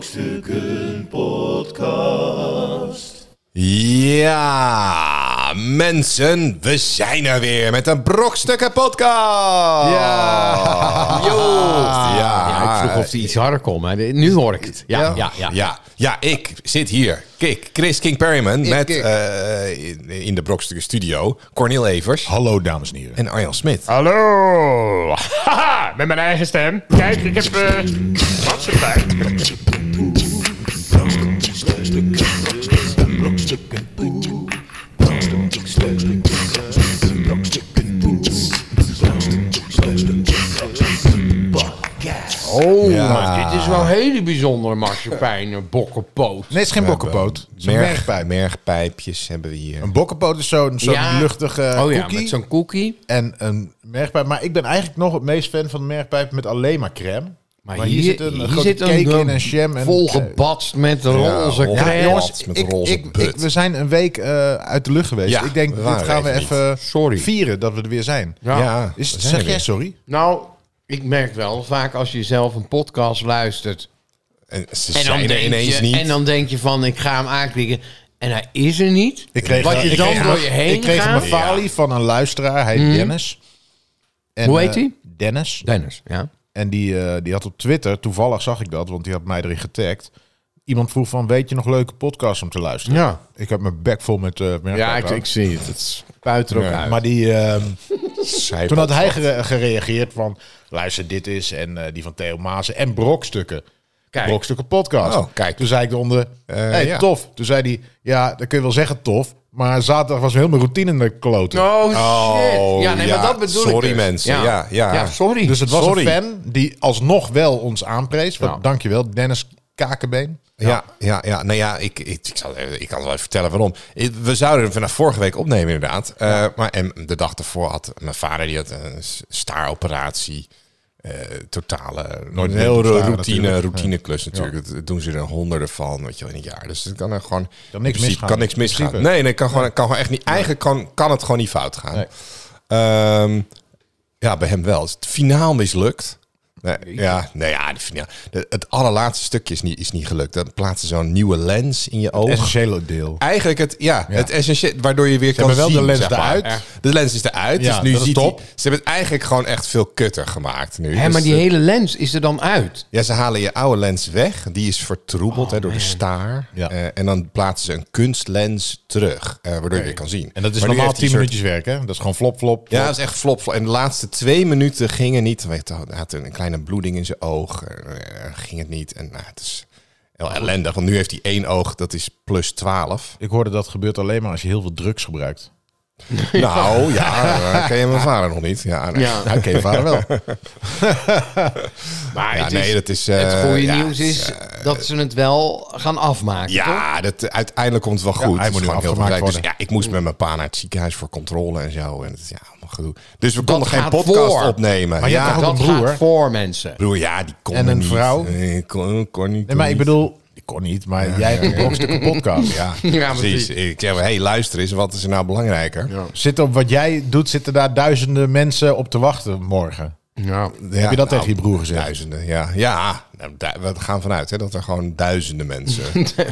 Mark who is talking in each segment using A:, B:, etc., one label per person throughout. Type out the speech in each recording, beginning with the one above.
A: Brokstukken Podcast.
B: Ja, mensen, we zijn er weer met een Brokstukken podcast.
C: Ja.
B: Joost. Ja.
C: Ja, ik
D: Ah,
C: vroeg of
D: eh,
C: die iets harder kon, maar nu hoor ik het. Ja, ja, ja.
B: Ja. Ja, ik zit hier. Kijk, Chris King Perryman met
C: Kik.
B: eh, in, in de Brokstukken studio Cornel Evers
A: Hallo dames en heren.
B: en Arjan Smit.
C: Ah,
E: Hallo! Haha, met mijn eigen stem. Kijk, ik heb. eh wat ze tijd.
C: Oh,
B: Ja.
C: maar dit is wel een hele bijzondere marsepein, bokkenpoot.
D: Nee, het is geen bokkenpoot. Het is een
B: Merg-
D: mergpijp.
B: mergpijpjes hebben we hier.
D: Een bokkenpoot is zo'n zo'n
C: Ja.
D: luchtige
C: Oh ja,
D: eh, cookie
C: met zo'n cookie.
D: en een mergpijp. Maar ik ben eigenlijk nog het meest fan van de mergpijp met alleen maar crème. Maar, hier, zit een,
C: hier
D: grote
C: zit een,
D: cake in
C: eh,
D: en jam. En,
C: volgebatst met roze
B: roze-
D: Ja,
C: crème.
D: jongens,
B: met
D: ik,
B: roze
D: ik,
B: put.
D: ik- we zijn een week eh, uit de lucht geweest.
B: Ja,
D: ik denk,
B: we
D: dit
B: waren
D: gaan we
B: er even
D: even
B: niet.
C: Sorry.
D: vieren dat we er weer zijn.
C: Ja.
B: Ja,
D: Is,
B: we zijn
D: zeg
B: er
D: jij
B: weer.
D: sorry?
C: Nou, ik merk wel, vaak als je zelf een podcast luistert...
B: En ze
C: En dan,
B: zijn er
C: denk
B: ineens
C: je,
B: niet.
C: en dan denk je van, ik ga hem aanklikken. En hij is er niet.
D: Ik kreeg,
C: Wat je
D: ik
C: dan
D: kreeg-
C: door je heen
D: Ik kreeg een
C: gaat. Mhm.
D: befalie van een luisteraar. Hij heet Dennis. En,
C: Hoe heet
D: eh,
C: hij?
D: Dennis.
C: Dennis, ja.
D: En die, eh, die had op Twitter, toevallig zag ik dat, want die had mij erin getagd. Iemand vroeg van, weet je nog leuke podcasts om te luisteren?
C: Ja.
D: Ik heb mijn bek vol met... eh, merken
C: Ja, ik,
D: trouwens.
C: ik zie het. Het spuit er ook
B: Ja,
C: uit.
D: Maar die, ehm,
B: Zij-
D: toen had hij gere- gereageerd van, luister dit is en eh, die van Theo Maasen en Brokstukken.
C: Kijk. Eh,
D: Brokstukken podcast.
B: Oh, kijk.
D: Toen zei ik eronder, eh, hey,
B: ja.
D: tof. Toen zei hij, ja, dat kun je wel zeggen tof, maar zaterdag was heel mijn routine in de kloten.
C: Oh, shit.
B: Oh,
C: ja, nee,
B: ja.
C: maar dat bedoel ik
B: Sorry,
C: dus.
B: mensen. Ja, ja.
C: sorry.
D: Dus het was
B: Sorry.
D: een fan die alsnog wel ons aanprees. Want,
C: Ja.
D: Dankjewel, Dennis Kakenbeen.
B: Ja, ja, ja. Nou ja, ik, ik, ik, zal, ik kan wel even vertellen waarom. Ik- We zouden hem vanaf vorige week opnemen, inderdaad. Eh, maar en de dag ervoor had mijn vader die had een s- staaroperatie. eh, totale, nooit een
D: heel
B: heel
D: raar
B: routine,
D: natuurlijk.
B: routineklus natuurlijk. Dat doen ze er honderden van, weet je wel, in een jaar. Dus het kan er gewoon... in
D: niks
B: principe
D: misgaan.
B: Kan niks
D: In
B: misgaan.
D: principe.
B: Nee, nee, kan gewoon, kan gewoon echt niet... Eigenlijk kan, kan het gewoon niet fout gaan.
D: Nee.
B: Ehm, ja, bij hem wel. Is het finaal mislukt? Nee, ja, nee, ja de finaal, de- het allerlaatste stukje is niet, is niet gelukt. Dan plaatsen ze zo'n nieuwe lens in je oog.
D: Essentiële deel.
B: Eigenlijk het, ja, het essentieel, waardoor je weer kan
D: hebben wel
B: zien,
D: de lens
B: zeg maar.
D: eruit.
B: Ja. De lens is eruit,
D: Ja,
B: dus nu
D: dat is
B: ziet
D: top.
B: hij- Ze hebben het eigenlijk gewoon echt veel kutter gemaakt nu.
C: Hé,
B: Dus
C: maar die
B: het-
C: hele lens is er dan uit.
B: ja, ze halen je oude lens weg. Die is vertroebeld hè, door de staar.
D: Oh, Ja.
B: Eh, en dan plaatsen ze een kunstlens terug, eh, waardoor je weer kan zien.
D: En dat is
B: Maar nu
D: normaal
B: heeft
D: 10
B: hij een soort-
D: minuutjes werk, hè? Dat is gewoon flop, flop.
B: Ja,
D: flop.
B: dat is echt flop, flop. En de laatste twee minuten gingen niet. Hij had een kleine bloeding in zijn oog. eh, ging het niet. En nou, het is heel ellendig. Want nu heeft hij één oog, dat is plus 12.
D: Ik hoorde dat gebeurt alleen maar als je heel veel drugs gebruikt.
B: Nou ja, eh, ken je mijn vader nog niet? Ja, nee.
C: Ja.
B: Nou, ken je vader wel.
C: Maar
B: Ja,
C: het,
B: nee,
C: is,
B: dat is, eh,
C: het goede
B: ja,
C: nieuws
B: het
C: is dat ze het wel gaan afmaken, toch?
B: Ja, dat, eh, uiteindelijk komt het wel goed. Het
D: hij
B: is
D: moet nu
B: gewoon heel
D: afgemaakt
B: belangrijk. Dus
D: worden.
B: ja, ik
C: Mm.
B: moest met mijn pa naar het ziekenhuis voor controle en zo. En het is ja, allemaal gedoe. Dus we konden geen
C: gaat
B: podcast
C: voor.
B: opnemen.
D: Maar je
B: ja,
D: hebt toch ook
C: Dat
D: een broer?
C: gaat voor mensen.
B: broer, ja, die kon
D: En
B: er
D: een
B: niet.
D: vrouw?
B: Nee, kon, kon niet.
D: Nee,
B: kon
D: maar ik
B: niet.
D: bedoel, ik kon niet, maar jij hebt een brokstukken podcast.
B: Ja,
C: Ja,
B: precies.
C: precies.
B: Ik zeg, hé, hey, luister eens, wat is er nou belangrijker? Ja.
D: Zit op wat jij doet, zitten daar duizenden mensen op te wachten morgen.
C: Ja.
D: Heb je dat tegen je broer gezegd?
B: nou, Duizenden, ja. Ja, nou, du- we gaan vanuit hè, dat er gewoon duizenden mensen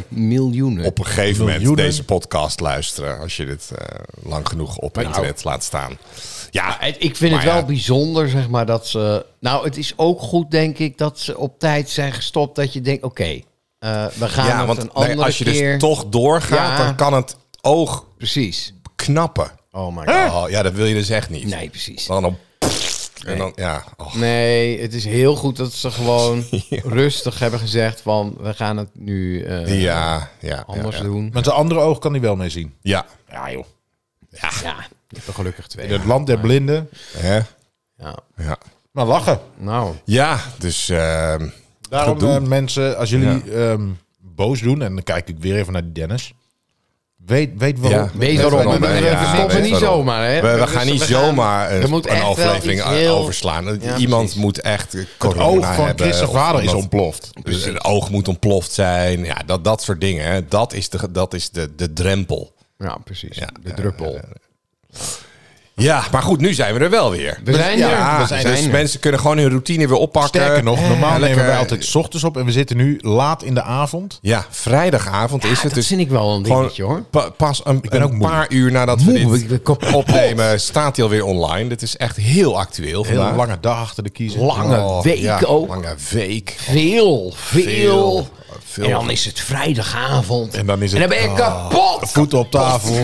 C: Miljoenen.
B: op een gegeven moment
D: Miljoenen.
B: deze podcast luisteren. Als je dit eh, lang genoeg op internet laat staan. Ja,
C: Nou. Het- Ik vind
B: maar
C: het wel
B: ja,
C: bijzonder, zeg maar, dat ze... Nou, het is ook goed, denk ik, dat ze op tijd zijn gestopt. Dat je denkt, oké, eh, we gaan
B: Ja,
C: het
B: want
C: een
B: nee,
C: andere
B: als je
C: keer...
B: dus toch doorgaat,
C: Ja.
B: dan kan het oog
C: Precies.
B: knappen.
C: Oh my god.
B: Oh, ja, dat wil je dus echt niet.
C: Nee, precies.
B: Dan dan... En dan, ja, oh,
C: Nee, het is heel goed dat ze gewoon rustig hebben gezegd van we gaan het nu eh,
B: ja, ja.
C: anders
B: ja, ja.
C: doen.
D: Met de andere oog kan hij wel mee zien.
B: Ja,
D: Ja, joh.
C: Ja, je hebt er gelukkig twee.
D: In het land der blinden.
B: hè?
C: Ja.
B: Ja.
D: Maar lachen.
C: Nou,
B: Ja, dus ehm,
D: Daarom
B: Goed doen.
D: eh, mensen, als jullie ehm, boos doen, en dan kijk ik weer even naar die Dennis. Weet, weet waarom.
B: Ja.
C: wees
B: Weet
C: erom.
B: waarom,
C: We,
B: hè?
C: we
B: Ja,
C: stoppen
B: weet
C: niet
B: waarom.
C: zomaar. Hè?
B: we, we
C: Dus
B: gaan niet
C: we gaan-
B: zomaar
C: er
B: een,
C: moet
B: een
C: echt wel
B: aflevering
C: iets heel-
B: overslaan.
C: Ja,
B: Iemand
C: precies.
B: moet echt
D: Het
B: corona
D: oog van
B: hebben,
D: Chris'
B: of
D: vader is
B: omdat-
D: ontploft.
B: Dus een oog moet ontploft zijn. Ja, dat, dat soort dingen. Hè. Dat is de, dat is de, de drempel.
C: Ja, precies.
B: Ja,
C: de druppel.
B: eh, Ja, maar goed, nu zijn we er wel weer.
C: We zijn er.
B: Ja,
C: We zijn
B: dus
C: er.
B: mensen kunnen gewoon hun routine weer oppakken.
D: Sterker nog, normaal nemen
B: lekker-
D: wij altijd 's ochtends op en we zitten nu laat in de avond.
B: Ja, vrijdagavond is
C: dat
B: het. Dus
C: vind ik wel een
B: gewoon
C: dingetje hoor.
B: pa- pas een,
D: ben
B: een
D: ook moe.
B: paar uur nadat
C: Moe,
B: we
C: ik ben
B: dit
C: kapot.
B: opnemen, staat hij alweer online. Dit is echt heel actueel
D: Heel
B: vandaag.
D: lange dag achter de kiezer. Oh.
C: Lange week
B: ja,
C: ook.
B: Lange week.
C: Veel, veel.
B: Veel, veel.
C: En dan is het vrijdagavond.
D: En dan is het-
C: ben je kapot.
D: Voeten op tafel.
B: Ja,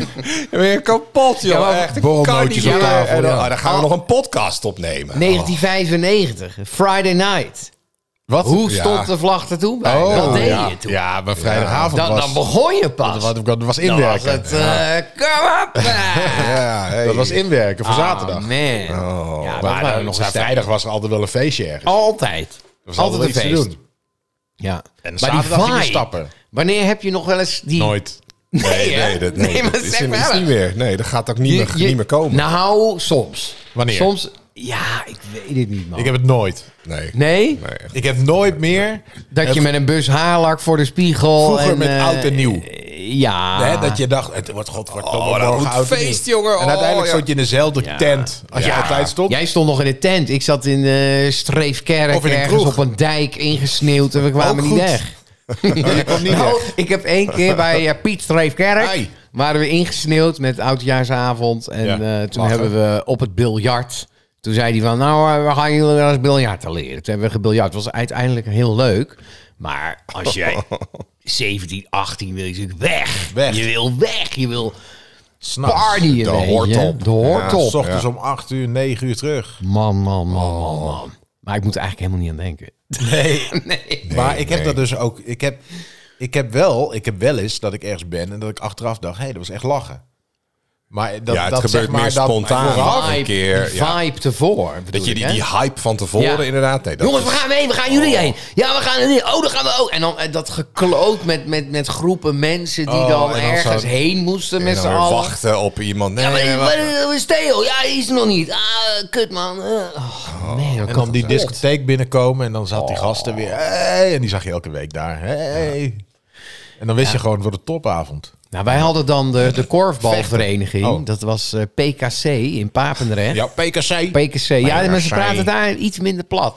B: ben je kapot, joh.
C: Ja, maar
B: echt, ik
D: borrelnootjes
B: kan niet
D: op
B: meer.
D: tafel,
B: En dan,
D: ja.
B: ah, dan gaan we
C: Oh.
B: nog een podcast opnemen.
C: 1995, Friday night.
D: Wat?
C: Hoe
B: Oh, Ja. Oh,
C: stond de vlag er toen bij? dat deed
D: ja.
C: je toen.
D: Ja, maar vrijdagavond
C: dan,
D: was...
C: dan begon je pas.
D: wat, dat was
C: dan was
D: inwerken.
C: het... eh, Kom op! eh.
B: Ja, hey. Oh,
D: Dat was inwerken voor
C: Ah,
D: zaterdag. Oh,
C: Man. ja, dat
D: Maar
C: waren
D: dan-
C: nog
D: ja,
C: eens tijd.
D: vrijdag was er altijd wel een feestje ergens.
C: Altijd.
D: Er was
C: Altijd een
D: iets te
C: feest.
D: doen.
C: Ja.
D: En zaterdag ging je stappen.
C: Wanneer heb je nog wel eens die...
D: Nooit.
C: Nee,
B: Nee,
C: hè?
B: nee, dat, nee,
C: Nee, maar
B: dat is,
C: zeg
B: er- is
C: maar.
B: niet meer. Nee, dat gaat ook niet,
C: Je-
B: meer,
C: je-
B: niet meer komen.
C: Nou, soms.
D: Wanneer?
C: Soms... Ja, ik weet het niet, man.
D: Ik heb het nooit.
B: nee.
C: Nee?
B: Nee, echt.
D: Ik heb nooit meer...
C: Dat je met een bus haarlak voor de spiegel...
D: Vroeger
C: en,
D: met
C: eh,
D: oud en nieuw.
C: Ja.
D: Hè, dat je dacht, het wordt godverdomme
B: Ah. Oh, dat
D: morgen
B: moet
D: oud en nieuw.
B: feest, jongen.
D: En uiteindelijk
B: Oh, ja.
D: stond je in dezelfde tent als je
C: Ja.
D: altijd stond.
C: Jij stond nog in de tent. Ik zat in eh Streefkerk
D: Of in een
C: ergens
D: kroeg.
C: op een dijk ingesneeuwd en we kwamen
D: Ook
C: niet
D: goed.
C: weg.
D: Je kwam niet
C: Nou,
D: weg.
C: ik heb één keer bij eh, Piet Streefkerk
D: Ai.
C: waren we ingesneeuwd met oudjaarsavond en
D: Ja,
C: eh, toen
D: lachen.
C: hebben we op het biljart. Toen zei hij van, nou, eh, we gaan jullie wel eens biljarten leren. Toen hebben we gebiljart. Het was uiteindelijk heel leuk. Maar als jij 17, 18 wil je natuurlijk weg.
D: Weg.
C: Je wil weg. Je wil
D: S'nachts.
C: partyen.
B: de
C: weet je.
B: hoortop.
C: De hoortop.
D: Ja, s ochtends om 8 uur, 9 uur terug.
C: Man, man, man, man, man. Maar ik moet er eigenlijk helemaal niet aan denken.
D: Nee.
C: Nee.
D: maar ik heb
B: nee.
D: dat dus ook. Ik heb, ik heb wel, ik heb wel eens dat ik ergens ben en dat ik achteraf dacht, hé, dat was echt lachen. Maar dat,
B: Ja, het
D: dat
B: gebeurt
D: zeg maar
B: meer
D: dat,
B: spontaan.
D: vooraf-
B: een keer,
C: Ah, die
B: ja.
C: vibe tevoor. bedoel
B: Dat je
C: ik,
B: die,
C: hè?
B: die hype van tevoren
C: Ja.
B: inderdaad... Nee, dat
C: Jongens, we
B: is-
C: gaan heen, we gaan jullie heen. Ja, we gaan er niet. Oh, dan gaan we ook. En dan eh, dat gekloot met, met, met groepen mensen die
D: Oh,
C: dan
D: en dan
C: ergens
D: zo-
C: heen moesten
B: En
C: met z'n
B: dan weer
C: allen.
B: wachten op iemand. Nee,
C: Ja, maar
B: nee,
C: waar-
B: wacht.
C: waar is Theo? Ja, die is er nog niet. Ah, kut man. Eh, Oh, nee, dan
D: En
C: kan Oh.
D: dan
C: die
D: die
C: disco.
D: discotheek binnenkomen en dan zat die gasten weer. Hey, en die zag je elke week daar. Hey. En dan wist je gewoon voor de topavond.
C: Nou, wij hadden dan de, de korfbalvereniging.
D: Vechten. Oh.
C: Dat was eh, PKC in Papendrecht.
D: PKC.
C: PKC. Ja, de mensen praten daar iets minder plat.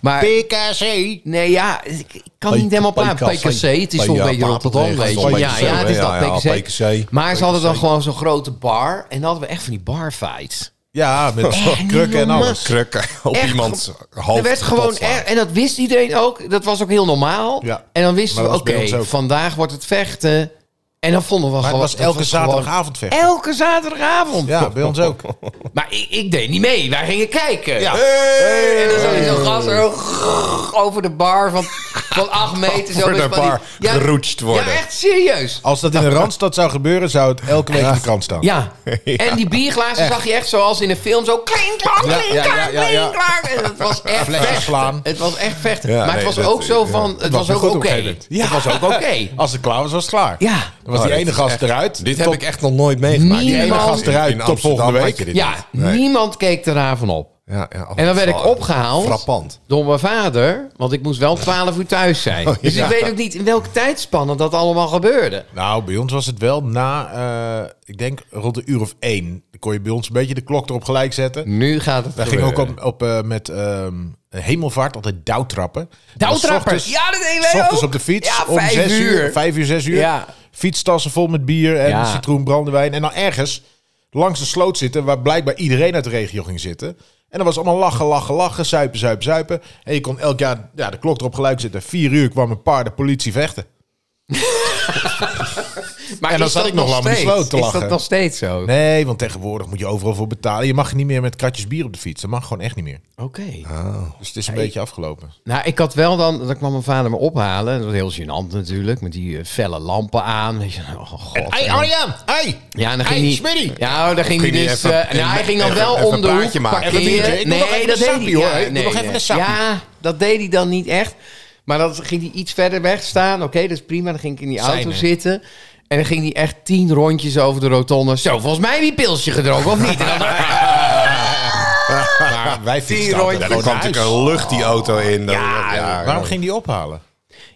C: Maar
D: PKC.
C: Nee, ja, ik ik kan
D: P-
C: niet helemaal praten.
D: PKC.
C: PKC, het is toch
B: Ja,
C: een beetje Rotterdam, weet je.
B: PKC,
C: Ja, ja, het is
B: ja,
C: dat,
B: ja,
C: PKC.
B: PKC.
C: Maar ze hadden dan gewoon zo'n grote bar. En dan hadden we echt van die barfights.
D: Ja, met
C: niet
D: krukken en
C: normaal.
D: alles.
B: nou, Krukken op
C: Echt,
B: iemands hoofd.
C: Er werd gewoon...
B: plotslaan.
C: er- en dat wist iedereen ook. Dat was ook heel normaal.
D: Ja.
C: En dan wisten
D: Maar
C: we,
D: dat
C: oké,
D: was bij ons ook.
C: vandaag wordt het vechten. En dan vonden we
D: Maar het
C: gewoon...
D: was
C: dat
D: elke
C: gewoon-
D: zaterdagavond vechten.
C: Elke zaterdagavond.
D: Ja, bij ons ook.
C: Maar ik, ik deed niet mee. Wij gingen kijken.
D: Ja.
B: Hey!
C: En dan zag je zo'n gast zo over de bar van, van acht meter. zo
B: Over
C: met
B: de
C: van die-
B: bar geroetst worden.
C: Ja, echt serieus.
D: Als dat in de Randstad zou gebeuren, zou het elke week in de krant staan.
C: Ja. En die bierglazen zag je echt zoals in een film. Zo klink, klak,
D: Ja,
C: klink,
D: ja, ja,
C: klak,
D: ja, ja.
C: klink, klak. En het was echt
D: Flesjes
C: vechten.
D: slaan.
C: Het was echt vechten.
B: Ja,
C: maar het
B: nee,
C: was
B: dat-
C: ook zo
B: ja.
C: van... Het was,
D: weer
C: ook
D: goed
C: oké.
D: op een gegeven moment.
C: Het was ook oké.
D: Als het klaar was, was het klaar.
C: Ja.
D: Dan was
B: Oh,
D: die
B: dit
D: ene
B: is
D: gast
B: echt-
D: eruit.
B: Dit
D: Tot-
B: heb ik echt nog nooit meegemaakt.
C: Die ene gast
D: eruit,
B: In
D: tot
B: Amsterdam
D: volgende
B: had
D: week.
B: je dit
C: Ja,
B: niet. Nee.
C: niemand keek eraan op.
B: Ja, ja, oh,
C: En dan werd
B: dat is
C: ik
B: wel
C: opgehaald
B: Frappant.
C: door mijn vader, want ik moest wel 12 uur thuis
D: Oh,
C: zijn. Dus ik weet ook niet in welke tijdspanne dat allemaal gebeurde.
D: Nou, bij ons was het wel na, eh, ik denk rond de uur of één. Dan kon je bij ons een beetje de klok erop gelijk zetten.
C: Nu gaat het.
D: Wij gingen ook op, op eh, met ehm, hemelvaart altijd douwtrappen.
C: Douwtrappers,
D: En dan 's ochtends-
C: ja, dat deden wij
D: 's ochtends
C: ook.
D: op de fiets.
C: Ja,
D: om
C: vijf
D: zes uur.
C: uur.
D: Vijf uur, zes uur.
C: Ja.
D: Fietstassen vol met bier en
C: Ja.
D: citroen, brandewijn. En dan ergens langs de sloot zitten waar blijkbaar iedereen uit de regio ging zitten. En dan was allemaal lachen, lachen, lachen, zuipen, zuipen, zuipen. En je kon elk jaar ja, de klok erop gelijk zetten. Vier uur kwam een paar de politie vechten.
C: Maar
D: En dan
C: is
D: zat
C: dat
D: ik nog lang met die
C: steeds?
D: sloot te
C: Is
D: lachen.
C: dat nog steeds zo?
D: Nee, want tegenwoordig moet je overal voor betalen. Je mag niet meer met kratjes bier op de fiets. Dat mag gewoon echt niet meer.
C: Oké.
D: Dus het is een beetje afgelopen.
C: Nou, ik had wel dan, dan kwam mijn vader me ophalen. Dat was heel gênant natuurlijk, met die eh, felle lampen aan. Weet je, oh god.
D: Hey Arjan, hey!
C: Ja, en dan ging
D: Hey,
C: hij.
D: Smitty!
C: Ja, dan ging hij
B: Ging hij
C: dus.
B: even-
C: eh, nou, hij ging dan
B: even-
C: wel
B: even
C: om de
B: een
C: hoek
B: praatje maken.
D: Even een biertje.
C: parkeren.
D: Ik moet nog even
C: Nee,
D: een
C: dat deed
D: sappie,
C: hij.
D: hoor.
C: Ja,
D: Ik moet
C: nee,
D: nog even
C: nee.
D: een sappie.
C: Ja, dat deed hij dan niet echt. Maar dan ging hij iets verder weg staan. Oké, dat is prima. Dan ging ik in die auto
D: Zijne.
C: zitten. En dan ging hij echt tien rondjes over de rotonde. Zo, volgens mij heb je pilsje gedronken, of niet? En dan-
D: Maar wij fietsen
C: rondjes.
D: altijd
B: Ja, dan
D: gewoon
B: kwam
D: naar dus-
B: natuurlijk
D: huis.
B: een lucht die auto in. Dan-
D: Waarom ging die ophalen?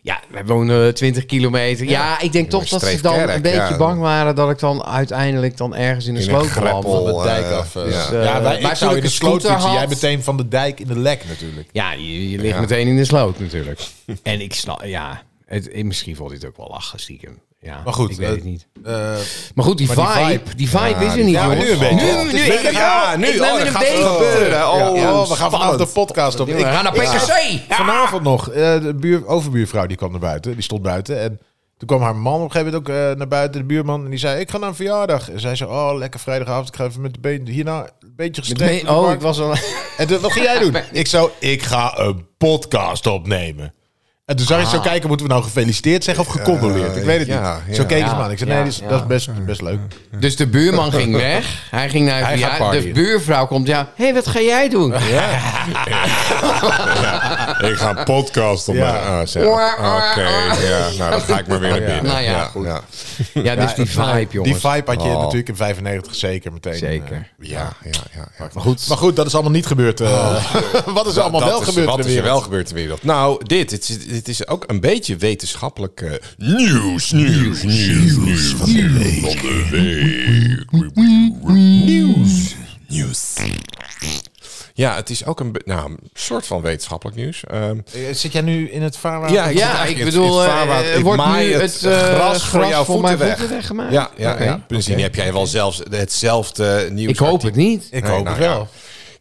C: Ja, wij wonen 20 kilometer. Ja, ik denk toch dat ze dan
B: Streefkerk,
C: een beetje
B: ja.
C: bang waren dat ik dan uiteindelijk dan ergens in een
B: In een
C: sloot kwam.
B: greppel.
D: Van de dijk af. eh.
B: Dus,
C: eh,
D: ja, wij, ik
C: maar
D: zou
C: toen
D: in
C: ik
D: de
C: een
D: sloot
C: scooter
D: fietsen. Jij
C: had-
D: meteen van de dijk in de lek natuurlijk.
C: Ja, je, je ligt meteen in de sloot natuurlijk. en ik snap, ja, het, eh, misschien vond dit ook wel lachen stiekem. Ja,
D: Maar goed.
C: ik weet
D: eh,
C: het niet.
D: eh,
C: Maar goed, die
D: maar die
C: vibe,
D: vibe-
C: die vibe is er
B: die vibe-
C: niet.
D: ja, maar
C: jongens.
D: nu een beetje.
C: Nu,
D: Het
C: nu,
D: is
C: ik ben,
B: ja, nu, oh,
C: ik ben weer
B: dan
C: een
B: gaat het
C: beetje.
B: gebeuren. Oh,
D: ja,
B: oh,
D: we gaan vanaf de podcast op.
C: We gaan naar
D: ik-
C: PKC. Ja.
D: Vanavond nog, eh, de buur, overbuurvrouw die kwam naar buiten, die stond buiten. En toen kwam haar man op een gegeven moment ook eh, naar buiten, de buurman. En die zei, ik ga naar een verjaardag. En zij zei, oh, lekker vrijdagavond, ik ga even met de been hierna een beetje
C: Met
D: gestrekt. op
C: me-
D: de
C: Oh,
D: bank."
C: ik was al.
D: En toen, wat ging jij doen? Ik zou, ik ga een podcast opnemen. En toen zag ik
C: Ah.
D: zo kijken, moeten we nou gefeliciteerd zeggen of gecondoleerd? Ik weet het
B: Ja,
D: niet.
B: ja.
D: zo keek ze me aan. Ik zei, nee,
C: Ja,
D: dat is,
C: ja.
D: dat is best, best leuk.
C: Dus de buurman ging weg. Hij ging naar hij
D: Hij gaat partyen.
C: De buurvrouw komt, ja. Hé, hey, wat ga jij doen?
B: Ik ga een podcast op
D: Ja.
B: mijn...
D: Oh,
B: ah, zeg. Oké,
C: Oar, oar, oar.
B: ja, nou dan ga ik maar weer naar binnen.
C: Nou ja, goed. Ja, dus die vibe, jongens.
D: Die vibe had je
B: Oh.
D: natuurlijk in 95 zeker meteen. eh,
C: Zeker.
B: Ja, ja, ja. ja.
D: maar, goed, maar goed, dat is allemaal niet gebeurd. eh. wat is er allemaal
B: Oh. Dat
D: wel
B: is-
D: gebeurd in
B: Wat
D: de
B: is er
D: wereld?
B: wel gebeurd in de wereld? Nou, dit. Dit is, dit is ook een beetje wetenschappelijk eh, nieuws. Nieuws, nieuws, nieuws. Van de week. Van de week. Nieuws. Nieuws. Ja, het is ook een be- nou, een soort van wetenschappelijk nieuws. Ehm,
D: Eh, Zit jij nu in het vaarwater?
B: Ja, ik, zit
C: Ja,
B: eigenlijk
C: ik
B: in het-
C: bedoel,
B: in het
C: eh,
B: vaarwater.
C: eh,
B: Ik
C: wordt
B: maai
C: nu
B: het,
C: het, eh,
B: gras,
C: gras
B: voor jouw
C: voor
B: voeten
C: mijn
B: weg.
C: voeten weggemaakt?
B: Ja, ja,
C: Oké,
B: ja. Misschien heb jij wel zelfs eh, hetzelfde nieuws.
C: Ik hoop het niet.
D: ik
B: Nee,
D: hoop
B: nou
D: het
B: ja.
D: wel.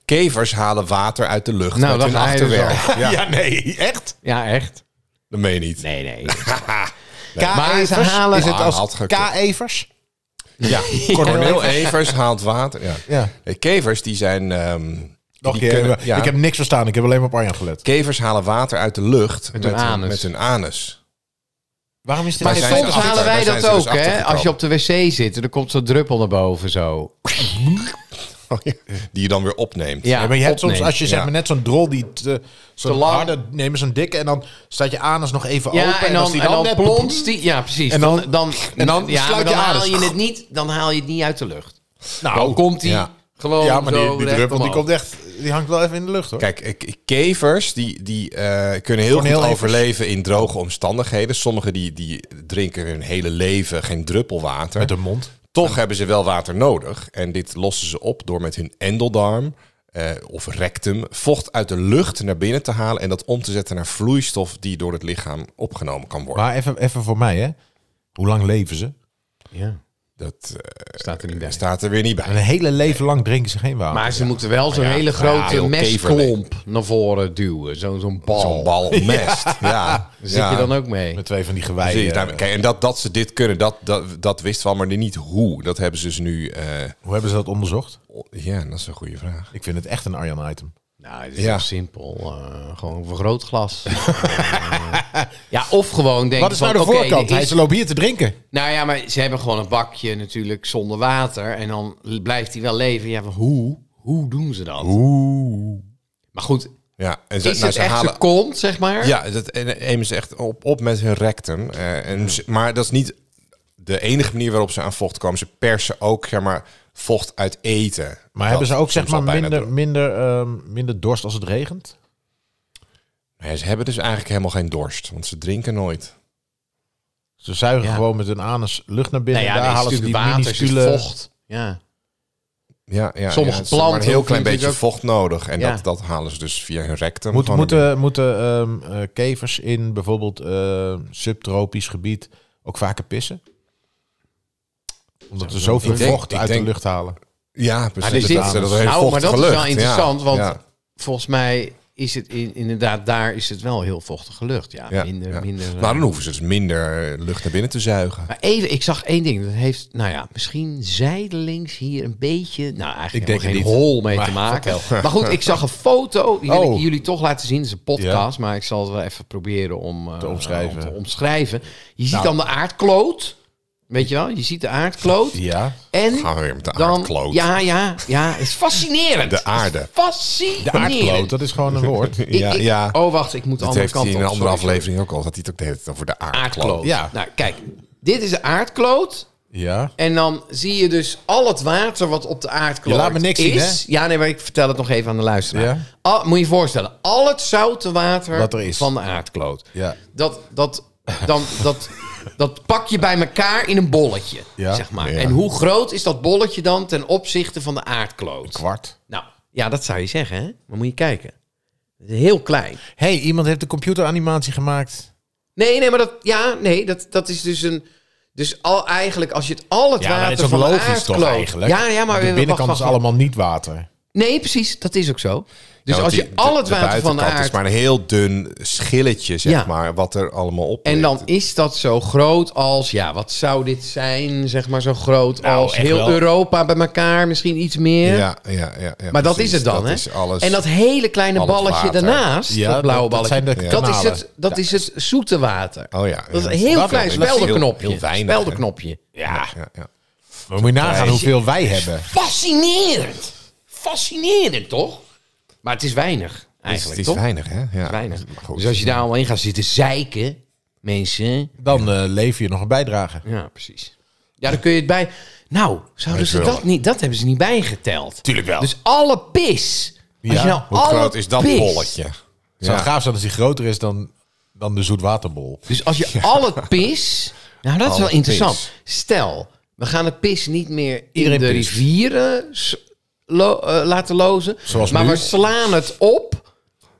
B: Kevers halen water uit de lucht
C: Nou,
B: met
C: dat
B: hun
C: ga je dus
B: achterwerk.
D: Ja. nee, echt?
C: Ja, echt.
B: Dat meen je niet.
C: Nee, nee. Maar ze
D: K-evers?
C: halen-
D: Is het
B: Ah, had
D: als
B: gekund.
D: K-evers?
B: Ja, Cornel Evers haalt water. Ja.
D: Ja.
B: Nee, Kevers die zijn... ehm,
D: Nog een
B: die
D: keer.
B: kunnen- ja.
D: Ik heb niks verstaan. Ik heb alleen maar op Arjan gelet.
B: Kevers halen water uit de lucht met,
C: hun
B: hun-
C: anus.
B: met hun anus.
D: Waarom is dit
C: Maar
B: Daar zijn
C: soms
B: ze achter-
C: halen wij
B: daar
C: dat
B: zijn ze
C: ook,
B: dus
C: hè?
B: achtergekomen.
C: Als je op de wc zit en er komt zo'n druppel naar boven zo.
B: Die je dan weer opneemt.
C: Oh, Ja,
D: Ja, maar je hebt soms,
C: opnemen.
D: als je zeg
B: Ja.
D: maar net zo'n drol die te, zo'n
C: Te lang.
D: harde nemen, zo'n dikke en dan staat je anus nog even open
C: Ja, en
D: als
C: dan,
D: die
C: en dan
D: net
C: plonst die... Ja, precies.
D: En
C: En
D: dan-
C: dan, dan,
D: en dan
C: ja,
D: sluit
C: maar
D: je
C: dan haal
D: adem.
C: je het niet, dan haal je het niet uit de lucht.
D: Nou,
C: Dan komt die
B: ja.
C: gewoon
D: ja, maar die,
C: zo
D: die
C: recht
D: druppel die
C: omhoog.
D: komt echt, die hangt wel even in de lucht hoor.
B: Kijk, ik- ik- kevers die, die eh, kunnen heel
D: Cornel
B: goed
D: Evers.
B: overleven in droge omstandigheden. Sommigen die, die drinken hun hele leven geen druppel water.
D: Met de mond.
B: Toch hebben ze wel water nodig. En dit lossen ze op door met hun endeldarm eh, of rectum vocht uit de lucht naar binnen te halen. En dat om te zetten naar vloeistof die door het lichaam opgenomen kan worden.
D: Maar even, even voor mij hè, hoe lang leven ze?
C: Ja,
B: Dat eh,
C: staat er niet bij.
B: staat er weer niet
D: Een
B: bij.
D: hele leven lang drinken ze geen water.
C: Maar ze moeten wel zo'n
B: ja,
C: hele
B: ja,
C: grote
B: heel
C: mesklomp naar voren duwen. Zo'n zo'n bal.
B: Zo'n bal mest. Ja. ja.
C: Daar Zit je dan ook mee?
D: Met twee van die geweien.
B: Precies,
D: eh,
B: nou, kijk, en dat, dat ze dit kunnen, dat, dat, dat wisten we al, maar niet hoe. Dat hebben ze dus nu... eh,
D: hoe hebben ze dat onderzocht?
B: o- Oh, ja, dat is een goede vraag.
D: Ik vind het echt een Arjan item.
C: Nou, het is
B: Ja.
C: heel simpel. eh, gewoon een vergrootglas. Eh, ja, of gewoon denk
D: Wat is
C: van,
D: nou de
C: oké, er
D: voorkant? Hij
C: is-
D: ze loopt hier te drinken.
C: Nou ja, maar ze hebben gewoon een bakje natuurlijk zonder water. En dan l- blijft hij wel leven. Ja, maar hoe? Hoe doen ze dat?
D: Oeh.
C: Maar goed,
B: Ja, en ze,
C: is
B: nou,
C: het
B: ze
C: echt
B: halen
C: zijn kont, zeg maar?
B: Ja, dat en- nemen ze echt op, op met hun rectum. Eh, en, ze- maar dat is niet de enige manier waarop ze aan vocht komen. Ze persen ook zeg maar, vocht uit eten.
D: Maar
B: Dat
D: hebben ze ook
B: is
D: zeg
B: soms
D: maar
B: al bijna
D: minder,
B: door-
D: minder, ehm, minder dorst als het regent?
B: Nee, ze hebben dus eigenlijk helemaal geen dorst, want ze drinken nooit.
D: Ze zuigen
C: Ja.
D: gewoon met hun anus lucht naar binnen.
C: nou ja,
D: en daar
C: nee, het
D: halen
C: is
D: ze die
C: natuurlijk water, het is
D: minuscule...
C: vocht. Ja.
B: Ja, ja,
C: Sommige
B: ja, ze hebben maar
C: planten
B: een heel
C: hoeven
B: klein beetje
C: natuurlijk
B: vocht nodig. En
C: Ja.
B: dat, dat halen ze dus via hun rectum.
D: Moet,
B: gewoon
D: moeten moeten ehm, eh, kevers in bijvoorbeeld eh, subtropisch gebied ook vaker pissen? Omdat ze zoveel
B: Ik denk-
D: vocht
B: ik
D: uit de
B: denk-
D: lucht halen.
B: Ja,
C: Maar
B: precies.
C: er
B: dat
C: zit-
B: ze dat hele
C: Ah, nou, maar dat
B: vochtige
C: is wel
B: lucht, ja,
C: interessant, want
B: ja.
C: volgens mij is het in- inderdaad, daar is het wel heel vochtige lucht. Ja,
B: Ja,
C: minder,
B: ja.
C: minder... eh,
B: Nou, dan hoeven ze dus minder eh, lucht naar binnen te zuigen.
C: Maar even, ik zag één ding. Dat heeft, nou ja, misschien zijdelings hier een beetje, nou
D: Ik
C: eigenlijk
D: denk
C: helemaal
D: het
C: geen
D: niet,
C: hol mee te maken. Maar goed, ik zag een foto. Die wil
D: Oh.
C: ik jullie toch laten zien. Het is een podcast, maar ik zal het wel even proberen om, eh,
D: Te omschrijven.
C: om te omschrijven. Je
B: Nou.
C: ziet dan de aardkloot. Weet je wel? Je ziet de aardkloot.
D: Ja.
C: En
B: Gaan we weer met de
C: dan,
B: aardkloot.
C: ja, ja, ja. Het is fascinerend.
B: De aarde.
C: Fascinerend.
D: De aardkloot, dat is gewoon een woord.
C: Ik-
B: Ja,
C: ik-
B: ja.
C: Oh, wacht, ik moet de
B: Dat
C: andere
B: heeft
C: kant
B: hij in een
C: op,
B: andere
C: sorry, sorry
B: aflevering ook al. Dat hij het ook deed over de aardkloot.
C: aardkloot.
D: Ja.
C: Nou, kijk. Dit is de aardkloot.
D: Ja.
C: En dan zie je dus al het water wat op de aardkloot
D: Je laat me niks
C: is.
D: zien, hè?
C: Ja, nee, maar ik vertel het nog even aan de luisteraar.
D: Ja.
C: Al- moet je je voorstellen, al het zoute water
D: Wat er is.
C: van de aardkloot.
D: Ja.
C: Dat, dat, dan, dat, dat pak je bij elkaar in een bolletje,
D: Ja.
C: zeg maar.
B: Ja.
C: En hoe groot is dat bolletje dan ten opzichte van de aardkloot?
D: Kwart.
C: Nou, ja, dat zou je zeggen, hè? Maar moet je kijken. Het is Heel klein.
D: hey, iemand heeft een computeranimatie gemaakt.
C: Nee, nee, maar dat, ja, nee, dat, dat is dus een. Dus al, eigenlijk, als je het al het
D: Ja, maar
C: water
D: dat is toch
C: van de
D: logisch
C: aardkloot,
D: toch eigenlijk?
C: Ja, ja, maar
D: de
C: wacht,
D: binnenkant
C: wacht,
D: is
C: wacht.
D: allemaal niet water.
C: Nee, precies, dat is ook zo. Dus
B: Ja, want
C: als je
B: die-
C: al het water van de
B: buitenkant
C: aard.
B: is maar een heel dun schilletje, zeg
C: Ja.
B: maar, wat er allemaal op
C: En
B: ligt.
C: dan is dat zo groot als, ja, wat zou dit zijn, zeg maar, zo groot
D: Nou,
C: als
D: echt
C: heel
D: wel.
C: Europa bij elkaar, misschien iets meer.
B: Ja, ja, ja. ja,
C: maar dat
B: precies.
C: is het dan,
B: dat
C: hè?
B: Is alles.
C: en dat hele kleine
B: al het
C: balletje
B: water.
C: daarnaast,
D: Ja,
C: dat blauwe
D: dat- dat
C: balletje,
D: zijn de
C: dat, is
D: kanalen.
C: het, dat is het zoete water.
B: Oh ja.
C: Dat is
B: ja.
C: een heel
D: dat
C: klein
B: is- dat is heel-
C: speldenknopje.
B: heel weinig, hè?
C: speldenknopje.
D: Ja.
B: Ja, ja.
D: Maar moet je nagaan hoeveel wij hebben.
C: Fascinerend. Fascinerend, toch? Maar het is weinig,
B: Het is, Dus het
C: eigenlijk,
B: is
C: toch?
B: weinig, hè? Ja.
C: Weinig.
B: Maar goed.
C: Dus als je daar allemaal in gaat zitten zeiken, mensen...
D: Dan eh, lever je nog een bijdrage.
C: Ja, precies. Ja, dan kun je het bij... Nou, zouden
B: Dat
C: ze
B: is wel.
C: dat niet... Dat hebben ze niet bijgeteld.
D: Tuurlijk wel.
C: Dus alle pis. Als
D: Ja,
C: je nou
B: Hoe
C: alle
B: groot is dat
C: pis-
B: bolletje?
D: Het zou
B: Ja.
D: gaaf zijn als die groter is dan, dan de zoetwaterbol.
C: Dus als je al het pis... Nou, dat is
B: Al
C: wel
B: het
C: interessant. Stel, we gaan het pis niet meer in
D: Iedereen
C: de
D: pist.
C: rivieren s- lo- eh, laten lozen.
D: Zoals
C: maar
D: nu.
C: we slaan het op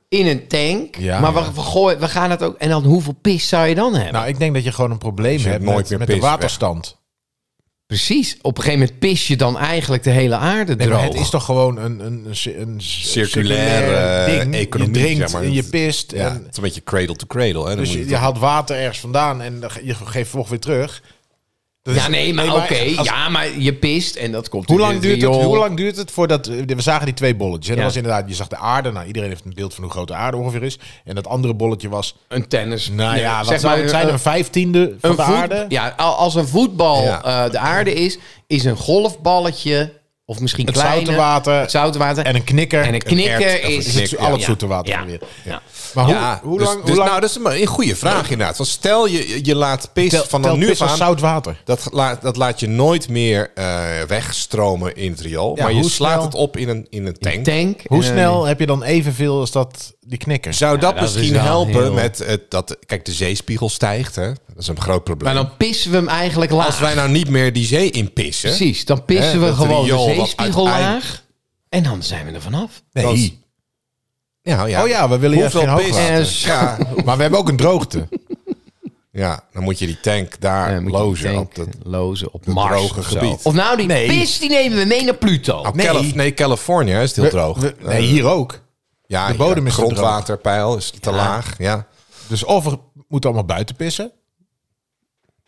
C: in een tank.
D: Ja,
C: maar we,
D: ja.
C: we, gooien, we gaan het ook... En dan hoeveel pis zou je dan hebben?
D: Nou, ik denk dat je gewoon een probleem
B: je
D: hebt
B: nooit
D: met,
B: meer
D: met de
B: pist, weg.
D: waterstand.
C: Precies. Op een gegeven moment pis je dan eigenlijk de hele aarde
D: Nee, maar
C: droog.
D: het is toch gewoon een, een, een, ci- een ci-
B: Circulaire, eh, economie,
D: Je drinkt
B: zeg maar.
D: en je pist.
B: Ja,
D: en-
B: het is een beetje cradle to cradle. Hè? Dan
D: dus
B: moet
D: je,
B: het
D: je
B: op-
D: haalt water ergens vandaan en dan ge- je geeft vocht weer terug. Dat
C: Ja,
D: is-
C: nee, maar oké.
D: als-
C: ja, maar je pist en dat komt
D: Hoe
C: in
D: lang,
C: het
D: duurt het,
C: riool.
D: hoe lang duurt het voordat... We zagen die twee bolletjes. En
C: Ja.
D: dat was inderdaad, je zag de aarde. Nou, iedereen heeft een beeld van hoe groot de aarde ongeveer is. En dat andere bolletje was...
C: Een tennis.
D: Nou
C: nee,
D: ja, wat zou het zijn?
C: eh,
D: Een vijftiende van
C: een
D: de
C: voet-
D: aarde?
C: Ja, al- als een voetbal
B: Ja.
C: eh, de aarde is, is een golfballetje of misschien
D: Het
C: kleiner.
D: zoute water.
C: Het zoute water.
D: En een knikker.
C: En een knikker
B: ert- of
C: is...
B: een knik,
D: al het
C: ja.
D: zoete water
C: Ja.
D: weer.
C: Ja.
D: Maar hoe,
B: Ja,
D: hoe
B: dus-
D: lang...
B: dus,
D: hoe lang
B: Nou, dat is maar een goede vraag inderdaad. Want stel je, je laat pis
D: tel-
B: van
D: telt
B: dan nu
D: pis
B: af
D: als
B: aan...
D: zout water?
B: Dat, la- dat laat je nooit meer eh, wegstromen in het riool.
D: Ja,
B: maar je
D: hoe
B: slaat
D: snel-
B: het op in een, in een tank.
C: Tank.
D: Hoe
C: eh,
D: snel heb je dan evenveel als dat die knikker?
B: Zou dat,
C: dat is
B: misschien
C: wel
B: helpen
C: heel-
B: met het, dat... Kijk, de zeespiegel stijgt. Hè? Dat is een groot probleem.
C: Maar dan pissen we hem eigenlijk laag.
B: Als wij nou niet meer die zee in pissen...
C: Precies, dan pissen
B: Hè,
C: we
B: dat
C: gewoon de
B: riool wat
C: zeespiegel
B: uiteind-
C: laag. En dan zijn we er vanaf.
B: dan- Ja, ja.
D: Oh ja, we willen juist
B: Hoeveel
D: geen
B: pis?
D: hoogwater.
C: En zo-
B: Ja,
D: Maar we hebben ook een droogte.
B: ja, dan moet je die tank daar
C: Eh, moet je
B: lozen.
C: tank
B: op dat,
C: lozen op Mars.
B: droge
C: of zo.
B: gebied.
C: Of nou, die pis die nemen we mee naar Pluto.
B: Oh, Calif- nee, Californië hè, is heel
D: We-
B: droog.
D: we-
B: Eh,
D: nee, hier ook.
B: ja,
D: de bodem
B: ja,
D: is te droog.
B: grondwaterpeil is te laag. Ja.
D: Dus of we moeten allemaal buiten pissen.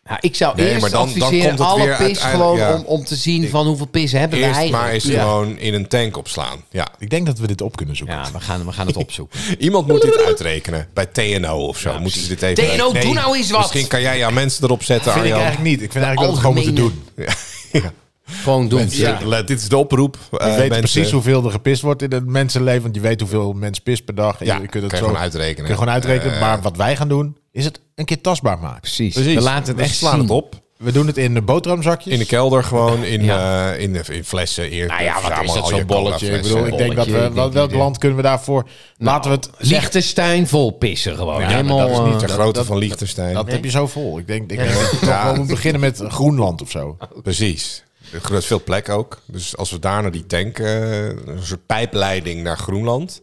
C: Ja, Nou, ik zou
B: Nee,
C: eerst
B: maar dan- dan
C: adviseren
B: komt het
C: alle
B: weer
C: pis
B: uiteindelijk-
C: gewoon
B: ja.
C: om, om te zien van hoeveel pis hebben we
B: Eerst
C: eigenlijk.
B: maar eens
D: Ja.
B: gewoon in een tank opslaan. Ja.
D: Ik denk dat we dit op kunnen zoeken.
C: Ja, we gaan, we gaan het opzoeken.
B: Iemand moet dit uitrekenen. Bij TNO of zo. Moeten ze dit even...
C: TNO,
B: Nee,
C: doe nou eens wat.
B: Misschien kan jij jouw mensen erop zetten,
D: vind ik
B: Arjan.
D: eigenlijk niet. Ik vind eigenlijk dat we het gewoon moeten
C: algemene-
D: doen.
C: Gewoon doen.
B: Ja, let- dit is de oproep. eh,
D: Je weet precies hoeveel er gepist wordt in het mensenleven. Want je weet hoeveel mens pist per dag. En
B: Ja,
D: je kunt het
B: kan je
D: zo
B: gewoon uitrekenen. Eh,
D: kun je gewoon uitrekenen. maar wat wij gaan doen, is het een keer tastbaar maken.
C: Precies.
B: Precies.
C: We laten het echt
B: slaan
C: zien.
B: het op.
D: We doen het in de boterhamzakjes.
B: In de kelder gewoon, in,
C: Ja.
B: eh, in, in flessen. Eer,
C: Nou ja, wat is
B: verzamel
C: dat,
B: al
C: zo'n
B: je
C: bolletje?
B: colaflessen.
D: ik bedoel, ik denk dat
C: bolletje,
D: we...
C: die-
D: wel-
C: die-
D: welk
C: die-
D: land kunnen we daarvoor...
B: Nou,
D: laten we het...
C: Liechtenstein vol pissen gewoon.
D: Ja,
C: Helemaal,
D: maar dat is niet
B: De
C: eh,
D: dat-
B: grootte
D: dat-
B: van Liechtenstein.
D: Dat heb je zo vol. Ik denk, ik denk dat we toch wel moeten beginnen met Groenland of zo.
B: Precies. Er gebeurt veel plek ook. Dus als we daar naar die tank, eh, een soort pijpleiding naar Groenland.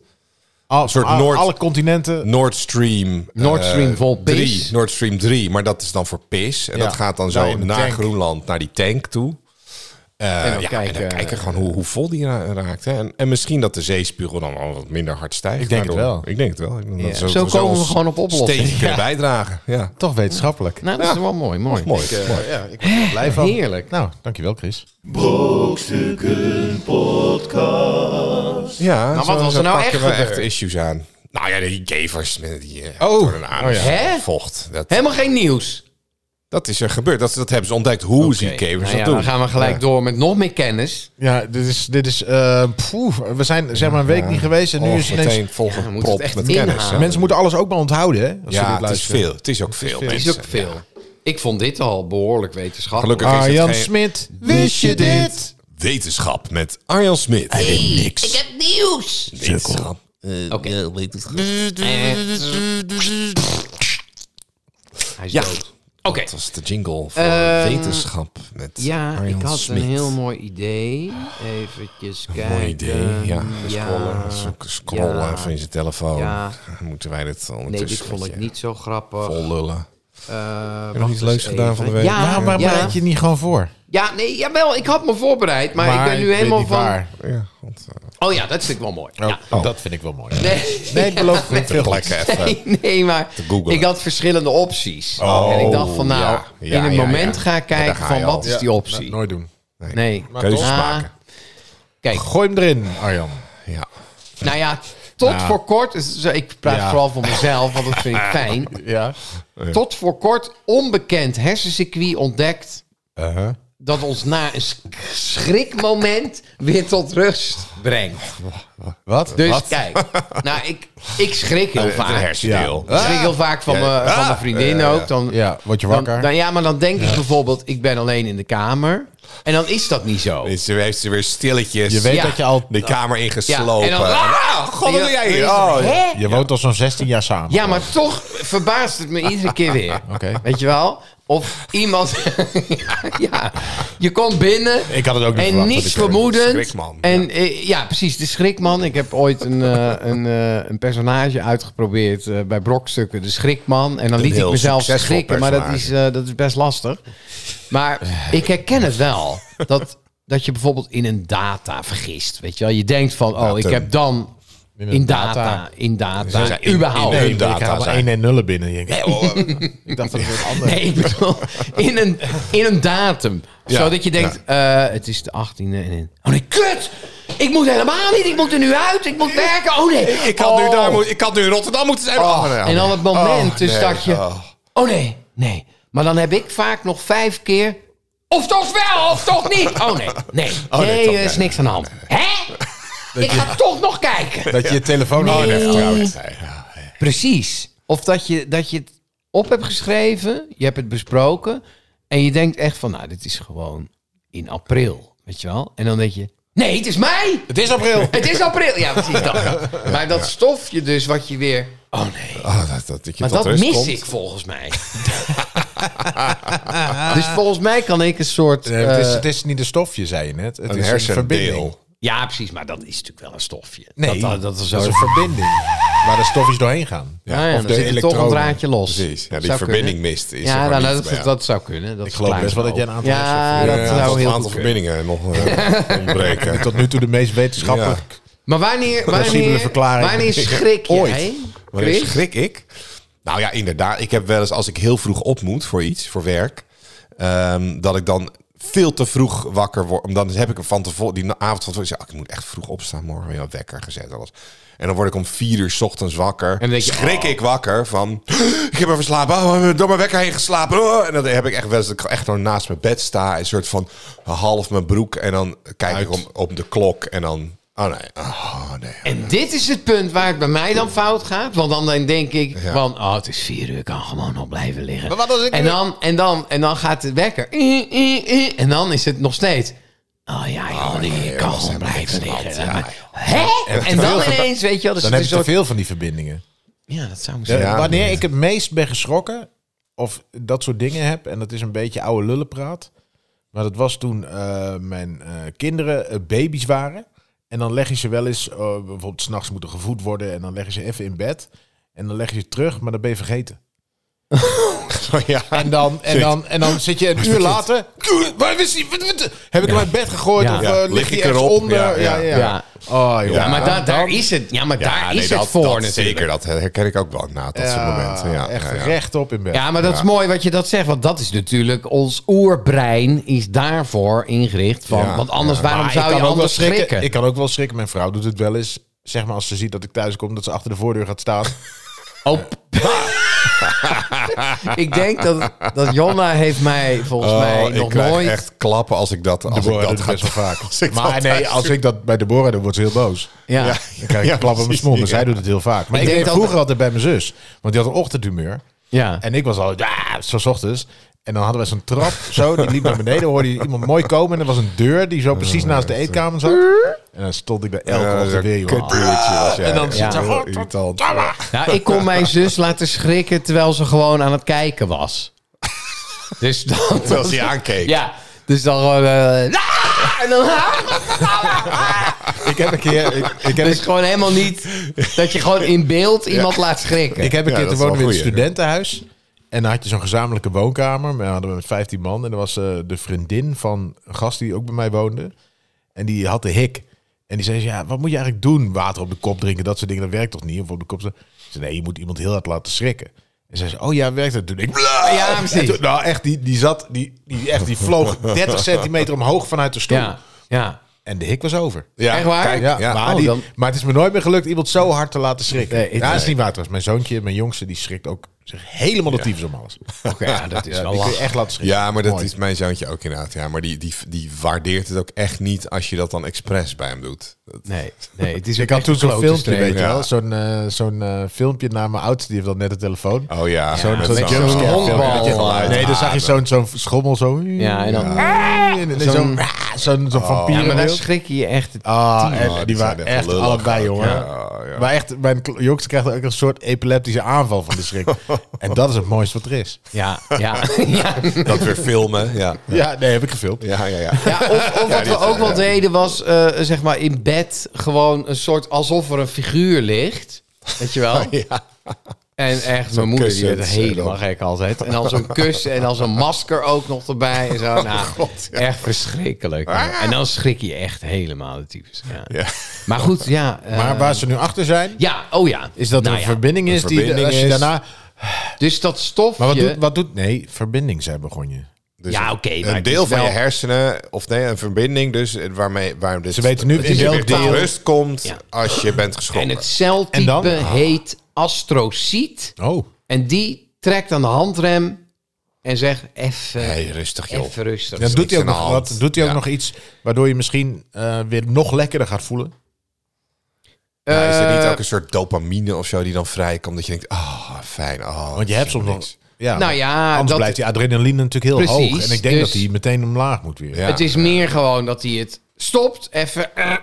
D: Al,
B: soort
D: al-
B: Noord-
D: Alle continenten.
B: Nord Stream.
C: Nord
B: eh,
C: Stream vol pis.
B: 3. Nord Stream 3, maar dat is dan voor pis. En
D: Ja.
B: dat gaat dan zo
D: Nou, in de
B: naar
D: tank.
B: Groenland, naar die tank toe. Eh,
C: En
B: ja,
C: dan
B: en
C: kijken,
B: dan kijken gewoon hoe, hoe vol die ra- raakt. Hè. En, en misschien dat de zeespiegel dan wel wat minder hard stijgt.
D: Ik denk het
B: daardoor.
D: wel.
B: Ik denk het wel. Ik denk dat
C: Ja. Zo komen we
B: ons
C: gewoon op oplossingen.
B: steentje kunnen bijdragen. Ja.
D: Toch wetenschappelijk.
C: Nou, dat is wel mooi. Mooi.
B: Mooi.
D: ja, ik ben er blij van.
C: Heerlijk.
D: Nou, dankjewel Chris.
A: Brokstukken podcast.
B: Ja,
C: Nou, wat
B: zo-
C: was
B: zo
C: er nou
B: pakken
C: echt
B: we
C: gebeurd?
B: echt issues aan. Nou ja, die gevers met die eh
D: Oh.
B: tornado's,
D: Oh
C: ja. Hè?
B: vocht. Dat,
C: Helemaal geen nieuws.
B: dat is er gebeurd. Dat, dat hebben ze ontdekt hoe ze die
C: Oké.
B: gevers
C: Nou ja,
B: dat doen.
C: Dan gaan we gelijk
B: Ja.
C: door met nog meer kennis.
D: Ja, dit is, dit is eh, poeh, we zijn zeg maar een week niet geweest en nu
B: Och,
D: is het ineens...
B: meteen
C: Ja, we
B: volgen
C: moeten
B: prop
C: het echt
B: met kennis.
C: inhalen.
B: hè?
D: Mensen moeten alles ook maar onthouden, hè? Als
B: Ja,
D: ze dit
B: het is
D: luisteren.
B: veel. Het is ook veel.
D: veel.
C: Het
B: mensen.
C: is ook veel. Ik vond dit al behoorlijk wetenschappelijk.
B: Gelukkig is het
D: Arjan
B: geen-
D: Ah, Smit, wist je dit?
B: Wetenschap met Arjan Smit. Hij deed niks. Ik heb nieuws. Wetenschap.
C: Oh. Oké. Eh. Hij is
B: Ja.
C: dood. Oké.
B: Dat was de jingle voor
C: Ehm,
B: Wetenschap met
C: Ja,
B: Arjan
C: ik had
B: Smit.
C: een heel mooi idee. Eventjes kijken.
B: Mooi idee. Ja,
C: ja.
B: scrollen, zo- scrollen
C: Ja.
B: van je telefoon.
C: Ja.
B: Moeten wij dit
C: Nee,
B: ondertussen
C: dit vond ik
B: dus met je
C: niet zo grappig.
B: vol lullen?
C: Eh,
B: nog
C: wacht
B: iets leuks
C: eens
B: gedaan van de week?
C: Ja,
D: Waarom
C: ja.
D: bereid je het niet gewoon voor?
C: Ja, nee, jawel, ik had me voorbereid, maar, ik ben nu
D: weet
C: helemaal
D: niet
C: van...
D: waar.
B: Ja, want, eh,
C: Oh ja, dat vind ik wel mooi. Ja.
D: Oh, Dat vind ik wel mooi.
C: Nee.
D: Nee, ik beloof het
B: Terug lekker even.
C: Nee, maar
B: googlen.
C: ik had verschillende opties.
B: Oh,
C: en ik dacht van, nou,
B: ja, ja,
C: in een
B: ja,
C: moment
B: ja.
C: ga
B: Ja,
C: ik
B: daar
C: kijken
B: ga
C: van,
B: je
C: wat
B: al.
C: is die optie?
D: Nooit doen.
C: Nee.
B: Keuzes
C: Ah,
B: maken.
C: Kijk,
D: Gooi hem erin, Arjan.
B: Ja.
C: nou ja, tot voor kort... dus Ik praat
D: Ja.
C: vooral voor mezelf, want dat vind ik fijn.
D: Ja.
C: Tot voor kort onbekend hersencircuit ontdekt...
D: Uh-huh.
C: dat ons na een sk- schrikmoment weer tot rust brengt.
D: Wat?
C: Dus kijk, nou, ik, ik schrik heel
B: Een
C: vaak.
B: hersendeel. Ah.
C: Ik schrik heel vaak van mijn van mijn vriendin ook. Dan,
D: Ah. Ja, word je
C: dan,
D: wakker?
C: dan- ja, maar dan denk ik bijvoorbeeld, ik ben alleen in de kamer. En dan is dat niet zo.
B: Ze heeft ze weer stilletjes
D: je weet
C: Ja.
D: dat je al...
B: de kamer
C: Ja,
B: ingeslopen.
C: en dan-
B: Ah, god, wat doe jij hier?
C: Ja.
B: Oh,
C: Hè?
D: Je woont al zo'n 16 jaar samen.
C: Ja, maar toch verbaast het me iedere keer weer.
D: Oké.
C: Weet je wel? Of iemand... ja, je komt binnen...
D: Ik had het ook niet
C: En
D: verwacht.
C: niets
B: ik er-
C: vermoedend.
B: Schrikman,
C: En eh, ja, precies, de schrikman. Ik heb ooit een, eh, een, eh, een personage uitgeprobeerd eh, bij Brokstukken, de schrikman. En dan liet ik
B: heel
C: mezelf
B: succesvol
C: schrikken, maar dat is,
B: personage.
C: eh, dat is best lastig. Maar ik herken het wel. Dat, dat je bijvoorbeeld in een data vergist. Weet je wel, je denkt van, oh, ik
B: Datum.
C: heb dan in,
D: een
C: data,
D: data.
C: in
B: Ze
C: data,
B: zijn in-
C: überhaupt.
B: in-
D: Nee,
B: Oh, Hun
D: ik
B: data
D: haal maar
B: zijn.
D: 1 en nullen binnen. Ik denk,
B: oh, eh,
D: Ik dacht dat het een ander...
C: Nee, ik bedoel, in een, in een datum.
B: Ja,
C: Zodat je denkt, eh, het is de 18e en in. Oh nee, kut! Ik moet helemaal niet, ik moet er nu uit, ik moet werken. Oh nee!
B: Ik had, nu
C: Oh.
B: daar, moet- ik had nu in Rotterdam moeten zijn. Oh, nee, oh,
C: En dan
B: nee.
C: het moment,
B: Oh,
C: dus
B: nee.
C: dacht je,
B: Oh.
C: oh nee, nee. Maar dan heb ik vaak nog vijf keer, of toch wel, of toch niet. Oh nee, nee,
B: nee,
C: nee,
B: toch,
C: er is
B: nee.
C: niks aan de hand. Hè? Ik ga toch nog kijken.
D: Dat je je telefoon
B: Oh,
C: Oh, Nee.
D: al hebt trouwens.
C: Precies. Of dat je, dat je het op hebt geschreven, je hebt het besproken. En je denkt echt van, nou, dit is gewoon in april. Weet je wel? En dan denk je, nee, het is mei!
D: Het is april.
C: Het is april! Ja, precies dat. Maar dat stofje dus wat je weer... Oh nee.
B: Oh, dat, dat, dat je
C: Maar
B: tot
C: dat
B: rust
C: mis
B: komt.
C: ik volgens mij. dus volgens mij kan ik een soort...
D: Nee, het, is,
C: eh,
D: het is niet een stofje, zei je net.
C: Dus
D: Het
B: Een
D: is
B: hersendeel.
C: ja, precies. Maar dat is natuurlijk wel een stofje.
D: Nee,
C: dat, dat is zo...
D: een verbinding. Waar de stofjes doorheen gaan.
C: Ah ja,
D: of
C: dan
D: de
C: zit er toch een
D: elektronen.
C: draadje los.
B: Precies. Ja, die
C: Zou
B: verbinding
C: kunnen.
B: mist. Is
C: Ja,
B: er
C: nou,
B: maar
C: dat,
B: niet, maar ja.
C: dat zou kunnen. Dat
D: Ik geloof best wel dat jij een aantal
C: Ja,
D: hersenen-
C: dat
B: Ja,
C: zou
B: nog
C: heel
B: een aantal
C: goed kunnen.
B: verbindingen nog eh, ontbreken.
D: Tot nu toe de meest wetenschappelijke.
C: Maar wanneer,
D: Plausibele
C: wanneer,
D: verklaring.
C: wanneer schrik jij?
B: Ooit. Wanneer
C: Chris?
B: schrik ik? Nou ja, inderdaad. Ik heb wel eens, als ik heel vroeg op moet voor iets, voor werk, ehm, dat ik dan veel te vroeg wakker word. Om Dan heb ik hem van tevoren, die avond van tevoren, ik, zeg, "Ah, ik moet echt vroeg opstaan morgen, weer op wekker gezet. Alles. En dan word ik om vier uur 's ochtends wakker. En
C: dan denk je,
B: schrik
C: oh.
B: ik wakker van, ik heb even slapen, oh, door mijn wekker heen geslapen. oh." En dan heb ik echt wel eens, dat ik echt gewoon naast mijn bed sta, een soort van half mijn broek. En dan kijk ik om, op de klok en dan, oh nee, oh nee.
C: En dit is het punt waar het bij mij dan fout gaat. Want dan denk ik
B: Ja.
C: van, oh, het is vier uur, ik kan gewoon nog blijven liggen.
D: Maar wat als ik
C: en,
D: nu-
C: dan, en, dan, en dan gaat de wekker. En dan is het nog steeds. Oh ja, joh, nee, ik kan gewoon blijven liggen.
B: ja,
C: Maar- Hè? En dan ineens, weet je wel. Dus het
D: Dan heb
C: is
D: je te
C: ook-
D: veel van die verbindingen.
C: Ja, dat zou ik
D: De-
C: zeggen.
B: Ja.
D: wanneer ik het meest ben geschrokken of dat soort dingen heb, en dat is een beetje oude lullenpraat. Maar dat was toen eh, mijn eh, kinderen eh, baby's waren. En dan leg je ze wel eens, eh, bijvoorbeeld s'nachts moeten gevoed worden. En dan leg je ze even in bed. En dan leg je ze terug, maar dan ben je vergeten.
B: ja.
D: En dan, en dan, en dan zit je een uur later. Waar is die? Wat- wat- Heb ik hem uit bed gegooid?
C: Ja.
D: Of
B: Ja,
D: eh,
B: lig
D: lig hij
B: ik
D: ergens
B: erop?
D: onder?
B: Ja,
D: Ja, ja,
B: ja.
D: ja.
C: Ja.
D: Oh, joh.
B: Ja.
C: maar daar, daar
D: Dan-
C: is het, ja, maar daar
B: nee,
C: is
B: dat,
C: het voor
B: dat
C: natuurlijk.
B: Zeker, dat herken ik ook wel na, dat soort
D: Ja,
B: momenten. Ja,
D: echt
B: ja, ja.
D: rechtop in bed.
C: Ja, maar dat is mooi wat je dat zegt. Want dat is natuurlijk ons oerbrein is daarvoor ingericht. Van,
B: Ja,
C: want anders,
B: ja.
C: waarom
D: Maar
C: zou
D: ik
C: je
D: kan ook wel
C: anders schrikken?
D: Ik kan ook wel schrikken. Mijn vrouw doet het wel eens. Zeg maar als ze ziet dat ik thuis kom, dat ze achter de voordeur gaat staan.
C: Oh, p- ik denk dat, dat Jonna heeft mij volgens
B: Oh,
C: mij
B: ik
C: nog
B: krijg
C: nooit...
B: echt klappen als ik dat, als ik
D: Deborah doet
B: dat
D: het
B: ga
D: dus best wel vaak.
B: Als ik
D: maar
B: dat
D: nee,
B: thuis
D: als ik dat bij Deborah doe, wordt ze heel boos.
C: ja.
B: Ja.
D: Dan krijg ik
B: Ja,
D: een klap op mijn
B: precies,
D: smoel. Maar
B: ja.
D: zij doet het heel vaak. Maar
C: Ik
D: ik,
C: denk
D: deed
C: dat-
D: vroeger altijd bij mijn zus. Want die had een ochtendhumeur.
C: Ja.
D: En ik was al, ja, zo 's ochtends. En dan hadden we zo'n trap, zo, die liep naar beneden. hoorde je iemand mooi komen. En er was een deur die zo precies naast de eetkamer zat. En dan stond ik daar elke
B: Ja,
D: ochtend
B: zo'n
D: weer, joh.
B: kutduurtje was jij.
D: En dan
C: zit ze,
B: Heel
D: "God,
B: irritant.
C: Nou, ik kon mijn zus laten schrikken terwijl ze gewoon aan het kijken was. Dus dan...
B: Terwijl ze je aankeek.
C: Ja, dus dan gewoon... eh, "Ah!" en dan...
D: Ik heb een keer, ik, ik heb
C: Dus gewoon helemaal niet... Dat je gewoon in beeld iemand laat schrikken.
D: Ik heb een
B: Ja,
D: keer
B: dat
D: te
B: is wel
D: wonen in een
B: een goeie.
D: studentenhuis. En dan had je zo'n gezamenlijke woonkamer. We hadden met 15 man. En er was eh, de vriendin van een gast die ook bij mij woonde. En die had de hik. En die zei, ja, wat moet je eigenlijk doen? Water op de kop drinken, dat soort dingen, dat werkt toch niet? Of op de kop... Ze zei, nee, je moet iemand heel hard laten schrikken. En zei ze, oh ja, werkt dat? Toen ik...
C: Ja, precies.
D: En toen- nou, echt, die, die zat, die, die, echt, die vloog 30 centimeter omhoog vanuit de stoel.
C: Ja, ja.
D: En de hik was over.
B: Ja,
C: Echt waar?
B: kijk,
D: Ja,
B: ja.
D: Maar,
C: Oh,
D: die-
C: dan-
D: maar het is me nooit meer gelukt iemand zo hard te laten schrikken.
C: Nee, het-
D: ja, dat is niet waar trouwens. Mijn zoontje, mijn jongste, die schrikt ook zich helemaal de tyfus om alles.
C: Oké, ja, dat is
D: Ja,
C: wel
D: die kun je
C: lachen.
D: echt laten schrikken.
B: Ja, maar dat
D: Mooi.
B: is mijn zoontje ook inderdaad. Ja, maar die, die, die waardeert het ook echt niet als je dat dan expres bij hem doet. Dat-
C: Nee, nee, het is
D: Ik had toen zo'n filmpje, weet je
B: ja.
D: wel. Zo'n eh, zo'n eh, filmpje naar mijn oudste, die heeft dan net een telefoon.
B: Oh ja,
D: Zo'n
B: met
D: zo'n
B: zo'n
D: jumpscare
B: zo'n
D: filmpje.
C: honkbal,
D: Dat je-
B: eh,
D: Nee, dan zag je
B: ademen.
D: zo'n zo'n schommel zo.
C: Ja, en dan...
D: Ah, nee, Zo'n
C: Zo'n-
D: ah, zo'n zo'n
C: Ja, maar daar
D: vampierenbeeld.
C: schrik je je echt...
D: Ah, en
B: Oh,
D: die
B: die zijn
D: waren
B: echt
D: echt
B: lullig
D: allebei,
B: ook,
D: jongen.
B: ja, ja.
D: Maar echt, mijn kl- jongste krijgt ook een soort epileptische aanval van de schrik. en dat is het mooiste wat er is.
C: Ja, ja, ja.
B: Dat weer filmen, ja.
D: Ja, nee, heb ik gefilmd.
B: Ja, ja, ja.
C: Ja, of,
B: Ja,
C: of wat
B: dit,
C: we ook
B: eh,
C: wel
B: ja.
C: deden was, eh, zeg maar, in bed gewoon een soort alsof er een figuur ligt. Weet je wel?
B: Ja.
C: En echt, mijn moeder die
B: kussen,
C: werd
B: dat is, eh,
C: helemaal gek altijd. En dan zo'n kussen en dan zo'n masker ook nog erbij. En zo. Nou, Echt verschrikkelijk. En dan schrik je echt helemaal de tyfus. Ja.
B: Ja.
C: Maar goed, ja. eh,
D: Maar waar ze nu achter zijn,
C: Ja, oh ja.
D: is dat er
C: Nou
D: een
C: ja,
D: verbinding is die
B: verbinding
D: als je
B: is.
D: daarna.
C: Dus dat stofje...
D: Maar wat doet, wat doet? Nee, verbinding zei begon je.
B: Dus
C: Ja,
B: een-
C: oké, maar
B: Een
C: het
B: deel
C: is
B: van
C: wel-
B: je hersenen, of nee, een verbinding dus, eh, waarmee... waarom dit,
D: Ze weten nu
B: dat
D: in
B: je
D: welk
B: weer tot
D: deel-
B: rust komt
C: Ja.
B: als je bent geschrokken.
C: en het
D: En dan?
C: celtype heet astrocyte.
D: Oh,
C: En die trekt aan de handrem en zegt even
B: Hey, rustig joh.
C: even rustig.
D: dan
B: is
D: doet hij ook
B: niks
D: nog
B: aan de hand.
D: wat? Doet hij ook
B: Ja.
D: nog iets waardoor je misschien eh, weer nog lekkerder gaat voelen?
B: Nou, is er niet
C: Eh,
B: ook een soort dopamine of zo die dan vrijkomt? Dat je denkt, ah, fijn. ah
D: Want je hebt soms nog. Ja,
C: Nou ja,
D: anders
C: dat-
D: blijft die adrenaline natuurlijk heel
C: Precies,
D: hoog. En ik denk
C: dus-
D: dat hij meteen omlaag moet weer.
B: Ja.
C: het is meer gewoon dat hij het stopt, even. eh.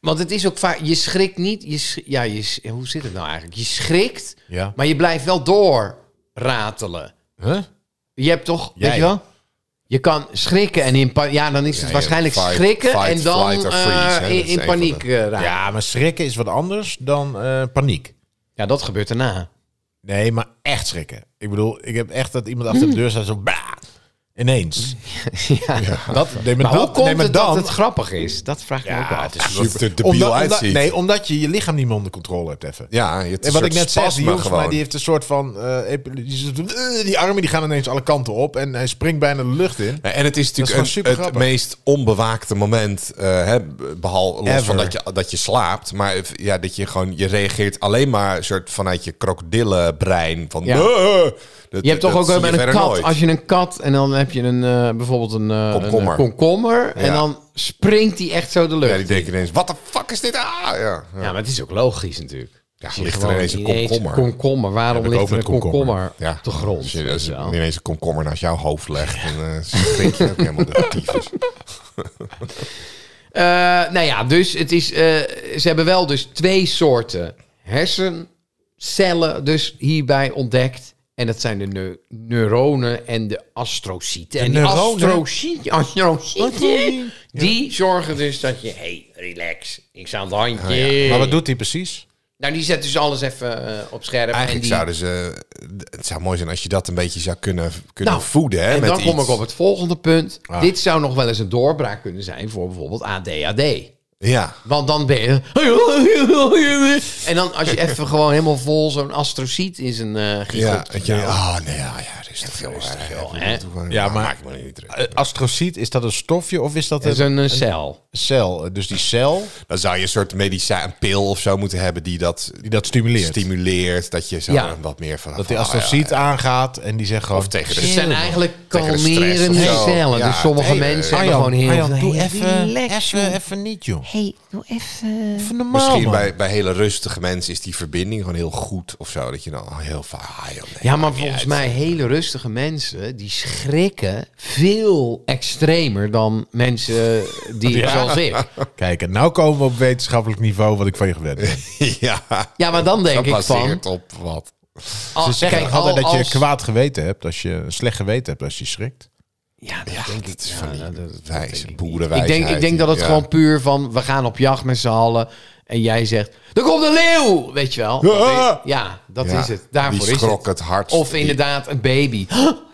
C: want het is ook vaak, je schrikt niet. Je sch- ja, je, s- hoe zit het nou eigenlijk? Je schrikt,
D: Ja.
C: maar je blijft wel doorratelen.
D: Huh?
C: Je hebt toch,
D: Jij.
C: weet je wel? Je kan schrikken en in paniek. Ja, dan is het
B: ja,
C: waarschijnlijk
B: fight-
C: schrikken
B: fight,
C: en dan
B: flight or
C: eh,
B: freeze, hè, dat
C: in,
B: is
C: in
B: een
C: paniek
B: van
C: eh, raken. Ja.
D: Ja, maar schrikken is wat anders dan eh, paniek.
C: dat gebeurt daarna.
D: Nee, maar echt schrikken. Ik bedoel, ik heb echt dat iemand achter de deur staat zo. Bah, ineens.
C: Ja.
B: Nou,
D: Dat, nee, maar
C: Maar
D: dat,
C: hoe komt
D: nee, maar
C: het
D: dan-
C: dat het grappig is? Dat vraag ik me ook wel af.
B: Omdat het er
D: Omdat-
B: debiel
D: omdat-
B: uitziet.
D: Nee, omdat je je lichaam niet meer onder controle hebt even.
B: ja, het
D: En wat ik net zei, die jongen van mij die
B: Die
D: heeft een soort van... eh, epi- die zit- eh, die armen die gaan ineens alle kanten op en hij springt bijna de lucht in.
B: en het is natuurlijk
D: gewoon
B: een-
D: super
B: het
D: grappig.
B: meest onbewaakte moment, eh, hè, behalve los
D: Ever.
B: van dat je, dat je slaapt, maar eh, ja, dat je gewoon, je reageert alleen maar een soort vanuit je krokodillenbrein. Van,
C: Ja.
B: "Ah!" Dat-
C: Je hebt toch
B: dat
C: ook
B: zie
C: wel
B: je
C: bij een
B: verder
C: kat.
B: nooit.
C: Als je een kat en dan heb je een, eh, bijvoorbeeld een, eh,
B: Komkommer.
C: een komkommer. En
B: Ja.
C: dan springt die echt zo de lucht.
B: Ja,
C: Ja,
B: die denken ineens, wat de fuck is dit? Ah, ja. ja.
C: maar het is ook logisch natuurlijk. Als je
B: ligt er
C: gewoon
B: ineens een komkommer.
C: komkommer. Waarom
B: Heb ik ook
C: ligt er een
B: met
C: komkommer,
B: Ja.
C: op de grond?
B: Als je, als je
C: weet je wel?
B: ineens een komkommer naast jouw hoofd legt, dan eh schrik je ook helemaal de tyfus.
C: Eh, nou ja, dus het is, eh, ze hebben wel dus twee soorten hersencellen dus hierbij ontdekt. En dat zijn de neu- neuronen en de astrocyten. En die
D: neuronen?
C: astrocyten, astrocyten,
D: Astrocyten.
C: die zorgen dus dat je... hey, relax, ik sta aan het handje.
D: Maar wat doet hij precies?
C: Nou, die zet dus alles even eh, op scherp.
B: Eigenlijk
C: en die,
B: zouden ze. Het zou mooi zijn als je dat een beetje zou kunnen, kunnen
C: Nou,
B: voeden. Hè,
C: en
B: met
C: dan kom
B: iets.
C: ik op het volgende punt. Dit zou nog wel eens een doorbraak kunnen zijn voor bijvoorbeeld ADHD.
B: Ja.
C: Want dan ben je... En dan als je even gewoon helemaal vol zo'n astrocyt in zijn eh
B: Ja,
C: giegel...
B: dat je, ah, nee, ja, ja, rustig. Ja, rustig
C: joh,
B: even
C: hè?
B: doe gewoon-
D: Ja,
B: ah,
D: maar-
B: Maak me niet druk.
D: Eh, Astrociet, is dat een stofje of is dat
C: Dat is
D: een,
C: een eh, cel.
D: cel? Eh, Dus die cel
B: Dan zou je een soort medicijn, een pil of zo moeten hebben die dat
D: die dat stimuleert.
B: stimuleert. Dat je zo
C: Ja.
B: wat meer van.
D: dat
B: van,
D: die
B: ah, ja,
D: astrociet
B: ja.
D: aangaat en die zegt gewoon...
B: Of tegen
C: Het
B: de
C: zijn eigenlijk
B: tegen de stress
C: kalmeren
B: of zo.
C: herstellen.
B: Ja,
C: dus sommige
B: nee,
C: mensen
B: eh,
C: hebben gewoon heel
D: Arjan,
C: veel...
D: doe
C: Hey,
D: even,
C: relax,
D: even, even niet, joh.
C: Hey, doe even...
D: Even normaal,
B: Misschien
D: man.
B: bij, bij hele rustige mensen is die verbinding gewoon heel goed of zo. Dat je dan heel vaak... ah, joh, nee,
C: Ja, maar
B: maakt niet
C: volgens
B: uit.
C: mij hele rustige mensen, die schrikken veel extremer dan mensen eh, die zoals ik.
D: Kijk, en nou komen we op wetenschappelijk niveau wat ik van je gewend ben.
B: ja,
C: Ja, maar dan denk ik van...
B: gebaseerd op wat.
D: Ze
C: als-
D: zeggen
C: kijk,
D: altijd
C: al-
D: dat je
C: als-
D: kwaad geweten hebt, als je een slecht geweten hebt, als je schrikt.
C: Ja, dat
B: Ja,
C: denk ik.
B: dat is
C: Ja,
B: van die
C: nou, dat- dat denk
B: wijze
C: ik
B: boerenwijsheid.
C: Ik denk, ik denk dat het
B: Ja.
C: gewoon puur van we gaan op jacht met z'n allen. En jij zegt: Er komt een leeuw! Weet je wel?
B: Ja.
C: Dat is- Ja, dat
B: Ja,
C: is het. Daarvoor
B: die
C: is
B: schrok
C: het.
B: het hardst.
C: Of
B: Die-
C: inderdaad een baby.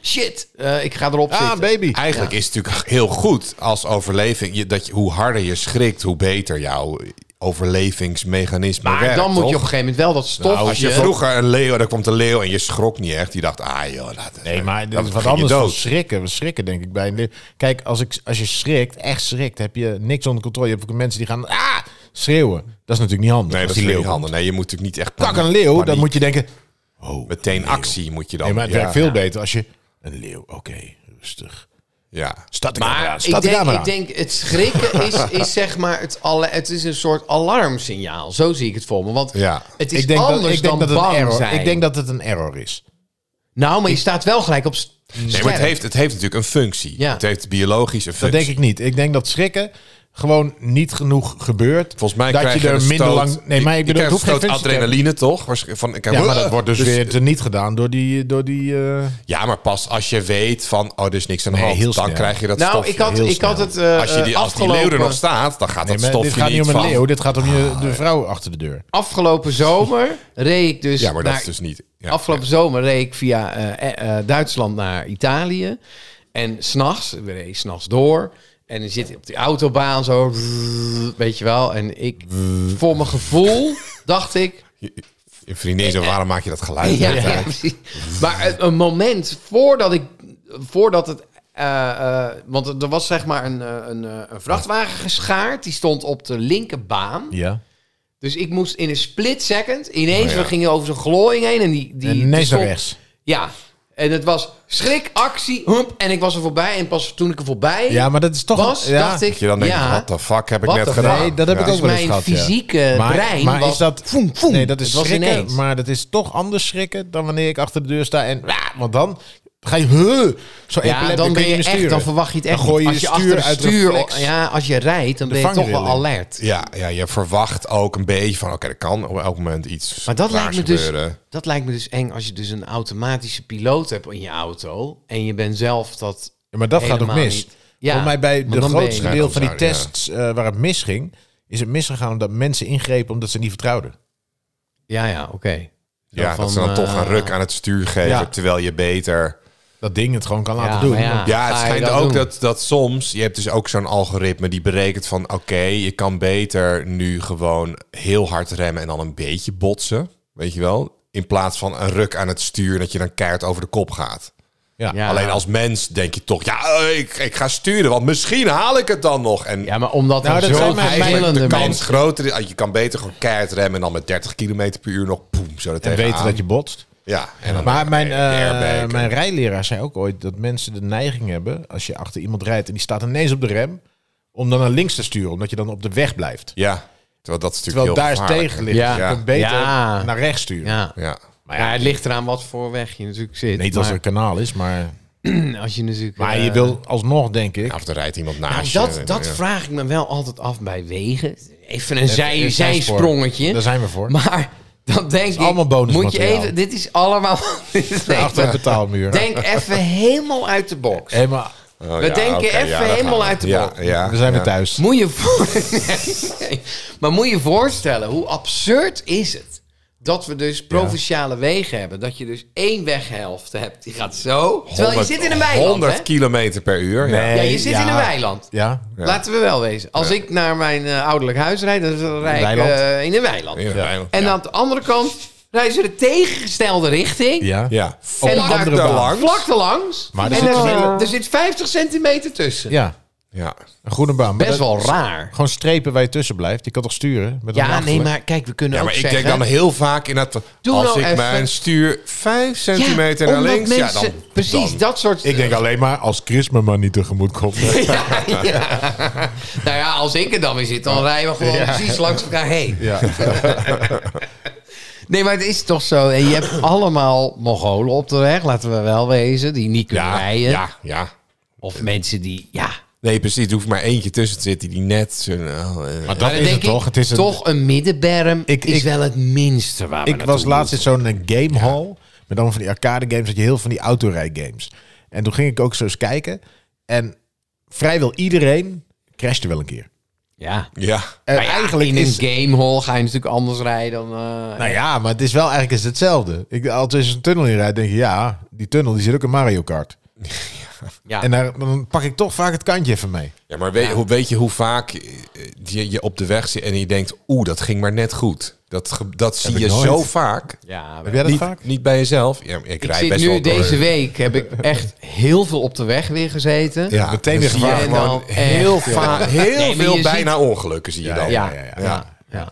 C: shit, eh, ik ga erop
D: Ah,
C: zitten.
D: baby.
B: Eigenlijk is het natuurlijk heel goed als overleving. Je, dat je, hoe harder je schrikt, hoe beter jouw overlevingsmechanisme
C: Maar
B: werkt.
C: dan moet je op een
B: toch?
C: gegeven moment wel dat stofje...
B: Nou, als je vroeger een leeuw, dan komt een leeuw en je schrok niet echt. Die dacht, ah joh, dat,
D: Nee, maar dat
B: dan
D: is
B: ging
D: wat
B: je
D: anders dan
B: dood.
D: schrikken. We schrikken denk ik bij een leeuw. Kijk, als, ik, als je schrikt, echt schrikt, heb je niks onder controle. Je hebt ook mensen die gaan ah, schreeuwen. Dat is natuurlijk niet handig.
B: Nee,
D: als
B: dat is
D: die
B: niet
D: leeuw
B: handig. Nee, je moet natuurlijk niet echt
D: komt. Kak
B: paniek-
D: een leeuw, dan
B: paniek.
D: moet je denken...
B: meteen actie moet je dan.
D: Nee, maar het
B: ja,
D: werkt veel beter als je... Een leeuw, oké, rustig.
B: Ja.
D: Staat de camera aan,
C: Maar
D: staat
C: ik
D: de
C: denk,
D: camera
C: ik denk, het schrikken is, is zeg maar het, alle, het is een soort alarmsignaal. Zo zie ik het voor me. Want
B: Ja.
C: het
D: aan.
C: is
D: Ik denk
C: anders
D: dat, ik denk
C: dan
D: dat het een
C: bang
D: error,
C: zijn.
D: Ik denk dat het een error is.
C: nou, maar je staat wel gelijk op... s-
B: Nee, maar het heeft, het heeft natuurlijk een functie.
C: Ja.
B: Het heeft biologisch een
D: Dat
B: functie.
D: denk ik niet. Ik denk dat schrikken gewoon niet genoeg gebeurt.
B: Volgens mij
D: dat
B: krijg
D: je er
B: een
D: minder
B: stoot-
D: lang. Nee, maar ik
B: je
D: bedoel, het
B: krijgt
D: hoeft
B: een
D: geen
B: stoot
D: functie te hebben.
B: adrenaline toch? Waarsch- Van, ik heb-
D: Ja, maar dat wordt dus,
B: Dus-
D: weer niet gedaan door die. Door die eh,
B: Ja, maar pas als je weet van, oh, er is niks aan de
D: Nee,
B: hand,
D: heel
B: dan
D: snel.
B: krijg je dat
C: Nou,
B: stofje.
C: ik had,
D: heel
C: ik had
D: snel.
C: het eh
B: als, je die, als die
C: afgelopen,
B: leeuw er nog staat, dan gaat
D: nee,
B: dat
D: maar
B: stofje
D: dit gaat niet om een
B: van... Ah,
D: leeuw, dit gaat om je, de vrouw achter de deur.
C: afgelopen zomer reed ik dus...
B: Ja, maar dat
C: naar-
B: is dus niet... Ja,
C: afgelopen zomer reed ik via eh, eh, eh, Duitsland naar Italië. En s'nachts, we reden s'nachts door. En dan zit je op die autobaan zo, weet je wel. En ik, voor mijn gevoel, dacht ik...
B: Je vriendin zo, waarom maak je dat geluid?
C: Eh, Ja,
B: de hele
C: ja,
B: tijd?
C: precies. Maar een, een moment voordat ik, voordat het, eh, eh, want er er was zeg maar een, eh, een, eh, een vrachtwagen geschaard, die stond op de linkerbaan.
D: Ja.
C: Dus ik moest in een split second, ineens,
B: Oh ja.
C: we gingen over zo'n glooiing heen en die, die
D: En
C: die
D: ineens naar
C: stond-
D: rechts.
C: Ja. En het was schrik, actie, hump, en ik was er voorbij. En pas toen ik er voorbij
D: Ja, maar dat is toch.
C: was,
D: ja.
C: dacht ik,
B: Dat je dan denkt,
C: ja,
B: what the fuck heb ik
C: What
B: net
C: the
B: gedaan?
D: Nee, dat heb ik
B: Ja.
D: ook wel eens
C: mijn
D: gehad. ja.
C: fysieke brein was
D: is dat,
C: voem, voem.
D: Nee, dat is
C: Het was
D: schrikken,
C: ineens.
D: maar dat is toch anders schrikken dan wanneer ik achter de deur sta en... ah, Want dan ga je... huh, zo
C: Ja,
D: epileptisch
C: dan
D: kun
C: ben je
D: niet meer
C: echt,
D: sturen.
C: dan verwacht je het echt
D: Dan gooi je
C: niet. Als
D: je
C: je
D: stuur
C: achter het
D: uit reflex.
C: stuur, ja, als je rijdt, dan ben je toch wel
D: vangrail in.
C: alert.
B: Ja, ja, je verwacht ook een beetje van, oké, er kan op elk moment iets
C: Maar dat
B: raars
C: lijkt, me dus,
B: gebeuren.
C: dat lijkt me dus eng als je dus een automatische piloot hebt in je auto en je bent zelf dat.
D: Ja, maar dat gaat ook
C: helemaal
D: mis.
C: niet. Ja,
D: Volgens mij bij
C: want
D: de
C: dan ben je-
D: grootste deel van die
B: Ja, dat zou-
D: tests eh, waar het misging, is het misgegaan omdat mensen ingrepen omdat ze niet vertrouwden.
C: Ja, ja, oké. Zo
B: Ja,
C: van,
B: dat ze dan toch
C: eh,
B: een ruk aan het stuur geven,
D: Ja.
B: terwijl je beter...
D: Dat ding het gewoon kan laten
C: maar
D: doen.
C: ja.
B: Ja, het
C: Ga je
B: schijnt
C: dat
B: ook
C: doen?
B: dat, dat soms... Je hebt dus ook zo'n algoritme die berekent van... oké, je kan beter nu gewoon heel hard remmen en dan een beetje botsen. Weet je wel? In plaats van een ruk aan het stuur dat je dan keihard over de kop gaat.
D: Ja.
C: Ja.
B: Alleen als mens denk je toch... ja, eh, ik, ik ga sturen, want misschien haal ik het dan nog. En
C: Ja, maar omdat
D: Nou,
C: er
D: dat zijn
C: zo
D: mijn- mijn-
B: de
C: verschillende
B: kans
C: mensen.
B: groter is... ah, je kan beter gewoon keihard remmen en dan met 30 km per uur nog... poem, zo er
D: En weten
B: tegenaan.
D: dat je botst.
B: Ja, en dan
D: Maar mijn,
B: de
D: eh,
B: airbag.
D: mijn rijleraar zei ook ooit dat mensen de neiging hebben, als je achter iemand rijdt en die staat ineens op de rem, om dan naar links te sturen, omdat je dan op de weg blijft.
B: Ja, terwijl dat is natuurlijk
D: Terwijl daar
B: heel
D: is
B: gevaarlijk,
D: tegen ligt.
C: Ja.
D: Dus je kunt beter
C: Ja.
D: naar rechts sturen.
C: Ja.
B: hè? Ja.
C: Maar ja, het ligt eraan wat voor weg je natuurlijk zit.
D: Niet als er
C: maar
D: een kanaal is, maar,
C: als je natuurlijk.
D: maar
C: eh,
D: je wil alsnog, denk ik.
B: Of er rijdt iemand
C: Nou,
B: naast je.
C: dat, dat
B: Ja.
C: vraag ik me wel altijd af bij wegen. Even een
D: Even
C: zij,
D: een
C: zijsprongetje.
D: Daar zijn we voor.
C: Maar dan denk ik...
D: allemaal
C: moet je
D: bonusmateriaal.
C: even, Dit is allemaal... dit is echt-
D: Achter de betaalmuur.
C: denk even helemaal uit de box.
D: Helemaal,
B: Oh,
C: We denken
B: oké,
C: even
B: daar gaan
C: helemaal
B: we.
C: uit de
B: ja,
C: bocht.
B: ja,
D: we zijn
B: ja.
D: weer thuis.
C: Moet je voor... Nee, nee. Maar moet je voorstellen, hoe absurd is het... dat we dus provinciale wegen hebben. Dat je dus één weghelft hebt. Die gaat zo. Terwijl je
B: 100
C: zit in een weiland,
B: 100
C: hè?
B: kilometer per uur. Ja.
C: Ja, je zit in een weiland.
D: Ja,
C: Laten we wel wezen. Als ik naar mijn eh, ouderlijk huis rijd, dan rijd ik
D: Weiland.
C: eh, in een weiland.
B: In een weiland,
C: En
B: ja.
C: aan de andere kant rijden ze de tegengestelde richting.
D: ja.
B: Ja.
D: Op
C: En
D: een
C: daar-
D: andere
B: daar
D: baan.
B: lang.
C: Vlak er langs.
D: Maar er
C: en eh,
D: zit
C: er,
D: een hele-
C: er zit 50 centimeter tussen.
D: Ja.
B: Ja.
D: Een groene baan. Maar
C: Best
D: dat-
C: wel raar.
D: Gewoon strepen waar je tussen blijft. Je kan toch sturen? Met een
C: Ja, nee,
D: achterlijk?
C: maar kijk, we kunnen
B: ja,
C: ook
B: maar ik
C: zeggen...
B: denk dan heel vaak in dat
C: Doe
B: als
C: nou
B: ik
C: even.
B: mijn stuur 5 centimeter
C: Ja,
B: naar
C: omdat
B: links, ja,
C: mensen-
B: dan,
C: Precies,
B: dan-
C: dat soort...
D: Ik denk alleen maar als Chris me maar niet tegemoet komt.
C: ja, ja. Nou ja, als ik er dan weer zit, dan rijden we gewoon precies langs elkaar heen.
D: Ja.
C: Nee, maar het is toch zo. En je hebt allemaal Mongolen op de weg, laten we wel wezen, die niet kunnen
B: ja,
C: rijden.
B: ja, ja.
C: Of mensen die, ja.
B: Nee, precies. Er hoeft maar eentje tussen te zitten die net zijn...
D: Maar
C: Maar
D: dat
C: dan
D: is
C: denk
D: het toch?
C: ik,
D: Het is een-
C: toch een middenberm
D: Ik-
C: is
D: ik-
C: wel het minste waar we
D: Ik was laatst in zo'n eh, game hall. Met allemaal van die arcade games. Dat je heel van die autorij games. En toen ging ik ook zo eens kijken. En vrijwel iedereen crashte wel een keer.
C: Ja.
B: Ja.
D: En
C: Maar Nou ja,
D: Eh, eigenlijk
C: in
D: is...
C: een gamehall ga je natuurlijk anders rijden dan... eh,
D: Nou ja, maar het is wel eigenlijk is hetzelfde. Ik, als er een tunnel in rijdt, denk je... Ja, die tunnel die zit ook in Mario Kart.
C: ja.
D: En eh, daar, dan pak ik toch vaak het kantje even mee.
B: Ja, maar weet, hoe, weet je hoe vaak eh, je, je op de weg zit en je denkt... Oeh, dat ging maar net goed. Dat, ge- dat zie
D: ik
B: je
D: nooit.
B: zo vaak.
C: ja,
D: Heb jij dat
B: Niet,
D: vaak?
B: niet bij jezelf. Ja, maar ik
C: Ik
B: rijd
C: zit
B: best
C: nu
B: wel door-
C: deze week, heb ik echt heel veel op de weg weer gezeten.
B: Ja,
D: meteen
B: dan
D: weer
B: zie je
D: gevaar.
B: gewoon
C: En dan
B: Heel,
C: echt,
B: va-
C: joh.
B: heel
C: Nee, maar
B: veel
C: je
B: bijna ongelukken zie je dan.
C: Ja,
D: ja,
C: ja,
D: ja,
C: ja.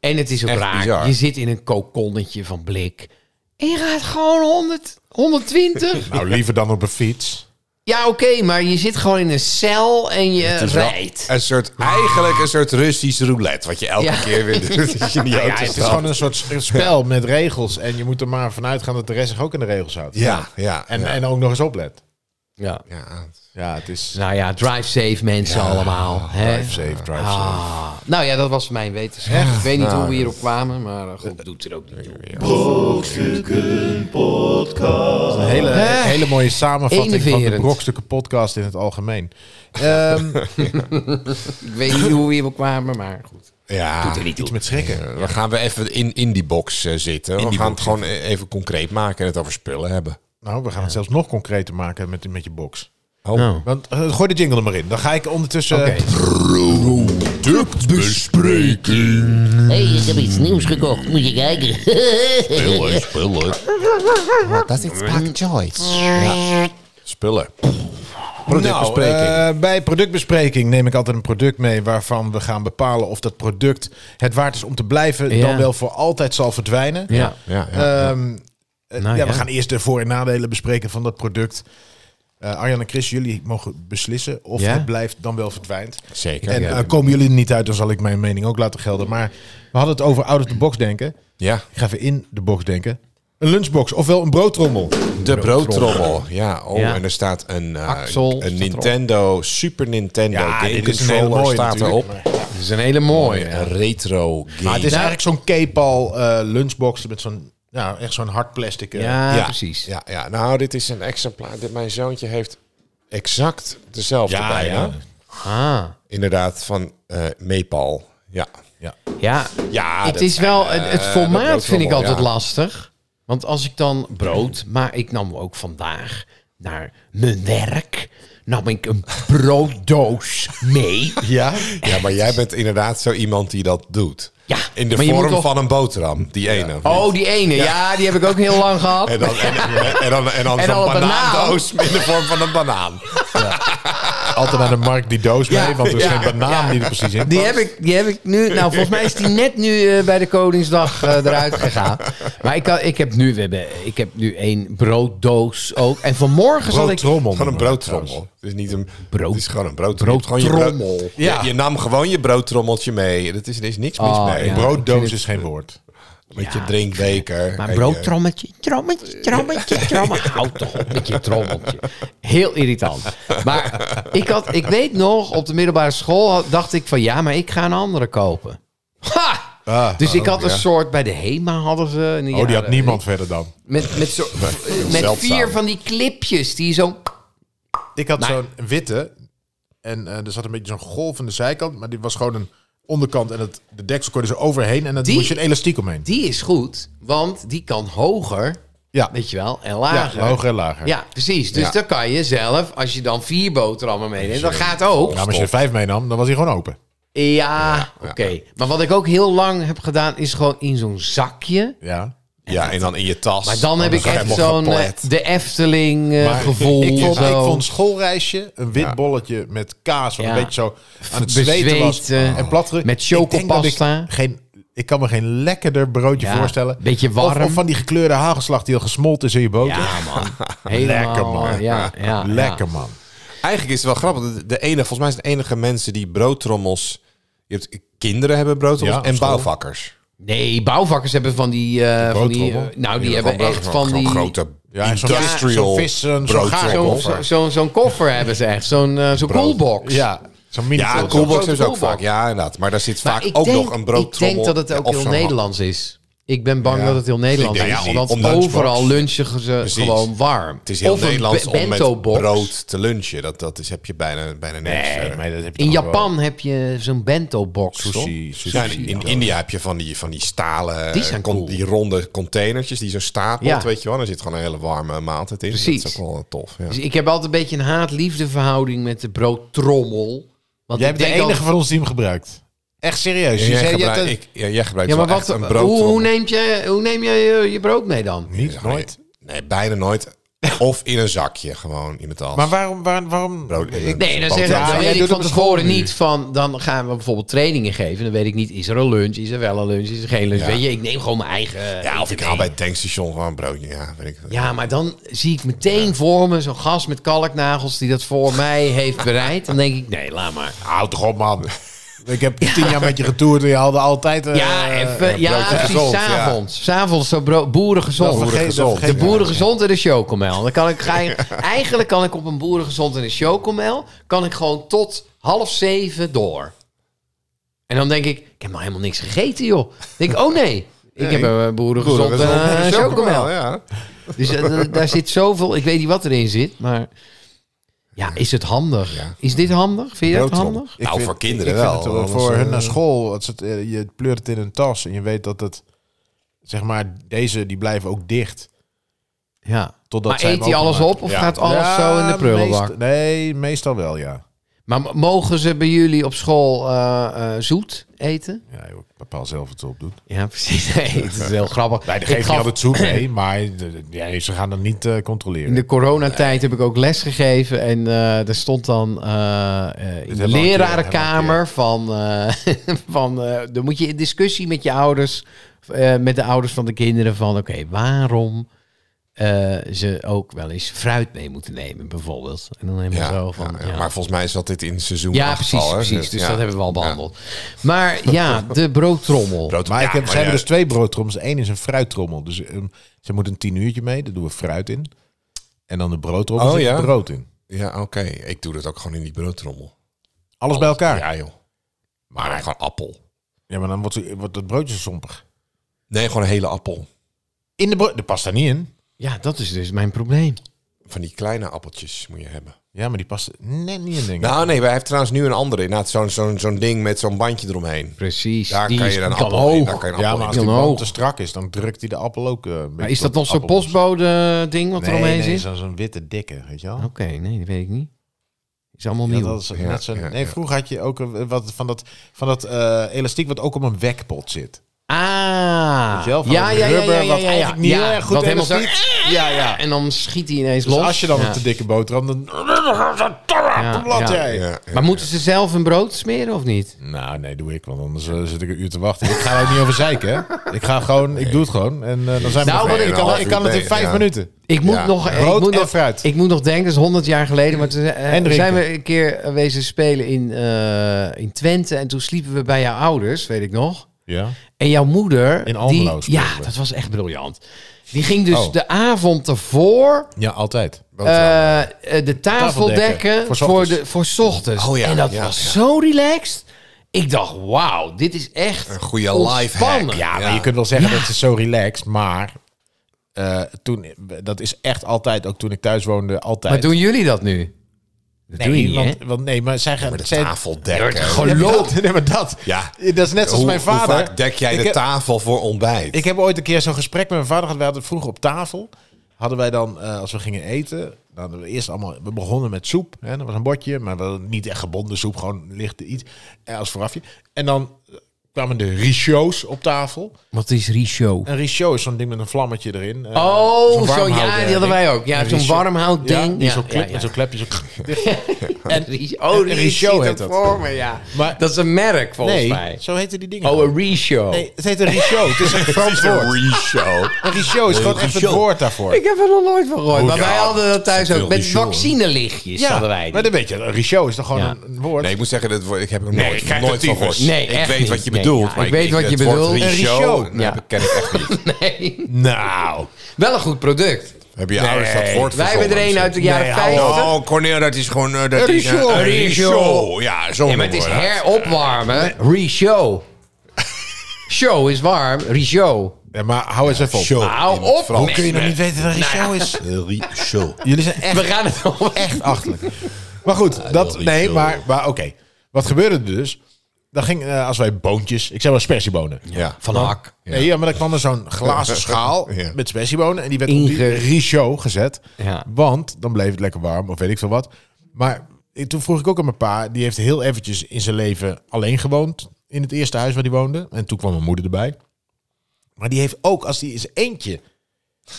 C: En het is ook
B: Echt
C: raar.
B: bizar.
C: Je zit in een kokonnetje van blik. En je gaat gewoon 100, 120.
D: Nou, liever dan op een fiets.
C: ja, oké, maar je zit gewoon in een cel en je
B: Het is wel
C: rijdt.
B: Een soort, eigenlijk een soort Russisch roulette. Wat je elke
C: Ja.
B: keer weer doet. als je in die auto
D: Ja, het is
B: stapt.
D: gewoon een soort s- spel met regels. En je moet er maar vanuit gaan dat de rest zich ook in de regels houdt.
B: Ja, ja.
D: En,
B: ja.
D: en ook nog eens oplet.
C: Ja.
B: ja.
D: Ja, het is...
C: Nou ja, drive safe mensen allemaal. hè?
D: Drive safe, drive safe.
C: Ah, nou ja, dat was mijn wetenschap. Ik weet niet hoe we hierop kwamen, maar eh, goed, doet er ook niet toe.
A: Brokstukken Podcast.
D: Een hele, hele mooie samenvatting van de
C: Enerverend.
D: brokstukken podcast in het algemeen. Ehm,
C: Ik weet niet hoe we hierop kwamen, maar goed.
B: Ja.
D: iets met schrikken.
B: Eh, Dan gaan we even in, in die box eh, zitten. we
D: die
B: gaan het
D: box
B: gewoon eh, even concreet maken en het over spullen hebben.
D: Nou, we gaan het zelfs nog concreter maken met, met je box.
B: Oh.
D: Want eh, gooi de jingle er maar in. Dan ga ik ondertussen...
C: Oké.
B: Productbespreking.
F: Hé, hey, ik heb iets nieuws gekocht. Moet je kijken.
B: Spullen, spullen. Dat is iets Pak Joyce. Spullen. Productbespreking.
D: Nou, eh, bij productbespreking neem ik altijd een product mee waarvan we gaan bepalen of dat product het waard is om te blijven,
C: Ja.
D: dan wel voor altijd zal verdwijnen.
C: Ja.
B: ja, ja.
D: Ehm, eh,
C: Nou
D: ja, we
C: ja.
D: gaan eerst de voor- en nadelen bespreken van dat product. Eh Arjan en Chris, jullie mogen beslissen of
C: Ja.
D: het blijft dan wel verdwijnt.
B: Zeker.
D: en
B: ja.
D: eh, komen jullie er niet uit, dan zal ik mijn mening ook laten gelden. Maar we hadden het over out-of-the-box denken.
B: Ja,
D: Ik ga even in de box denken. Een lunchbox, ofwel een broodtrommel.
B: de broodtrommel. Ja, oh,
C: Ja.
B: en er staat een, eh,
C: Axel staat
B: een
C: erop.
B: Nintendo, Super Nintendo
D: Ja,
B: Game
D: dit is een hele
B: Controller
D: mooie
B: staat
D: natuurlijk,
B: erop.
D: maar-
C: Dat is een hele mooie.
B: Een retro game.
D: Maar het is eigenlijk zo'n K-pal eh, lunchbox met zo'n ja, echt zo'n hard plastic. eh.
C: Ja, precies.
B: Ja, ja, nou, dit is een exemplaar. Dit, mijn zoontje heeft exact dezelfde
D: Ja,
B: bijna.
D: ja.
C: Ah.
B: Inderdaad, van eh Nepal. Ja.
C: Ja,
B: ja
C: het
B: dat
C: is
B: zijn, eh,
C: wel, het, het
B: dat
C: formaat
B: broodtrommel,
C: vind ik altijd
B: ja.
C: lastig. Want als ik dan brood, maar ik nam ook vandaag naar mijn werk, nam ik een brooddoos mee.
D: Ja?
B: Ja, maar jij bent inderdaad zo iemand die dat doet.
C: Ja,
B: In de
C: maar je moet
B: vorm
C: toch-
B: van een boterham, die ene. of niet?
C: Oh, die ene, ja. die heb ik ook heel lang gehad.
B: En dan, en, en, en dan, en dan
C: En
B: zo'n
C: dan een banaan.
B: banaandoos in de vorm van een banaan.
D: Altijd aan de markt die doos mee,
C: Ja.
D: want er is
C: Ja.
D: geen banaan die er precies in
C: Die
D: past.
C: heb, ik, die heb ik nu. Nou, volgens mij is die net nu eh, bij de Koningsdag eh, eruit gegaan. Maar ik, kan, ik heb nu, we hebben, ik heb nu één brooddoos ook. En vanmorgen zal ik.
D: Broodtrommel.
B: Gewoon een broodtrommel. Het is niet een
C: Brood-
B: Het is gewoon een broodtrommel. Gewoon je, brood-
C: Broodtrommel.
B: ja. je, je nam gewoon je broodtrommeltje mee. Dat is, er is niks mis
C: Oh,
B: mee.
C: ja.
B: Brood
C: Ik
D: Brooddoos
C: vind
D: is geen woord.
B: met je drinkbeker.
C: Maar
B: en je-
D: eh,
C: broodtrommetje, trommeltje, trommeltje, trommeltje. Houd toch op met je trommeltje. Heel irritant. Maar ik, had, ik weet nog, op de middelbare school had- dacht ik van... ja, maar ik ga een andere kopen. Ha!
D: Ah,
C: dus ik had een soort... bij de HEMA hadden ze... in de
D: Oh, die had
C: jaren-
D: niemand verder dan.
C: Met, met, zo, met
B: zeldzaam.
C: vier van die clipjes die zo...
D: Ik had zo'n witte en eh, er zat een beetje zo'n golf aan de zijkant, maar die was gewoon een onderkant en het, de deksel kon je er overheen en dan
C: Die?
D: moest je een elastiek omheen.
C: Die is goed, want die kan hoger,
D: Ja,
C: weet je wel, en
D: ja
C: lager.
D: hoger en lager.
C: Ja, precies. Dus
B: Ja.
C: dan kan je zelf, als je dan vier boterhammen meeneemt, dan gaat ook.
D: Ja, Nou, maar als je er vijf meenam, dan was hij gewoon open.
C: Ja, oké. Maar wat ik ook heel lang heb gedaan, is gewoon in zo'n zakje
D: Ja.
B: ja, en Oh, dan in je tas.
C: Maar dan heb ik echt
B: helemaal
C: zo'n eh,
B: geplet.
C: de Efteling eh, gevoel.
D: Ik vond,
C: zo.
D: ik vond schoolreisje, een wit bolletje met kaas, wat
C: Ja.
D: een beetje zo aan het zweten was.
C: Bezweten.
D: En platgerukt.
C: Met
D: Ik denk dat ik
C: chocopasta.
D: geen, ik kan me geen lekkerder broodje
C: Ja,
D: voorstellen.
C: beetje warm.
D: Of, of van die gekleurde hagelslag die al gesmolten is in je boter.
C: Ja, man. Helemaal,
D: Lekker, man.
C: Ja, ja,
D: Lekker man.
B: Eigenlijk is het wel grappig. De, de enige, volgens mij zijn de enige mensen die broodtrommels... Je hebt, kinderen hebben broodtrommels
D: Ja, op
B: en
D: school.
B: bouwvakkers.
C: Nee, bouwvakkers hebben van die... eh, van die eh,
D: broodtrommel?
C: nou, die
B: Ja,
C: hebben
B: gewoon
C: echt
B: broodtrommel,
C: van die... Ah,
B: gewoon grote
D: Ja, en zo'n
B: industrial
D: vis- zo'n vis, zo'n
B: broodtrommel.
C: Zo'n zo, zo, zo'n koffer hebben ze echt. Zo'n eh, zo'n coolbox.
D: Ja, zo'n mini
B: Ja,
D: ja,
B: een koelbox
C: Zo'n
B: is ook
C: koelbox.
B: vaak. Ja, inderdaad. Maar daar zit
C: Maar
B: vaak
C: ik
B: ook
C: denk-
B: nog een broodtrommel.
C: Ik denk dat het
B: of
C: ook heel
B: zo'n
C: Nederlands is. Ik ben bang dat het heel Nederlands
B: Ik
C: is.
B: denk, ja,
C: want
B: om lunchbox.
C: overal lunchen ze
B: Precies.
C: gewoon warm.
B: Het is heel
C: of een
B: Nederlands
C: be-
B: om met
C: bento-box.
B: brood te lunchen. Dat, dat is, heb je bijna, bijna eh, nergens. verder.
C: In Japan heb je zo'n bento-box, toch?
D: Sushi, sushi.
B: Ja, in, in India heb je van die, van die stalen,
C: Die zijn
B: eh, con-
C: cool.
B: die ronde containertjes die zo stapelt,
C: Ja.
B: weet je wel. Daar zit gewoon een hele warme maaltijd in.
C: Precies.
B: Dat is ook wel eh, tof. Ja.
C: Dus ik heb altijd een beetje een haat-liefde verhouding met de broodtrommel. Want
D: Jij
C: ik
D: bent de
C: denk
D: enige
C: altijd-
D: van ons die hem gebruikt. Echt serieus. Je
B: Jij
D: zei- je
B: gebruikt,
D: hebt een-
B: ik, ja, jij gebruikt dus
C: Ja, maar
B: wel
C: wat,
B: echt een brood.
C: hoe, hoe, neem je, hoe neem je je, je brood mee dan?
D: Niet, nooit.
B: Nee, bijna nooit. Of in een zakje gewoon in het tas.
D: Maar waarom, waarom, waarom
B: Brood in een
C: Nee, dan,
B: boterham.
C: zeg,
D: Ja,
C: dan
D: jij
C: weet ik
D: doet
C: van
D: dat
C: tevoren
D: gewoon nu.
C: niet van... Dan gaan we bijvoorbeeld trainingen geven. Dan weet ik niet, is er een lunch? Is er wel een lunch? Is er geen lunch?
B: Ja.
C: Weet je, ik neem gewoon mijn eigen...
B: Ja, of
C: eten
B: ik haal
C: mee.
B: bij het tankstation gewoon een broodje. Ja, weet ik.
C: Ja, maar dan zie ik meteen voor me zo'n gast met kalknagels... die dat voor mij heeft bereid. Dan denk ik, nee, laat maar.
D: Houd toch op, man. Ik heb tien jaar met je getoerd en je hadde altijd... eh,
C: Ja, even,
B: ja,
C: ja,
B: broodje
C: precies,
B: gezond, ja.
C: s'avonds. S'avonds zo bro- boerengezond.
D: Dat vergeet- dat
C: Boerengezond.
D: vergeet
C: de
D: ik.
C: boerengezond en de chocomel. Dan kan ik, ga je- eigenlijk kan ik op een boerengezond en een chocomel... kan ik gewoon tot half zeven door. En dan denk ik, ik heb nog helemaal niks gegeten, joh. Dan denk ik, oh nee. Ik heb een eh, boerengezond en
B: Boerengezond
C: een
B: en
C: chocomel.
B: ja.
C: Dus eh, d- daar zit zoveel... Ik weet niet wat erin zit, maar... Ja, is het handig? Is dit handig? Vind je dat
B: Broodtrommel.
C: handig?
B: Nou,
D: vind-
B: voor kinderen
D: ik vind
B: wel.
D: het
B: Anders,
D: voor
B: eh,
D: hun naar school, het, zit, eh, je pleurt het in een tas en je weet dat het, zeg maar, deze die blijven ook dicht.
C: Ja.
D: Totdat
C: Maar
D: zij hem
C: eet hij alles
D: openmaken.
C: op of
B: Ja.
C: gaat alles zo in de
D: Ja,
C: prullenbak?
D: meest- nee, meestal wel, ja.
C: Maar m- mogen ze bij jullie op school eh, eh, zoet eten?
D: Ja, joh, ik bepaal zelf wat ze opdoet.
C: Ja, precies. Nee, het is heel grappig.
D: Nee, die
C: Ik
D: geeft niet
C: gaf-
D: altijd zoek mee, maar eh, ja, ze gaan dat niet eh,
C: in
D: controleren.
C: de coronatijd heb ik ook les gegeven. En eh, er stond dan eh, eh, in de
D: hebben we al een keer,
C: lerarenkamer van... eh, van eh, dan moet je in discussie met je ouders... eh, met de ouders van de kinderen van... Oké, waarom eh, ze ook wel eens fruit mee moeten nemen bijvoorbeeld. En dan helemaal
B: Ja,
C: zo van...
B: ja, ja.
C: ja.
B: Maar volgens mij zat dit in seizoen
C: Ja,
B: acht
C: precies,
B: al, hè?
C: precies. Dus
B: ja.
C: dat hebben we al behandeld. Maar ja, de broodtrommel.
B: Brood-
D: Maar
B: ja,
D: ik heb,
B: maar
D: ze hebben
B: ja,
D: dus twee broodtrommels. Eén is een fruittrommel. Dus ehm, ze moeten een tien uurtje mee. Daar doen we fruit in. En dan de broodtrommel
B: Oh,
D: zit
B: ja?
D: brood in.
B: Ja, oké. Ik doe dat ook gewoon in die broodtrommel.
D: Alles bij elkaar. Oh, Ja,
B: Ja, joh. Maar gewoon appel.
D: maar dan wordt, ze- wordt het broodje zo sompig.
B: Nee, gewoon een hele appel.
D: In de brood... Dat past daar niet in.
C: Ja, dat is dus mijn probleem.
B: Van die kleine appeltjes moet je hebben.
D: Ja, maar die past er net niet in, denk ik.
B: Nou, nee, wij hebben trouwens nu een andere. Inderdaad, zo'n zo'n zo'n ding met zo'n bandje eromheen.
C: Precies.
B: Daar
C: die
B: kan
C: is-
B: je dan
C: die kan
B: appel in.
C: hoog.
B: Daar kan je een
D: ja,
B: appel in.
D: maar als
C: in.
D: die
C: Dan
D: boom
C: ook.
D: te strak is, dan drukt hij de appel ook... eh, een
C: Maar
D: beetje
C: is dat
D: op
C: dan
D: de
C: zo'n
D: appelmos.
C: postbode ding wat er
D: Nee,
C: omheen
D: nee,
C: zit?
D: zo'n zo'n witte dikke, weet je wel?
C: Oké, nee, dat weet ik niet. Is allemaal
D: Ja,
C: nieuw.
D: dat is
B: Ja,
D: net zo'n-
B: ja,
D: nee,
B: ja.
D: vroeger had je ook een- wat van dat, van dat eh, elastiek wat ook op een wekpot zit.
C: Ah.
D: Weet je wel, van dat rubber wat eigenlijk niet erg goed
C: dat helemaal zo,
D: elastiek- Ja, ja.
C: En dan schiet hij ineens
D: Dus
C: los.
D: als je dan
C: Ja.
D: een te dikke boterham, dan...
C: Ja,
D: Plat
C: ja.
D: jij.
B: Ja, ja.
C: Maar moeten ze zelf een brood smeren of niet?
D: Nou, nee, doe ik, want anders eh, zit ik een uur te wachten. Ik ga er ook niet over zeiken, hè. Ik ga gewoon, ik doe het gewoon. En eh, dan zijn we...
C: Nou,
D: er-
C: wat ik-
D: ik kan, ik kan het in
B: Ja.
D: vijf minuten.
C: Ik moet,
B: Ja.
C: nog,
D: Brood
C: ik, moet
D: en
C: nog,
D: fruit.
C: ik moet nog denken, dat is 100 jaar geleden. Maar toen eh,
D: En drinken.
C: zijn we een keer eh, wezen spelen in, eh, in Twente. En toen sliepen we bij jouw ouders, weet ik nog.
D: Ja.
C: En jouw moeder.
D: In Almelo
C: die-
D: speelden
C: Ja,
D: we.
C: dat was echt briljant. Die ging dus
D: Oh.
C: de avond ervoor
D: Ja, altijd.
C: eh, eh, de tafel dekken
D: voor 's
C: voor,
D: ochtends.
C: de, voor 's ochtends.
B: Oh ja,
C: en dat
B: ja,
C: was
B: ja.
C: zo relaxed. Ik dacht, wauw, dit is echt
B: Een goede
C: ontspannen.
B: lifehack.
D: Ja, maar
B: Ja.
D: je kunt wel zeggen dat het is zo relaxed, maar... eh, toen, dat is echt altijd, ook toen ik thuis woonde, altijd.
C: Maar doen jullie dat nu? Dat doe je niet,
D: want,
C: hè?
D: want nee, maar zij gaan...
B: Met de
D: zij-
B: tafel dekken.
D: Ja, maar dat- Nee, maar dat.
B: Ja.
D: Dat is net zoals
B: Hoe-
D: mijn vader.
B: Hoe vaak dek jij
D: ik
B: de
D: heb-
B: tafel voor ontbijt?
D: Ik heb ooit een keer zo'n gesprek met mijn vader gehad. We hadden vroeger op tafel. Hadden wij dan, eh, als we gingen eten, dan hadden we eerst allemaal, we begonnen met soep. Hè, dat was een bordje, maar wel niet echt gebonden soep, gewoon lichte iets eh, als voorafje. En dan eh, kwamen de richots op tafel.
C: Wat is Richo?
D: Een richot is zo'n ding met een vlammetje erin. Eh, zo'n
C: Oh, zo,
D: warmhouding,
C: ja, die hadden wij ook. Ja,
D: Een
C: zo'n
D: richot.
C: warmhout
D: Ja,
C: ding.
D: die zo'n klep,
C: ja,
D: met zo'n klepje. Zo...
C: En, oh,
D: een
C: een
D: Richo
C: Richo
D: heet
C: heet
D: dat.
C: Voor me, ja.
D: Maar-
C: dat is een merk, volgens
D: Nee,
C: mij.
D: zo heten die dingen.
C: Oh,
D: gewoon.
C: een Richo.
D: Nee, het heet een richot. Het is een Frans woord.
B: Re-show.
D: Een richot is gewoon echt het woord daarvoor.
C: Ik heb er nog nooit van gehoord.
B: Goed,
C: maar
B: ja.
C: wij hadden dat thuis
B: Veel
C: ook. Met
B: Richo, hoor.
C: vaccinelichtjes hadden wij. die.
D: maar dan weet je, een richot is toch gewoon
C: Ja.
D: een- een woord.
B: Nee, ik moet zeggen, dat woord, ik heb er
E: ik
B: nooit,
E: krijg
B: nooit
E: de
B: van
E: tyfus.
B: gehoord.
C: Nee,
B: ik
C: echt
B: weet
C: niet.
B: wat je
C: Nee,
B: bedoelt.
C: ja,
B: maar
C: ik weet wat je
B: het woord
C: bedoelt.
D: Een
B: Re-show,
D: re-show.
B: nee,
C: Ja.
B: dat ken ik echt niet.
C: nee.
D: Nou,
C: Wel een goed product.
B: Heb je ouders dat woord
C: Wij hebben er een uit de jaren
D: hou
C: 50.
B: Oh, Cornel, dat is gewoon... eh, dat
D: Een
B: is, eh,
D: re-show.
B: een
C: Re-show.
B: re-show. Ja, zo'n
C: Nee, maar het is
B: woord, hè.
C: heropwarmen. Re-show. Show is warm. Re-show.
D: ja, maar hou eens even op.
B: Show.
C: Hou
B: in het
C: op
B: Frans.
C: met- Nou, Kun je nog niet
D: weten wat een richot is?
B: Re-show.
D: Jullie zijn echt
C: We gaan het over
D: echt achterlijk. Maar goed, dat,
B: wil niet
D: nee,
B: veel.
D: maar, maar oké. Wat gebeurde er dus? Dan ging, eh, als wij boontjes, ik zei wel spersiebonen.
B: Ja.
C: Van Hak.
D: Nee, ja, maar dan kwam er zo'n glazen schaal
B: Ja.
D: met spersiebonen. En die werd op die
C: Inge-
D: richo gezet.
C: Ja.
D: Want dan bleef het lekker warm of weet ik veel wat. Maar ik- toen vroeg ik ook aan mijn pa. Die heeft heel eventjes in zijn leven alleen gewoond. In het eerste huis waar hij woonde. En toen kwam mijn moeder erbij. Maar die heeft ook, als hij eens eentje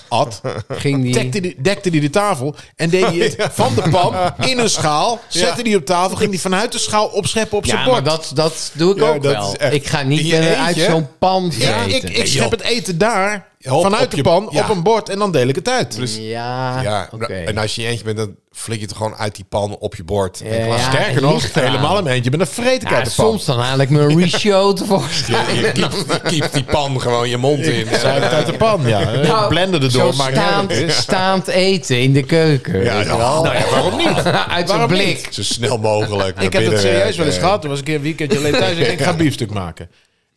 D: at,
C: Ging die...
D: dekte die, dekte die de tafel en deed hij het van de pan in een schaal. Zette die op tafel, ging die vanuit de schaal opscheppen op zijn
C: Ja, maar
D: bord.
C: dat, dat doe ik
D: Ja,
C: ook
D: dat
C: wel.
D: is echt-
C: Ik ga
D: In
C: niet
D: je
C: eh, uit
D: eentje?
C: zo'n pan
D: ja,
C: vreten.
D: ik, ik schep het eten daar
B: op-
D: vanuit
B: op
D: de
B: je-
D: pan
B: ja.
D: op een bord en dan deel ik het uit.
C: Ja,
B: Ja,
D: nou,
B: Nou,
C: oké.
B: en als je eentje bent, dan flik je het gewoon uit die pan op je bord. En
C: Ja,
B: klaar.
C: ja.
D: Sterker nog,
C: ligt eraan.
D: helemaal in mijn eentje, maar dan vreet ik
C: Ja,
D: uit de pan.
C: soms dan haal ik mijn re-show tevoorschijn.
B: Je kiept- je kiept die pan gewoon je mond in.
D: Zij heeft het uit de pan, ja. Eh,
C: Nou,
D: ik blender erdoor,
C: zo
D: maar niet uit wat
C: staand,
D: het is.
C: staand eten in de keuken.
B: Ja,
C: weet je
B: ja.
C: wel.
B: Nou ja, waarom niet?
C: Uit zijn
D: Waarom niet?
C: blik.
B: Zo snel mogelijk. naar
D: Ik heb dat
B: binnen
D: serieus
B: werken.
D: wel eens gehad. Toen was ik een keer een weekendje alleen thuis en ik denk, ik ga een biefstuk maken.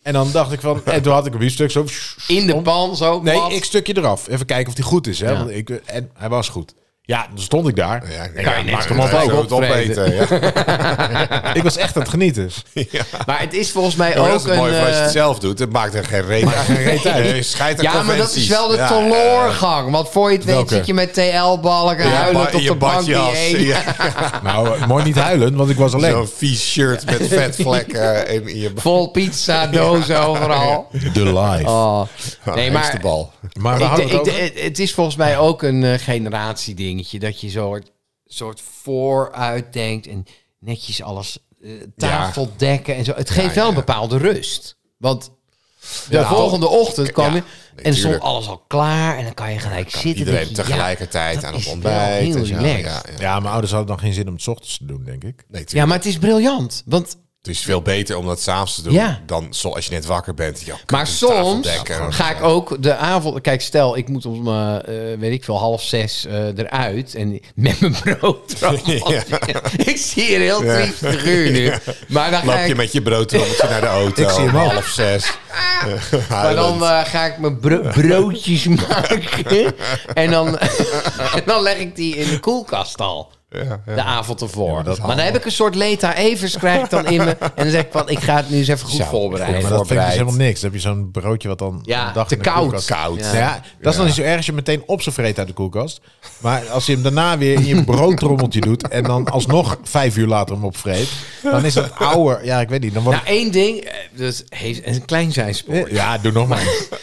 D: En dan dacht ik van, en toen had ik een biefstuk zo...
C: In de pan zo.
D: Nee,
C: plat.
D: ik stukje eraf. Even kijken of die goed is. Hè?
C: Ja.
D: Want ik, eh, en hij was goed. Ja, dan stond ik daar.
B: Ja,
D: En
B: ja,
D: ja,
B: ja,
D: maak
B: ja,
D: hem op
B: ja,
D: ook.
B: zo het opeten. Ja.
D: Ik was echt aan het genieten.
C: Maar het is volgens mij
B: Ja, maar
C: ook
B: dat is
C: een...
B: het mooie van als je het
C: eh,
B: zelf doet. Het maakt er geen reet uit. Eh, Schijt aan
C: ja, maar dat
B: conventies.
C: is wel de
B: Ja,
C: teloorgang. Want voor je het weet
D: Welke?
C: zit je met TL-balken
B: eh,
C: huilend
B: ba-
C: op de bank die
B: badjas.
C: één.
B: Ja,
D: Nou, eh, mooi niet huilen, want ik was alleen.
B: Zo'n vies shirt met vetvlekken en in je
C: Vol pizza, dozen overal.
D: De live.
C: Oh.
B: Ja,
C: Nee, maar...
B: bal.
D: Maar we
C: Ik
D: hadden
C: de-
D: het
C: ik
D: over-
C: de- het is volgens mij ook een eh, generatiedingetje. Dat je soort, soort vooruit denkt en netjes alles eh, tafel dekken en zo. Het geeft wel een bepaalde rust. Want de
B: Ja,
C: volgende ochtend kwam
B: ja,
C: je
B: nee,
C: en stond
B: tuurlijk.
C: alles al klaar. En dan kan je gelijk zitten.
B: Iedereen
C: denk je, ja,
B: tegelijkertijd
C: dat
B: aan het
C: is wel
B: ontbijt.
C: heel
B: en zo.
C: relaxed.
B: Ja, ja.
D: Ja, mijn ouders hadden dan geen zin om het 's ochtends te doen, denk ik.
B: Nee, tuurlijk.
C: Ja, maar het is briljant. Want,
B: Het is veel beter om dat s'avonds te doen
C: Ja.
B: dan zo, als je net wakker bent. Ja,
C: maar
B: kut, een tafel
C: soms
B: dekken.
C: ga ik ook de avond... Kijk, stel, ik moet om, eh, eh, weet ik veel, half zes eh, eruit. En met mijn brood erop.
B: Ja.
C: Ik zie een heel triest figuur nu. Maar dan ga
B: Loop je
C: ik...
B: met je broodtrommeltje naar de auto.
D: Ik zie hem
B: om
D: al.
B: half zes. Eh,
C: Maar
B: huilend.
C: dan eh, ga ik mijn bro- broodjes maken. en, dan, en dan leg ik die in de koelkast al. De avond ervoor. maar, dan heb ik een soort Leta Evers krijg ik dan in me. En dan zeg ik van, ik ga het nu eens even goed voorbereiden.
D: maar dat vind ik dus helemaal niks. Dan heb je zo'n broodje wat dan
C: Ja,
D: een dag
C: te
D: in de
C: koud.
D: koelkast-
B: Koud.
C: Ja.
D: Nou ja, dat is dan niet zo erg als je meteen op zijn vreet uit de koelkast. Maar als je hem daarna weer in je broodtrommeltje doet... en dan alsnog vijf uur later hem opvreet... dan is dat ouder. Ja, ik weet niet. Dan wordt
C: Nou, één ding, eh, dat heeft een klein zijspoor.
D: het- Ja, doe nog maar.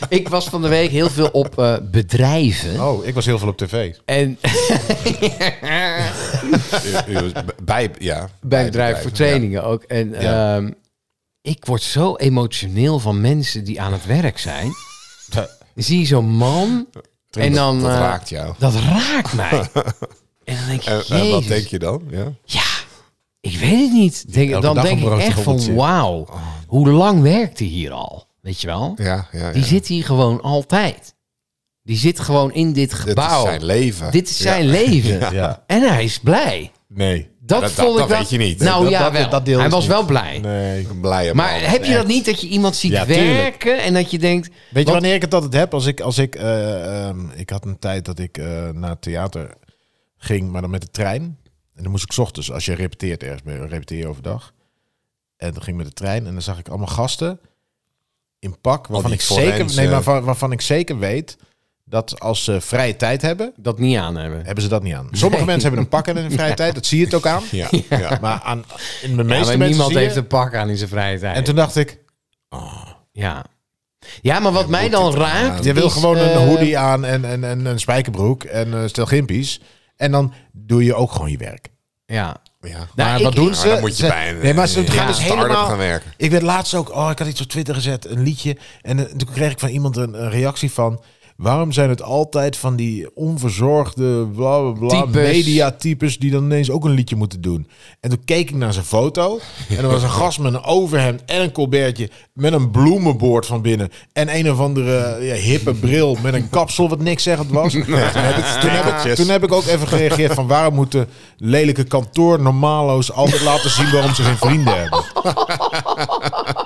C: Ik was van de week heel veel op eh, bedrijven.
D: Oh, ik was heel veel op tv.
C: En
B: U- u- bij, ja,
C: eh, bij bedrijven voor trainingen ook. En
D: Ja.
C: ehm, ik word zo emotioneel van mensen die aan het werk zijn. Dan zie je zo'n man en dan...
B: dat
C: eh,
B: raakt jou.
C: Dat raakt mij. en dan Eh, denk ik,
B: En, en wat
C: jezus,
B: denk je dan? Ja.
C: Ja, ik weet het niet. Denk,
D: Elke
C: dan
D: dag
C: denk
D: een
C: ik
D: broodje
C: echt van,
D: hobbeltje.
C: wauw, hoe lang werkt hij hier al? Weet je wel?
B: Oh. Ja, ja, ja.
C: Die zit hier gewoon altijd. Die zit gewoon in dit
B: Dit is
C: gebouw.
B: zijn leven.
C: Dit is zijn leven.
D: Ja.
C: En hij is blij.
D: Nee.
C: Dat,
B: Dat- dat-
C: vond ik
B: dat
C: wel-
B: weet je niet.
C: Nou
D: Dat-
C: ja,
D: dat-
C: wel.
D: dat deel
C: hij
D: is
C: was
D: niet.
C: wel blij.
D: Nee.
B: Een blije
C: Maar
B: man.
C: heb je dat niet dat je iemand ziet
D: Ja, tuurlijk.
C: werken en dat je denkt...
D: Weet je
C: Wat-
D: wanneer ik het altijd heb? Als ik, als ik, eh, ehm, ik had een tijd dat ik eh, naar het theater ging, maar dan met de trein. En dan moest ik 's ochtends, als je repeteert ergens, ben je- repeteer je overdag. En dan ging ik met de trein en dan zag ik allemaal gasten in pak, waarvan
B: die
D: ik zeker,
B: forensen.
D: nee, maar van- waarvan ik zeker weet dat als ze vrije tijd hebben,
C: Dat niet aan hebben.
D: hebben ze dat niet aan. Sommige mensen hebben een pak en een vrije tijd, dat zie je het ook aan.
B: Ja, ja.
D: Maar aan, in
C: Ja,
D: de meeste
C: maar
D: mensen
C: niemand
D: zie je-
C: heeft een pak aan in zijn vrije tijd.
D: En toen dacht ik,
C: Ja. Ja, maar wat mij dan raakt.
D: Je wil
C: is,
D: gewoon
C: eh,
D: een hoodie aan en, en, en een spijkerbroek en eh, stel gimpies. En dan doe je ook gewoon je werk.
C: Ja.
B: Ja.
C: Nou,
D: maar
C: ik-
D: wat doen
C: Ja,
D: ze?
B: dan moet je
D: Ze-
B: bij een-
D: nee, maar ze
B: een
D: gaan dus
B: start-up
D: helemaal...
B: gaan werken.
D: Ik werd laatst ook... Oh, ik had iets op Twitter gezet, een liedje. En eh, toen kreeg ik van iemand een, een reactie van... Waarom zijn het altijd van die onverzorgde bla bla bla
C: Types.
D: mediatypes die dan ineens ook een liedje moeten doen? En toen keek ik naar zijn foto en er was een gast met een overhemd en een colbertje met een bloemenboord van binnen en een of andere eh, ja, hippe bril met een kapsel wat niks zeggend was. Toen heb ik- toen, heb ik, toen heb ik ook even gereageerd van waarom moeten lelijke kantoornormalo's altijd laten zien waarom ze geen vrienden hebben?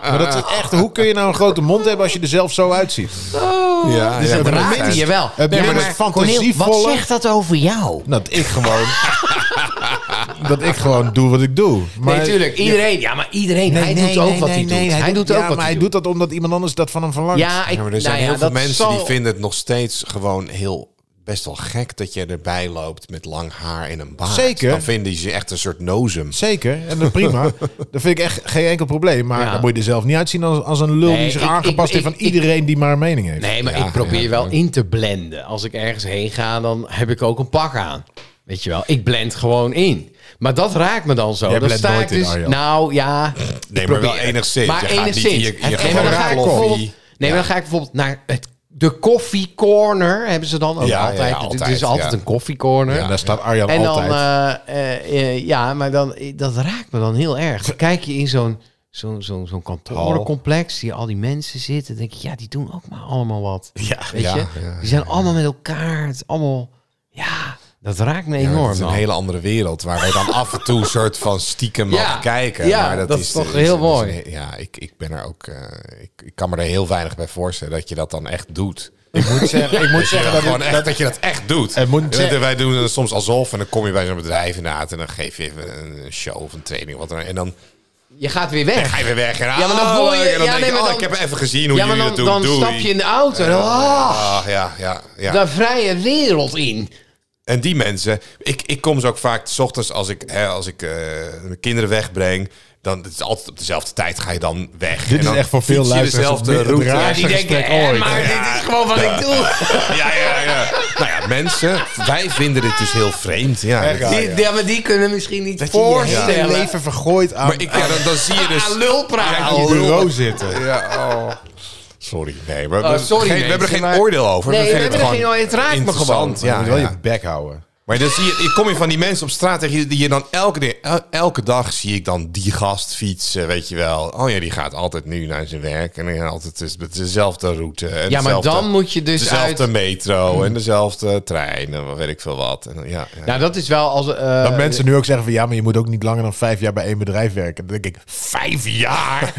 D: Maar dat is echt, hoe kun je nou een grote mond hebben als je er zelf zo uitziet?
B: Ja,
D: Dus
B: ja,
D: het
B: maar dat
D: raakt
B: zijn-
C: je wel.
D: Het
C: Nee,
D: nummer
C: maar
D: is
F: Cornel, wat
D: fantasievolle.
F: zegt dat over jou?
D: Nou, dat ik gewoon. dat ik gewoon doe wat ik doe. Maar,
C: nee, tuurlijk. Iedereen. Ja, maar iedereen. hij doet ook wat hij doet. hij, doet ook
D: ja,
C: wat
D: maar hij doet dat omdat iemand anders dat van hem verlangt.
C: Ja, ik,
B: Ja, maar er zijn
C: nou
B: heel
C: ja,
B: veel
C: dat
B: mensen
C: zal-
B: die vinden het nog steeds gewoon heel best wel gek dat je erbij loopt met lang haar en een baard.
D: Zeker.
B: Dan vinden ze je echt een soort nozem.
D: Zeker, en dat prima. dat vind ik echt geen enkel probleem. Maar
C: Ja.
D: dan moet je er zelf niet uitzien als, als een lul
C: Nee,
D: die zich
C: ik- ik-
D: aangepast heeft
C: ik-
D: van
C: ik-
D: iedereen die maar een mening heeft.
C: Nee, maar
B: Ja,
C: ik probeer
B: ja,
C: wel
B: ja.
C: in te blenden. Als ik ergens heen ga, dan heb ik ook een pak aan. Weet je wel, ik blend gewoon in. Maar dat raakt me dan zo.
D: Jij
C: dan
D: blendt
C: sta
D: nooit
C: ik
D: in,
C: dus,
D: Arjan.
C: Nou ja,
B: Nee, maar wel
C: probeer.
B: enigszins.
C: Maar
B: je Gaat
C: enigszins.
B: niet in je,
C: Het-
B: je
C: nee, maar
B: gewone
C: dan ga ik
B: koffie.
C: bijvoorbeeld- nee, maar dan ga ik bijvoorbeeld naar het, de koffiecorner. Hebben ze dan ook
B: Ja, ja,
C: altijd.
B: ja,
C: Het- Het
B: altijd,
C: is altijd
B: ja.
C: een koffiecorner.
D: En daar staat Arjan
C: En dan,
D: altijd.
C: eh, eh, eh, ja, maar dan, eh, dat raakt me dan heel erg. Dan kijk je in zo'n zo'n zo'n zo'n kantorencomplex, zie je al die mensen zitten. denk je, ja, die doen ook maar allemaal wat.
D: ja,
C: Weet je? Die zijn allemaal met elkaar. Het is allemaal, ja, dat raakt me
B: Ja, maar het
C: enorm,
B: is een
C: man.
B: hele andere wereld waar je dan af en toe een soort van stiekem
C: Ja,
B: mag kijken.
C: ja,
B: maar dat,
C: dat
B: is,
C: is toch
B: is-
C: heel
B: is een-
C: mooi.
B: ja, ik, ik ben er ook. eh, ik, ik kan me er heel weinig bij voorstellen dat je dat dan echt doet.
D: ik moet zeggen, ik moet
B: Ja,
D: zeggen dat,
B: gewoon
D: het-
B: echt,
D: dat-
B: dat je dat echt doet.
D: Het moet
B: En
D: zeggen-
B: wij doen het soms alsof. En dan kom je bij zo'n bedrijf inderdaad. En dan geef je even een show of een training. Wat dan, ook. en dan
C: Je gaat weer weg.
B: ga je weer weg. En,
C: Ja, maar dan
B: oh,
C: voel je-
B: en dan
C: ja,
B: denk
C: nee,
B: je,
C: maar
B: oh,
C: dan-
B: ik heb even gezien hoe
C: ja, maar
B: jullie
C: dan,
B: dat doen.
C: dan
B: Doei.
C: stap je in de auto. en dan, ah,
B: Ah, ja, ja, ja.
C: de vrije wereld in.
B: En die mensen, ik, ik kom ze ook vaak 's ochtends als ik, hè, als ik eh, mijn kinderen wegbreng. Dan het is altijd op dezelfde tijd ga je dan weg.
D: dit
B: en dan
D: is echt voor veel
B: fiets je
D: luisteraars
B: dezelfde
D: het
B: route.
C: Ja, die
D: raarste
C: denken,
D: gesprek
C: eh,
D: ooit.
C: maar
B: Ja.
C: dit is gewoon wat ik doe.
B: Ja, ja, ja. Nou ja, mensen, wij vinden dit dus heel vreemd. Ja,
D: Echt, ja.
B: Die-
C: Die, ja, maar die kunnen misschien niet
D: je je hele
C: voorstellen.
D: leven vergooid aan,
B: Maar ik, ja, dan, dan zie je dus...
C: Ah, lulpraat.
B: Ja,
D: aan je
B: lul.
D: bureau zitten.
B: Ja, oh. Sorry, nee. We,
C: Oh,
B: we-
C: sorry,
B: geen- we hebben er
C: mensen,
B: geen
C: maar-
B: oordeel over.
C: Nee, we
B: vinden
C: hebben er
B: gewoon
C: geen- het raakt me
B: interessant.
D: Ja, je
B: Ja,
D: moet wel
B: ja.
D: je bek houden.
B: Maar dan zie je, ik kom je van die mensen op straat tegen je- die je dan elke, keer- el- elke dag zie ik dan die gast fietsen, weet je wel. Oh ja, die gaat altijd nu naar zijn werk en dan altijd het is met dezelfde route. En
C: Ja, maar
B: dezelfde-
C: dan moet je dus
B: dezelfde
C: uit...
B: metro en dezelfde trein en wat weet ik veel wat. En, dan- ja, ja.
C: Nou, dat is wel als... eh,
D: Dat mensen nu ook zeggen van ja, maar je moet ook niet langer dan vijf jaar bij één bedrijf werken. Dan denk ik,
B: Vijf jaar!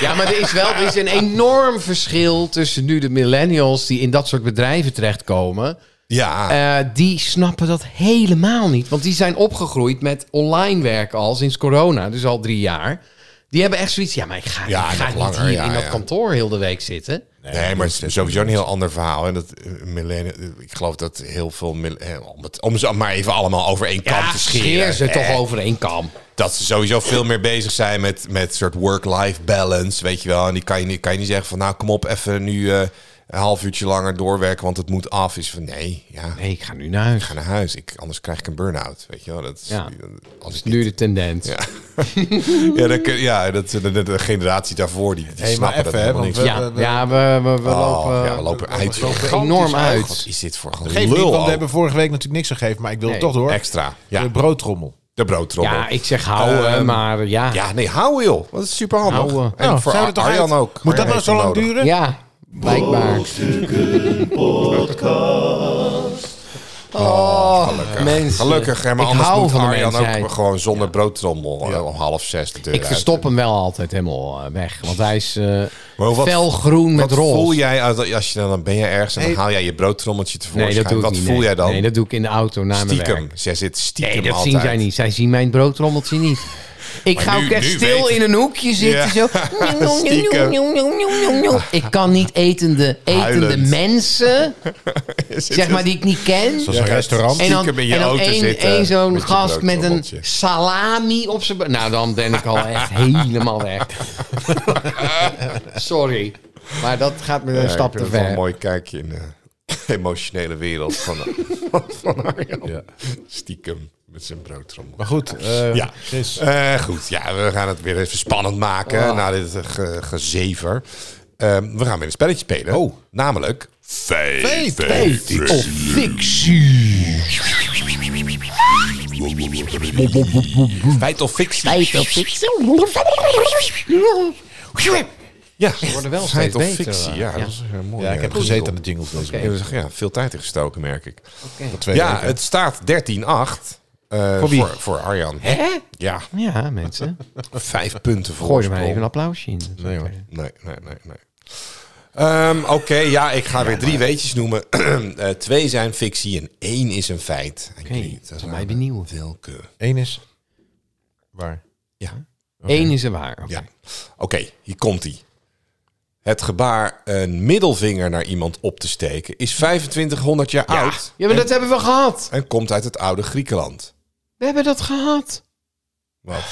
C: Ja, maar er is wel er is een enorm verschil tussen nu de millennials die in dat soort bedrijven terechtkomen.
B: ja,
C: Eh, die snappen dat helemaal niet. Want die zijn opgegroeid met online werken al sinds corona, dus al drie jaar. Die hebben echt zoiets. Ja, maar ik ga,
B: Ja,
C: ik ga
B: nog
C: niet
B: langer,
C: hier
B: ja,
C: in dat
B: ja.
C: kantoor heel de week zitten.
B: Nee, maar het is sowieso een heel ander verhaal. En dat eh, millennia, ik geloof dat heel veel mil- eh, om, het, om ze maar even allemaal over één kant
C: Ja,
B: te scheren.
C: scheer ze
B: Eh,
C: toch over één kam.
B: Dat ze sowieso veel meer bezig zijn met met soort work-life balance, weet je wel. En die kan je niet, kan je niet zeggen van, nou kom op, even nu eh, een half uurtje langer doorwerken, want het moet af. Is van, nee, ja,
C: Nee, ik ga nu naar huis.
B: ga naar huis. Ik, anders krijg ik een burn-out, weet je wel. Dat is,
C: Ja.
B: als ik
C: Nu de tendens.
B: Ja. ja, dan kun- ja, dat de, de, de generatie daarvoor die, die
D: Hey, maar
B: snappen
D: even,
B: dat
D: hè,
B: helemaal
D: want
B: niet.
D: we-
C: Ja,
D: we- we-
C: ja, we, we, we
B: Oh,
C: lopen,
B: ja, we lopen uit. joh.
C: enorm
B: Wat
C: uit.
B: is dit voor gelul?
D: geef niet, want
B: ook?
D: we hebben vorige week natuurlijk niks gegeven, maar ik wil
C: Nee.
D: het toch door.
B: Extra. Ja,
D: De
B: de,
D: broodtrommel.
B: broodtrommel.
C: Ja, ik zeg houden,
B: Ehm,
C: maar ja.
B: Ja, nee, hou joh. Dat is super handig.
C: Ah. Houden.
B: En
D: Nou,
B: voor
D: zijn we er toch
B: Arjan
D: uit?
B: ook.
D: Moet
B: Arjan
D: dat nou
B: heeft
D: zo
B: hem
D: lang
B: nodig.
D: duren?
C: Ja, blijkbaar. Oh, mensen.
B: Gelukkig, hè, maar
C: Ik
B: anders
C: hou
B: moet
C: van de
B: Arjan ook
C: mensheid.
B: gewoon zonder broodtrommel eh, om half zes de deur
C: Ik
B: uit.
C: verstop hem wel altijd helemaal eh, weg. Want hij is eh
B: Maar wat-
C: felgroen met
B: Wat voel
C: roze.
B: jij als, als je dan, dan ben je ergens en dan haal jij je broodtrommeltje tevoorschijn?
C: Nee, dat doe ik
B: Wat
C: niet.
B: voel
C: nee.
B: jij dan?
C: Nee, dat doe ik in de auto na mijn
B: stiekem.
C: werk.
B: Zij zit stiekem
C: Nee, dat
B: altijd.
C: zien zij niet. Zij zien mijn broodrommeltje niet. Ik
B: Maar
C: ga
B: nu-
C: ook echt
B: nu
C: stil
B: weet-
C: in een hoekje zitten.
B: Ja.
C: Zo. Njoe, njoe, njoe,
B: Stiekem.
C: njoe, njoe, njoe, njoe. Ik kan niet etende, etende
B: Huilend.
C: mensen, zeg maar, die ik niet ken.
D: Dat is een restaurant.
C: En dan,
B: stiekem in je
C: en dan
B: auto
C: één-
B: zitten
C: één zo'n
B: met je
C: gast met een
B: broodtrommeltje.
C: salami op zijn... be- Nou, dan ben ik al echt helemaal weg. Sorry. Maar dat gaat me een stap te
B: Wel een
C: ver.
B: mooi kijkje in de emotionele wereld van, van Arjan. Stiekem met zijn broodtrommel.
D: Maar goed, eh,
B: Ja.
D: Chris.
B: Eh, goed, ja, we gaan het weer even spannend maken na dit eh, ge- gezever. Ehm, we gaan weer een spelletje spelen.
D: Oh.
B: Namelijk... Feit.
C: Of fictie.
B: Feit of fictie.
F: Feit of fictie?
B: Ja,
C: worden wel
B: feit
C: steeds
B: of
C: beter,
B: fictie.
C: hoor.
B: Ja,
C: Ja.
B: dat is eh, mooi.
D: ja, ik heb
B: Goed.
D: gezeten aan de jingles deze
B: Ja, dus, ja, veel tijd ingestoken, merk ik.
D: twee
B: ja,
D: weken.
B: het staat 13-8 eh,
D: Voor wie?
B: voor, voor Arjan.
C: Hè?
B: Ja,
C: Ja, mensen.
B: vijf punten voor
C: Gooi er maar even een applausje in. Nee, hoor.
B: Nee, nee, nee, nee. Ehm, Oké, ja, ik ga weer drie weetjes noemen. Eh, twee zijn fictie en één is een feit. En jullie te
C: ben
B: raden
C: benieuwd.
B: Welke?
D: Eén is waar.
B: Ja.
C: Eén is er waar.
B: ja. Oké, hier komt hij. Het gebaar een middelvinger naar iemand op te steken is 2500 jaar oud
C: Ja, maar dat hebben we gehad.
B: en komt uit het oude Griekenland.
C: We hebben dat gehad.
B: Wat?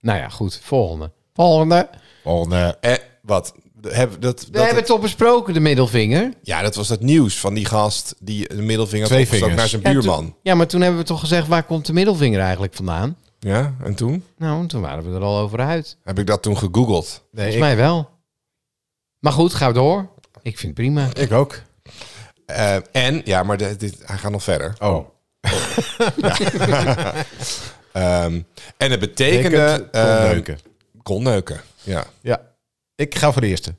C: Nou ja, goed. Volgende. Volgende.
D: Oh, nee.
B: Eh, wat? Heb, dat, dat,
C: We hebben het al besproken, de middelvinger.
B: Ja, dat was dat nieuws van die gast die de middelvinger had
D: Twee
B: opgestoken naar
D: vingers.
B: zijn
C: Ja,
B: buurman.
C: toen- ja, maar toen hebben we toch gezegd, waar komt de middelvinger eigenlijk vandaan?
B: Ja, en toen?
C: Nou, toen waren we er al over uit.
B: Heb ik dat toen gegoogeld.
D: nee
C: Volgens
D: ik,
C: mij wel. Maar goed, ga door. Ik vind het prima.
D: ik ook.
B: Eh, en, ja, maar de- dit, hij gaat nog verder.
D: Oh,
B: Ehm, en het
D: ik eh,
B: betekende...
D: het kon
B: ehm,
D: neuken.
B: kon neuken, ja.
D: Ja, ik ga voor de eerste.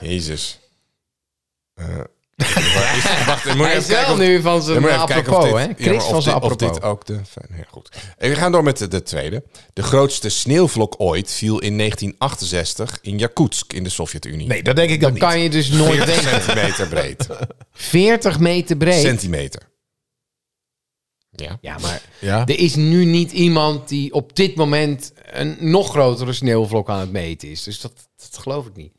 B: Jezus. Eh, wacht, ik moet even
C: Hij is wel
B: kijken of-
C: nu van
B: Ja,
C: zijn
B: maar even kijken of
C: apropos,
B: dit-
C: hè?
B: ja,
C: Chris
B: maar of
C: van zijn
B: dit- of
C: apropos.
B: dit ook de... Ja, goed. En we gaan door met de, de tweede. De grootste sneeuwvlok ooit viel in 1968 in Jakutsk in de Sovjet-Unie.
D: Nee, dat denk ik dan
C: Dat
D: niet.
C: kan je dus nooit
B: 40
C: denken.
B: centimeter breed.
C: 40 meter breed.
B: Centimeter. Ja.
C: ja, maar
D: Ja.
C: er is nu niet iemand die op dit moment een nog grotere sneeuwvlok aan het meten is. Dus dat, dat geloof ik niet.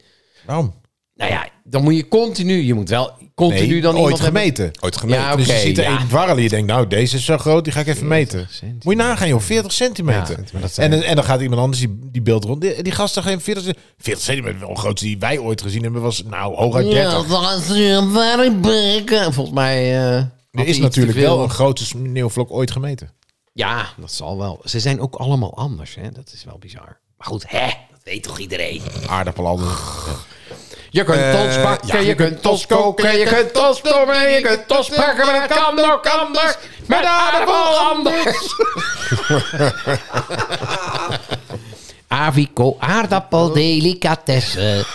D: Waarom?
C: Nou ja, dan moet je continu, je moet wel continu
D: Nee,
C: dan
D: ooit
C: iemand hebben-
D: gemeten.
B: Ooit gemeten.
C: Ja, oké.
D: Dus je ziet er
C: ja.
D: één dwarrelen. Je denkt, nou, deze is zo groot, die ga ik even meten.
C: centimeter.
D: Moet je nagaan, joh. 40
C: Ja,
D: centimeter.
C: maar dat zijn-
D: en, en dan gaat iemand anders die, die beeld rond. Die, die gast er geen 40 centimeter. 40 centimeter, wel groot die wij ooit gezien hebben, was nou hooguit 30.
F: Ja, dat is een werkbeker.
C: Volgens mij. eh, had
D: er
C: hij
D: is
C: iets
D: natuurlijk
C: te veel.
D: wel een grote sneeuwvlok ooit gemeten.
C: Ja, dat zal wel. Ze zijn ook allemaal anders, hè? Dat is wel bizar.
F: Maar goed, hè? Dat weet toch iedereen?
D: Aardappel al.
C: Je kunt
B: Eh,
C: ons bakken,
B: ja.
C: je kunt ons koken, je kunt ons stomen, je kunt ons pakken, maar dat kan ook anders. Met aardappel anders. Avico aardappel delicatessen.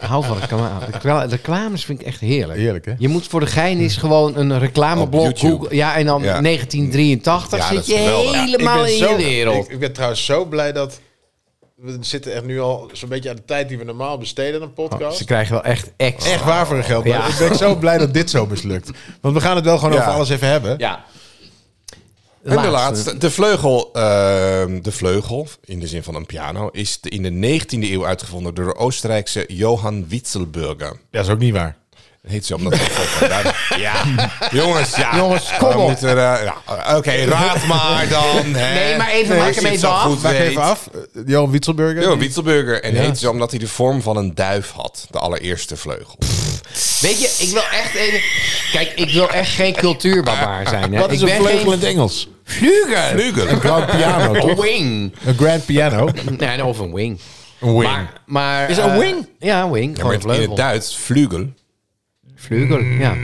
C: Ik hou van reclame. Recla- Reclames vind ik echt heerlijk.
D: Heerlijk, hè?
C: Je moet voor de gein is gewoon een
B: Op
C: reclameblok
B: YouTube.
C: Google. Ja, en dan
B: Ja.
C: 1983
B: Ja,
C: zit
B: dat
C: je
B: is geweldig. Ja,
C: helemaal in je wereld.
D: Ik, ben trouwens zo blij dat... We zitten echt nu al zo'n beetje aan de tijd die we normaal besteden aan een podcast.
C: Ze krijgen wel echt extra.
D: Echt waar voor hun geld. Maar
C: Ja.
D: Ik ben zo blij dat dit zo mislukt. Want we gaan het wel gewoon
B: Ja.
D: over alles even hebben.
C: Ja.
B: En de laatste, de vleugel, ehm, de vleugel, in de zin van een piano, is de- in de 19e eeuw uitgevonden door de Oostenrijkse Johan Witzelburger.
D: Dat is ook niet waar.
B: Dat heet ze omdat het van daar- Ja, jongens, ja.
C: Jongens, kom
B: We
C: op.
B: moeten, eh, ja, Oké, raad maar dan. Hè.
C: Nee, maar even, maak
B: als je
C: hem
B: het zo
C: even af.
B: goed
D: Maak
B: weet.
D: even af. Eh, Johan Wietselburger.
B: Johan Witzelburger. En heet ze omdat hij de vorm van een duif had. De allereerste vleugel.
C: Weet je, ik wil echt even... Kijk, ik wil echt geen cultuurbarbaar zijn. Hè?
D: Wat is
C: ik
D: een vleugel in
C: geen
D: het Engels?
C: vlieger.
B: Vleugel.
D: Grand piano,
C: Een
D: toch?
C: wing.
D: Een grand piano.
C: Nee, of een wing.
D: Een wing.
C: Maar, maar,
D: Is een
C: eh,
D: wing?
C: Ja, een wing.
B: Ja, maar in
C: Gewoon een
B: het
C: vleugel.
B: Duits, vleugel.
C: Vleugel, ja.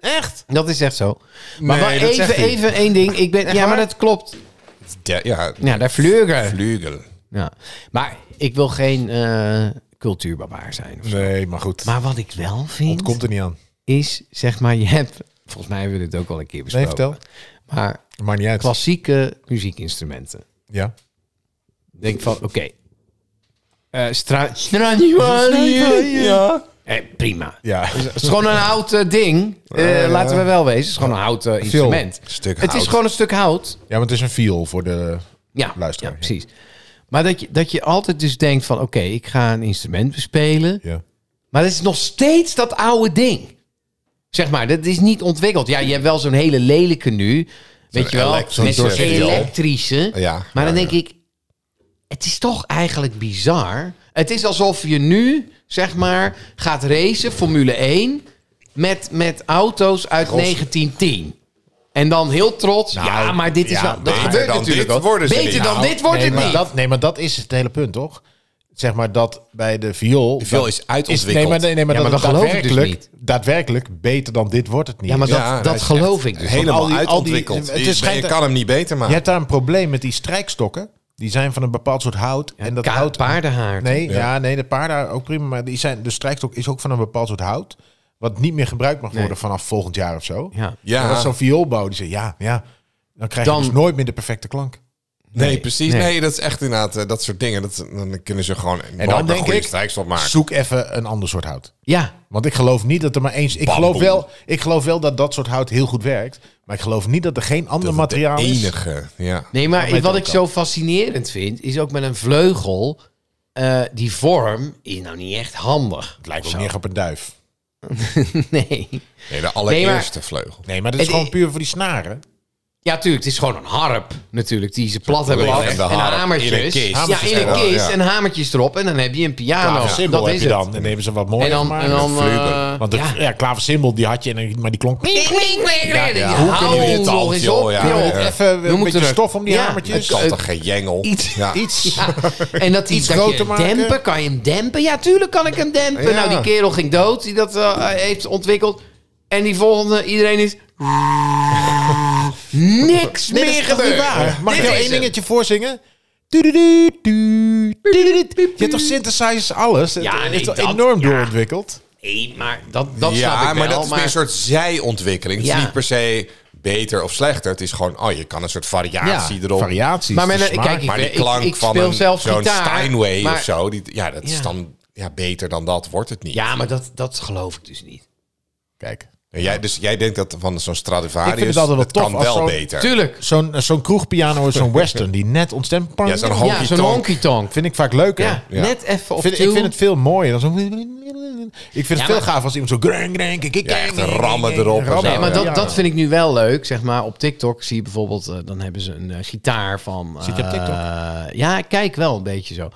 D: Echt?
C: Dat is echt zo. Maar
D: Hmm. Nee,
C: wel
D: dat
C: even,
D: zegt hij.
C: even één ding. Ik ben, ja, maar dat klopt.
B: De- ja,
C: Ja, daar vleugel.
B: vleugel.
C: Ja. Maar ik wil geen eh cultuurbarbaar zijn. of zo.
D: Nee, maar goed.
C: Maar wat ik wel vind...
D: Komt er niet aan.
C: is, zeg maar, je hebt... Volgens mij hebben we dit ook al een keer
D: Nee,
C: besproken.
D: vertel.
C: Maar
D: Maakt niet uit.
C: klassieke muziekinstrumenten.
D: Ja.
C: Denk van, oké. Eh, stra- Stradivari-
B: Ja.
C: Eh, prima.
D: Ja.
C: Het is gewoon een houten ding. Eh,
B: ja.
C: Laten we wel wezen. Het is gewoon een houten instrument.
B: Stuk
C: het
B: hout.
C: is gewoon een stuk hout.
D: ja, want het is een viool voor de...
C: Ja,
D: Luisteraar,
C: ja,
D: ja.
C: precies. Maar dat je, dat je altijd dus denkt van... Oké, ik ga een instrument bespelen.
D: Ja.
C: Maar dat is nog steeds dat oude ding. Zeg maar, dat is niet ontwikkeld. Ja, je hebt wel zo'n hele lelijke nu. Weet je wel,
B: elec- zo'n
C: met zo'n
B: doorzichtige.
C: elektrische.
B: Ja,
C: maar dan
B: ja,
C: denk ik, het is toch eigenlijk bizar. Het is alsof je nu, zeg maar, gaat racen, Formule 1... met, met auto's uit 1910. En dan heel trots, ja, maar dit is
D: ja,
C: wel... Dat
B: Nou, beter
C: gebeurt
B: dan
C: natuurlijk
B: dit
C: ook.
B: worden ze
C: Beter
B: niet.
C: dan
B: Nou,
C: dit wordt
D: nee,
C: het
D: maar
C: niet.
D: Dat, nee, maar dat is het hele punt, toch? Zeg maar dat bij de viool... De
B: viool is uitontwikkeld.
D: nee, maar, nee, nee, maar,
C: Ja, maar
D: dat,
C: dat geloof ik dus
D: daadwerkelijk,
C: niet.
D: daadwerkelijk beter dan dit wordt het niet.
C: ja, maar dat,
B: Ja, dat
C: dat
B: is
C: geloof ik dus.
B: Helemaal
D: al die- al die-
B: uitontwikkeld.
D: het
B: Die-
D: is
B: maar
D: schijnt-
B: je kan hem niet beter
D: Je
B: maken.
D: hebt daar een probleem met die strijkstokken. Die zijn van een bepaald soort hout. en dat
C: ka-
D: hout...
C: paardenhaar,
D: Nee, ja. nee, de paarden ook prima. Maar die zijn, de strijkstok is ook van een bepaald soort hout. Wat niet meer gebruikt mag worden vanaf volgend jaar of zo.
C: Ja.
B: Ja.
D: En dat is zo'n vioolbouw. Die zei, ja, ja. Dan krijg
C: Dan-
D: je dus nooit meer de perfecte klank.
B: Nee,
C: Nee,
B: precies.
C: nee.
B: Nee. dat is echt inderdaad eh, dat soort dingen. Dat, dan kunnen ze gewoon en
D: dan denk ik-
B: strijkstop maken.
D: Zoek even een ander soort hout.
C: Ja,
D: Want ik geloof niet dat er maar eens... Ik
B: Bamboe.
D: geloof, wel, ik geloof wel dat dat soort hout heel goed werkt. Maar ik geloof niet dat er geen ander
B: Dat het de
D: materiaal is.
B: enige. Ja.
C: nee, maar
D: weet
C: wat
D: ik
C: ik
D: ook.
C: zo fascinerend vind, is ook met een vleugel, eh, die vorm is nou niet echt handig.
D: Het lijkt ook meer op een duif.
C: Nee.
B: Nee, de allereerste
C: Nee,
B: vleugel.
D: Nee, maar dat is
C: Het- e-
D: gewoon puur voor die snaren.
C: Ja, tuurlijk, het is gewoon een harp natuurlijk, die ze plat hebben
B: Plat.
C: gelegd.
B: En
C: En,
B: de harp in een
C: hamertjes.
B: kist.
C: Ja,
D: Hamertjes
C: in een
B: erop,
C: kist
B: ja.
C: en hamertjes erop en dan heb je een piano.
D: Klaversymbol
C: Ah, nou, dat
D: heb
C: is
D: je dan.
C: het.
D: En dan hebben ze wat mooier
C: En dan,
D: gemaakt.
C: en dan eh,
D: Want de, ja,
C: ja.
D: klaversymbol die had je, en, dan- maar die klonk...
C: Kling, kling, kling, kling.
B: ja.
C: Hou
B: Hoe kunnen jullie het
C: nog
B: al,
C: eens
B: joh,
C: op,
B: ja.
C: joh.
B: Ja, ja.
D: Even
C: We
D: een
C: moeten
D: beetje
C: terug.
D: stof om die
C: Ja,
D: hamertjes.
B: Kan
C: eh,
B: toch geen jengel?
C: iets-
B: Ja.
D: Iets.
C: Ja, en dat hij dat
D: groter
C: je
D: maken.
C: dempen, kan je hem dempen? Ja, tuurlijk kan ik hem dempen.
B: Ja.
C: Nou, die kerel ging dood, die dat eh, heeft ontwikkeld. En die volgende, iedereen is... Niks
D: Nee, dat
C: meer
D: is toch niet
C: gebeurd.
D: waar? Mag ik
C: Dit
D: jou
C: is
D: één
C: hem.
D: dingetje voorzingen? Du-du-du, du, du-du-du. Je hebt toch synthesizers, alles?
C: Ja,
D: het
C: nee,
D: is toch
C: dat-
D: enorm
C: ja.
D: doorontwikkeld?
C: Nee, maar dat, dat snap ik
B: ja,
C: wel.
B: maar dat is meer een soort zijontwikkeling. Het
C: Ja.
B: is niet per se beter of slechter. Het is gewoon, oh, je kan een soort variatie erop.
D: variaties.
C: Maar
D: de
C: met een-
D: smaak.
C: kijk, ik-
B: Maar die klank
C: ik
B: van
C: speel
B: een,
C: zelf
B: zo'n
C: gitaar,
B: Steinway
C: maar-
B: of zo, die, ja, dat
C: Ja.
B: is dan ja, beter dan dat wordt het niet.
C: Ja, maar dat, dat geloof ik dus niet.
D: Kijk,
B: En Jij, dus jij denkt dat van zo'n Stradivarius,
D: Ik vind het altijd wel tof
B: kan
D: als
B: wel
D: zo'n-
B: beter.
C: Tuurlijk.
D: zo'n eh, zo'n kroegpiano is zo'n western die net ontstemt.
B: Ja, zo'n
D: Pang.
B: honky
C: Ja, zo'n
B: tonk.
C: honky-tonk.
D: vind ik vaak leuker.
C: Ja,
B: Ja.
C: net even
D: Ik
C: op
D: vind, ik
C: tune.
D: vind het veel mooier. Dan zo'n- ik vind het
C: Ja,
D: veel
C: maar-
D: gaaf als iemand zo... grang, grang, kik, kik,
B: Ja, echt
D: kik, kik,
B: rammen
D: kik,
B: erop en
D: rammen.
B: zo,
C: Nee, maar
B: Ja.
C: dat, dat vind ik nu wel leuk. Zeg maar, op TikTok zie je bijvoorbeeld, eh, dan hebben ze een eh, gitaar van...
D: Zit je op TikTok? Oh.
C: eh, ja, ik kijk wel een beetje zo.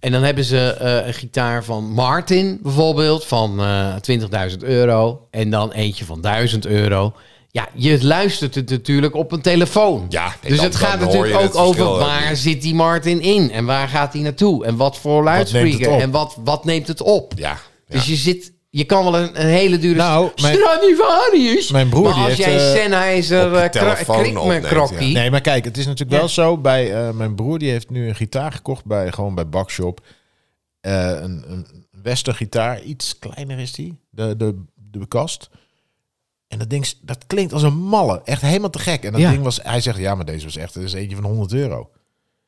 C: En dan hebben ze eh, een gitaar van Martin bijvoorbeeld, van eh 20.000 euro. En dan eentje van 1000 euro. Ja, je luistert het natuurlijk op een telefoon.
B: Ja, nee,
C: dus
B: dan-
C: het gaat
B: dan hoor
C: natuurlijk ook
B: je het verschil
C: over
B: ook
C: waar
B: niet.
C: zit die Martin in en waar gaat hij naartoe en wat voor luidspreker
D: op?
C: en wat, wat neemt het op.
B: Ja, ja.
C: Dus je zit, je kan wel een, een hele dure
D: Nou, mijn-
C: Stradivarius.
D: mijn broer
C: maar
D: die
C: als
D: heeft,
C: jij
D: eh,
B: op
C: Sennheiser
B: je
C: eh, kra-
B: telefoon
C: krikme
B: opneemt,
C: krokkie.
D: Nee, maar kijk, het is natuurlijk
C: Ja.
D: wel zo. Bij eh, mijn broer die heeft nu een gitaar gekocht bij gewoon bij Bakshop. Eh, een, een western gitaar, iets kleiner is die, de, de, de kast. En dat ding, is- dat klinkt als een malle, echt helemaal te gek. En dat
C: Ja.
D: ding was, hij zegt ja, maar deze was echt, dat is eentje van 100 euro.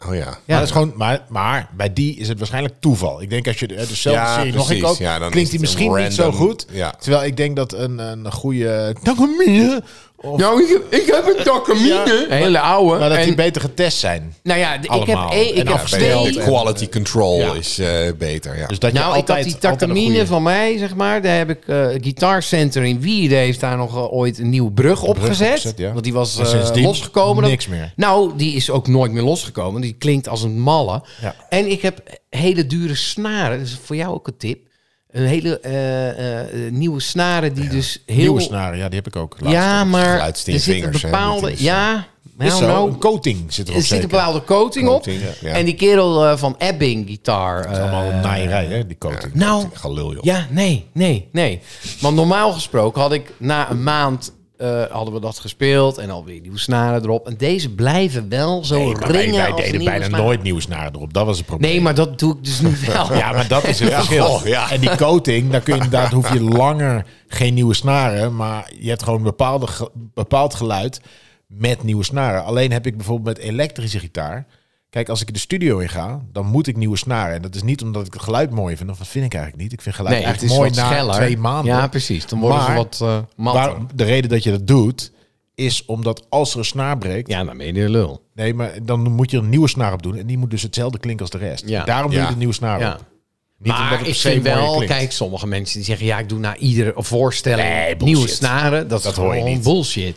B: Oh ja.
D: Ja, maar, dat is gewoon, maar, maar bij die is het waarschijnlijk toeval. Ik denk als je de- eh, dezelfde
B: Ja,
D: serie nog een
B: precies.
D: koopt,
B: Ja, dan
D: klinkt
B: is het
D: die misschien
B: een
D: niet zo
B: random-
D: goed.
B: ja.
D: Terwijl ik denk dat een, een goede... Dank u wel. Of-
C: Nou, ik, ik heb een takamine. een hele oude.
D: Maar dat die
C: en,
D: beter getest zijn.
C: nou ja, d- ik heb,
D: allemaal.
C: één-
D: En
C: ik heb
D: afgesteld
C: twee.
B: De quality control
D: Ja.
B: is eh, beter, ja.
D: Dus dat je
C: Nou, ik had
D: altijd,
C: die
D: altijd een
C: takamine
D: goede-
C: van mij, zeg maar. Daar heb ik eh Guitar Center in Wierden heeft daar nog eh, ooit een nieuwe brug op gezet.
D: opgezet, ja.
C: Want die was
D: En
C: eh,
D: sindsdien
C: losgekomen. Dat-
D: niks meer.
C: Nou, die is ook nooit meer losgekomen. Die klinkt als een malle.
D: Ja.
C: En ik heb hele dure snaren. Dat is voor jou ook een tip. Een hele eh, eh, nieuwe snaren die dus heel...
D: Nieuwe snaren, ja, die heb ik ook. laatst.
C: Ja, maar er
B: Geluidst in je
C: zit een
B: vingers, hè,
C: bepaalde...
B: dit is,
C: ja,
D: Is
C: nou,
D: zo,
C: nou,
D: een coating zit erop
C: er zit een
D: zeker.
C: bepaalde coating op.
B: Coating, ja.
C: En die kerel eh, van Ebbing Gitaar...
D: Dat is
C: eh,
D: allemaal een naaierij, hè, die coating.
C: nou,
B: Gelul, joh.
C: ja, nee, nee, nee. Want normaal gesproken had ik na een maand... eh, hadden we dat gespeeld en alweer nieuwe snaren erop. En deze blijven wel zo
D: Nee, maar
C: ringen
D: wij, wij
C: als
D: deden
C: nieuwe
D: bijna
C: snaren.
D: nooit nieuwe snaren erop. Dat was het probleem.
C: Nee, maar dat doe ik dus nu wel.
D: Ja, maar dat is het verschil.
B: goh, ja.
D: En die coating, daar kun je inderdaad hoef je langer geen nieuwe snaren. Maar je hebt gewoon een bepaalde, ge- bepaald geluid met nieuwe snaren. Alleen heb ik bijvoorbeeld met elektrische gitaar. Kijk, als ik de studio in ga, dan moet ik nieuwe snaren. En dat is niet omdat ik het geluid mooi vind. want Dat vind ik eigenlijk niet. Ik vind geluid
C: Nee, het
D: eigenlijk
C: is
D: mooi
C: mooi
D: na
C: scheller.
D: twee maanden.
C: Ja, precies. Dan worden ze
D: Maar-
C: wat eh matter.
D: Waar, de reden dat je dat doet, is omdat als er een snaar breekt...
C: Ja, dan ben je de lul.
D: Nee, maar dan moet je er een nieuwe snaar op doen. En die moet dus hetzelfde klinken als de rest.
C: Ja.
D: Daarom doe
B: Ja.
D: je de nieuwe snaar
C: Ja.
D: op. Niet omdat
C: maar
D: het
C: ik
D: per se
C: vind
D: mooier
C: wel,
D: klinkt.
C: kijk, sommige mensen die zeggen... ja, ik doe na iedere voorstelling nieuwe snaren. Dat, is
D: hoor je
C: gewoon
D: niet.
C: bullshit.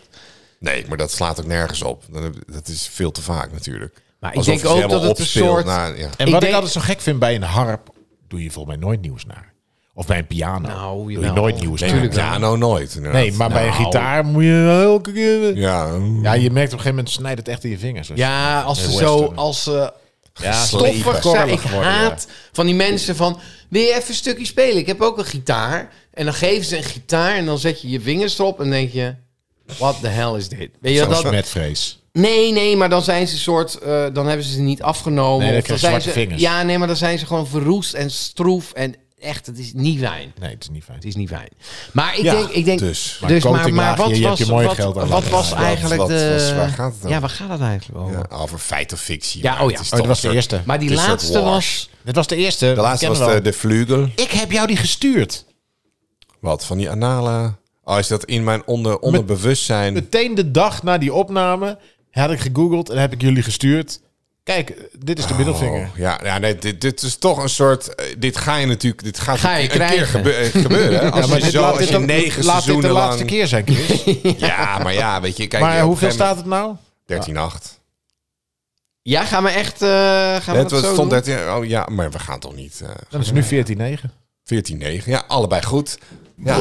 B: Nee, maar dat slaat ook nergens op. Dat- Dat is veel te vaak natuurlijk.
C: Maar ik
B: Alsof
C: denk
B: je ze
C: ook
B: helemaal
C: dat het een
B: opspeelt
C: soort-
B: na- ja.
D: En
C: Ik
D: wat ik
C: denk-
D: altijd zo gek vind bij een harp, doe je volgens mij nooit nieuwe snaren. Of bij een piano
C: Nou,
D: doe je
C: jawel.
D: nooit nieuwe snaren.
C: Tuurlijk
B: Ja, nou nooit. inderdaad.
D: Nee, maar bij een
C: Nou.
D: gitaar moet je wel elke keer...
B: Ja,
D: Ja, je merkt op een gegeven moment snijdt het echt in je vingers. als je-
C: Ja, als ze
D: Nee,
C: zo...
D: western.
C: Als ze
D: ja
C: stoffig zijn.
D: korrelig
C: Ik
D: worden, ja.
C: haat van die mensen van... wil je even een stukje spelen? Ik heb ook een gitaar. En dan geven ze een gitaar en dan zet je je vingers erop... en dan denk je, what the hell is dit? Weet je
D: Dat is
C: dat?
D: smetvrees.
C: Nee, nee, maar dan zijn ze soort... eh, dan hebben ze ze niet afgenomen.
D: Nee, dan
C: Of dan
D: krijg je
C: zijn
D: zwarte
C: ze,
D: vingers.
C: Ja, nee, maar dan zijn ze gewoon verroest en stroef. En echt, het is niet fijn.
D: Nee, het is niet fijn.
C: Het is niet fijn. Maar ik
D: Ja,
C: denk... Ik denk
B: dus.
C: Maar,
D: Maar
C: dus, maar,
D: coating
C: maar
D: laag je,
C: wat
D: je hebt
C: was,
D: je mooi
C: wat,
D: geld aan
C: wat
D: laag.
C: was
D: Wat-
C: eigenlijk
B: wat-
C: de...
B: wat- waar gaat het over?
C: Ja, waar gaat het eigenlijk over?
B: Ja, over feit of fictie.
C: Ja,
B: maar
C: oh
B: het
C: ja.
B: is
D: Oh,
B: toch
D: dat was de
B: een soort-
D: eerste.
C: Maar die
B: Het is een soort
C: laatste
B: wash.
C: was...
D: Dit was de eerste.
B: De laatste was eh, de, de Vlugel.
D: Ik heb jou die gestuurd.
B: Wat, van die anale... Oh, is dat in mijn onder, onderbewustzijn...
D: Meteen de dag na die opname had ik gegoogeld en heb ik jullie gestuurd. Kijk, dit is de middelvinger.
B: Oh, ja, ja nee, dit, dit is toch een soort... eh, dit ga je natuurlijk... Dit gaat
C: Ga je
B: een keer
C: krijgen.
B: gebe- eh, gebeuren. hè? Als
D: maar
B: je
D: dit
B: zo
D: laat
B: als
D: dit
B: je
D: ook-
B: negen
D: laat dit
B: seizoenen
D: de
B: lang...
D: laatste keer zijn, Chris.
B: Ja, maar ja, weet je... Kijk, eh,
D: maar hoeveel staat het nou?
B: 13-8.
C: Ja, gaan we echt... eh, gaan we
B: Het
C: dat zo
B: was-
C: doen?
B: stond 13... Oh ja, maar we gaan toch niet... eh,
D: Dan is het nu 14-9.
B: 14-9. Ja, allebei goed. Ja,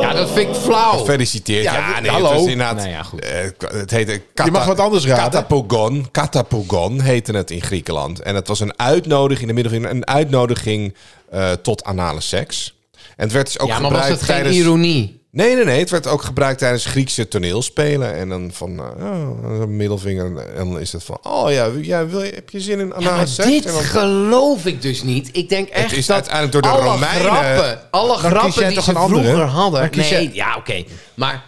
C: Ja, dat vind ik flauw.
B: gefeliciteerd. Ja,
C: Oh. Ja,
B: nee,
C: hallo.
B: Het was inderdaad...
C: Nou ja, goed.
B: eh, k- het heette... Kata,
D: Je mag wat anders raden.
B: Katapogon. Katapogon heette het in Griekenland. En het was een uitnodiging... In de middelvinger, een uitnodiging eh, tot anale seks. En het werd dus ook
C: Ja, maar was
B: gebruikt
C: het geen
B: tijdens...
C: ironie?
B: Nee, nee, nee. Het werd ook gebruikt tijdens Griekse toneelspelen. En dan van, eh, oh, een middelvinger. En dan is het van, oh ja, ja wil je, heb je zin in
C: Ja,
B: anale
C: maar
B: seks?
C: dit
B: En dan-
C: geloof ik dus niet. Ik denk echt
B: is
C: dat
B: uiteindelijk door de
C: alle
B: Romeinen-
C: grappen, alle
D: kies jij
C: grappen die
D: toch
C: ze
D: een andere?
C: vroeger
D: Dan
C: hadden...
D: kies
C: Nee,
D: jij-
C: ja, oké. Maar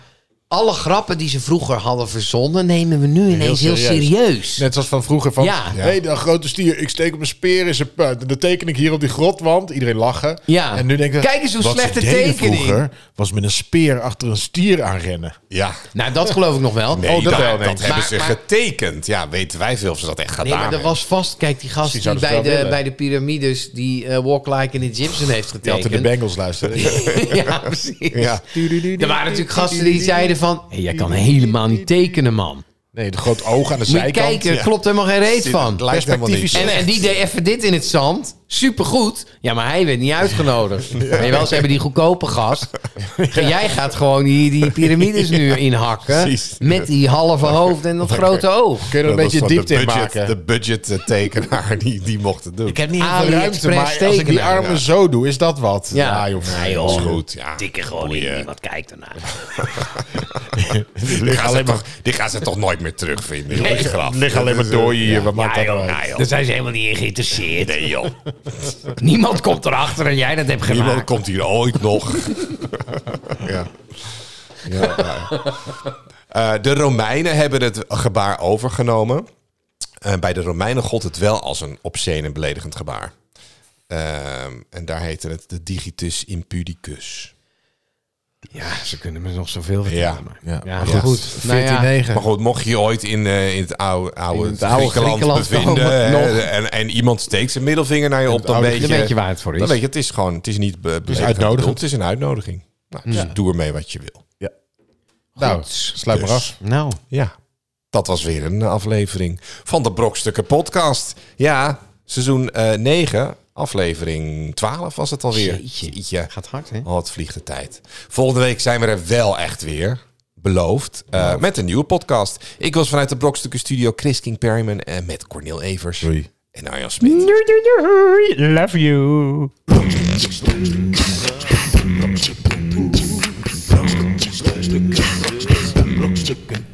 C: alle grappen die ze vroeger hadden verzonnen... nemen we nu ineens heel serieus.
D: serieus. Net zoals van vroeger van...
C: Ja.
D: Hé, hey, dat grote stier, ik steek op mijn speer in zijn puit. Dan teken ik hier op die grotwand. Iedereen lachen.
C: Ja.
D: En nu denk ik...
C: Kijk eens hoe
D: wat ze
C: slechte
D: deden
C: tekening.
D: vroeger was met een speer achter een stier aanrennen.
B: Ja.
C: Nou, dat geloof ik nog wel.
B: Nee,
D: Oh, dat
B: dat,
D: wel, nee.
B: dat hebben
C: Maar-
B: ze
C: maar-
B: getekend. Ja, weten wij veel of ze dat echt gedaan
C: Nee, maar er
B: hebben.
C: was vast... Kijk, die gast
D: Die
C: die,
D: zouden ze
C: bij,
D: wel
C: de,
D: willen.
C: bij de piramides... die eh, Walk Like in the Gibson heeft
D: Die hadden
C: getekend.
D: de Bengals luisteren.
C: ja, precies.
B: Ja.
C: Er waren natuurlijk gasten die zeiden van... "Hé, jij kan helemaal niet tekenen, man.
D: Nee, de groot oog aan de
C: Moet je
D: zijkant.
C: kijken,
D: Ja.
C: klopt helemaal geen reet
B: Het
C: van.
B: lijkt helemaal
D: Perspectief
B: niet.
D: is
C: En, en die deed even dit in het zand. Supergoed. Ja, maar hij werd niet uitgenodigd. Weet je wel, ze hebben die goedkope gast. En jij gaat gewoon die, die piramides nu inhakken.
B: precies.
C: Met die halve hoofd en dat grote oog.
D: Kun je er
B: Dat
D: een beetje
B: was van
D: diepte
B: de
D: in
B: budget,
D: maken?
B: De budgettekenaar, die, die mocht het doen.
D: Ik heb niet heel veel
C: AliExpress
D: ruimte, maar als ik die
C: tekenen.
D: armen zo doe, is dat wat?
C: Ja.
D: joh.
F: Nee,
B: Dat is
F: joh.
B: goed, ja.
F: Dikke gewoon in. Niemand kijkt ernaar.
B: Die gaan, ze toch, die gaan ze toch nooit meer terugvinden. Nee, graf.
D: Lig alleen maar door hier, wat maakt
F: Ja,
D: dat
F: joh.
D: nou uit?
F: Ja, joh. Daar zijn ze helemaal niet in geïnteresseerd.
B: Nee, joh.
C: Niemand komt erachter en jij dat hebt gemaakt.
B: Niemand komt hier ooit nog. ja. Ja, ja. Eh, de Romeinen hebben het gebaar overgenomen. Eh, bij de Romeinen gold het wel als een obscene en beledigend gebaar. Ehm, en daar heette het de digitus impudicus.
C: Ja, ze kunnen me nog zoveel
B: Ja.
C: vertellen. maar-
D: Ja,
C: Ja,
D: maar
C: ja.
D: goed.
C: Nou ja.
D: 14-9.
B: Maar goed, mocht je je ooit in, eh, in het oude, oude,
C: In het oude
B: Griekenland,
C: Griekenland
B: bevinden...
C: komen,
B: hè,
C: nog.
B: en, en iemand steekt zijn middelvinger naar je op, dan
D: oude
B: weet je...
C: Dan weet je waar het voor is.
B: Dan weet je, het is gewoon, het is niet be- beledigend
D: uitnodigend.
B: bedoeld, Het is een uitnodiging. Nou, dus doe ermee wat je wil.
D: Nou,
C: Goed.
D: sluit maar
B: Dus.
D: af.
C: Nou,
B: Ja, dat was weer een aflevering van de Brokstukken podcast. Ja, seizoen eh 9, aflevering 12 was het alweer.
C: Jeetje.
B: Jeetje.
C: gaat hard, hè?
B: Oh, het vliegt de tijd. Volgende week zijn we er wel echt weer. Beloofd. eh, met een nieuwe podcast. Ik was vanuit de Brokstukken studio Chris King Perryman. en met Cornel Evers. En Arjan Smit.
E: Love you.
A: Brokstukken.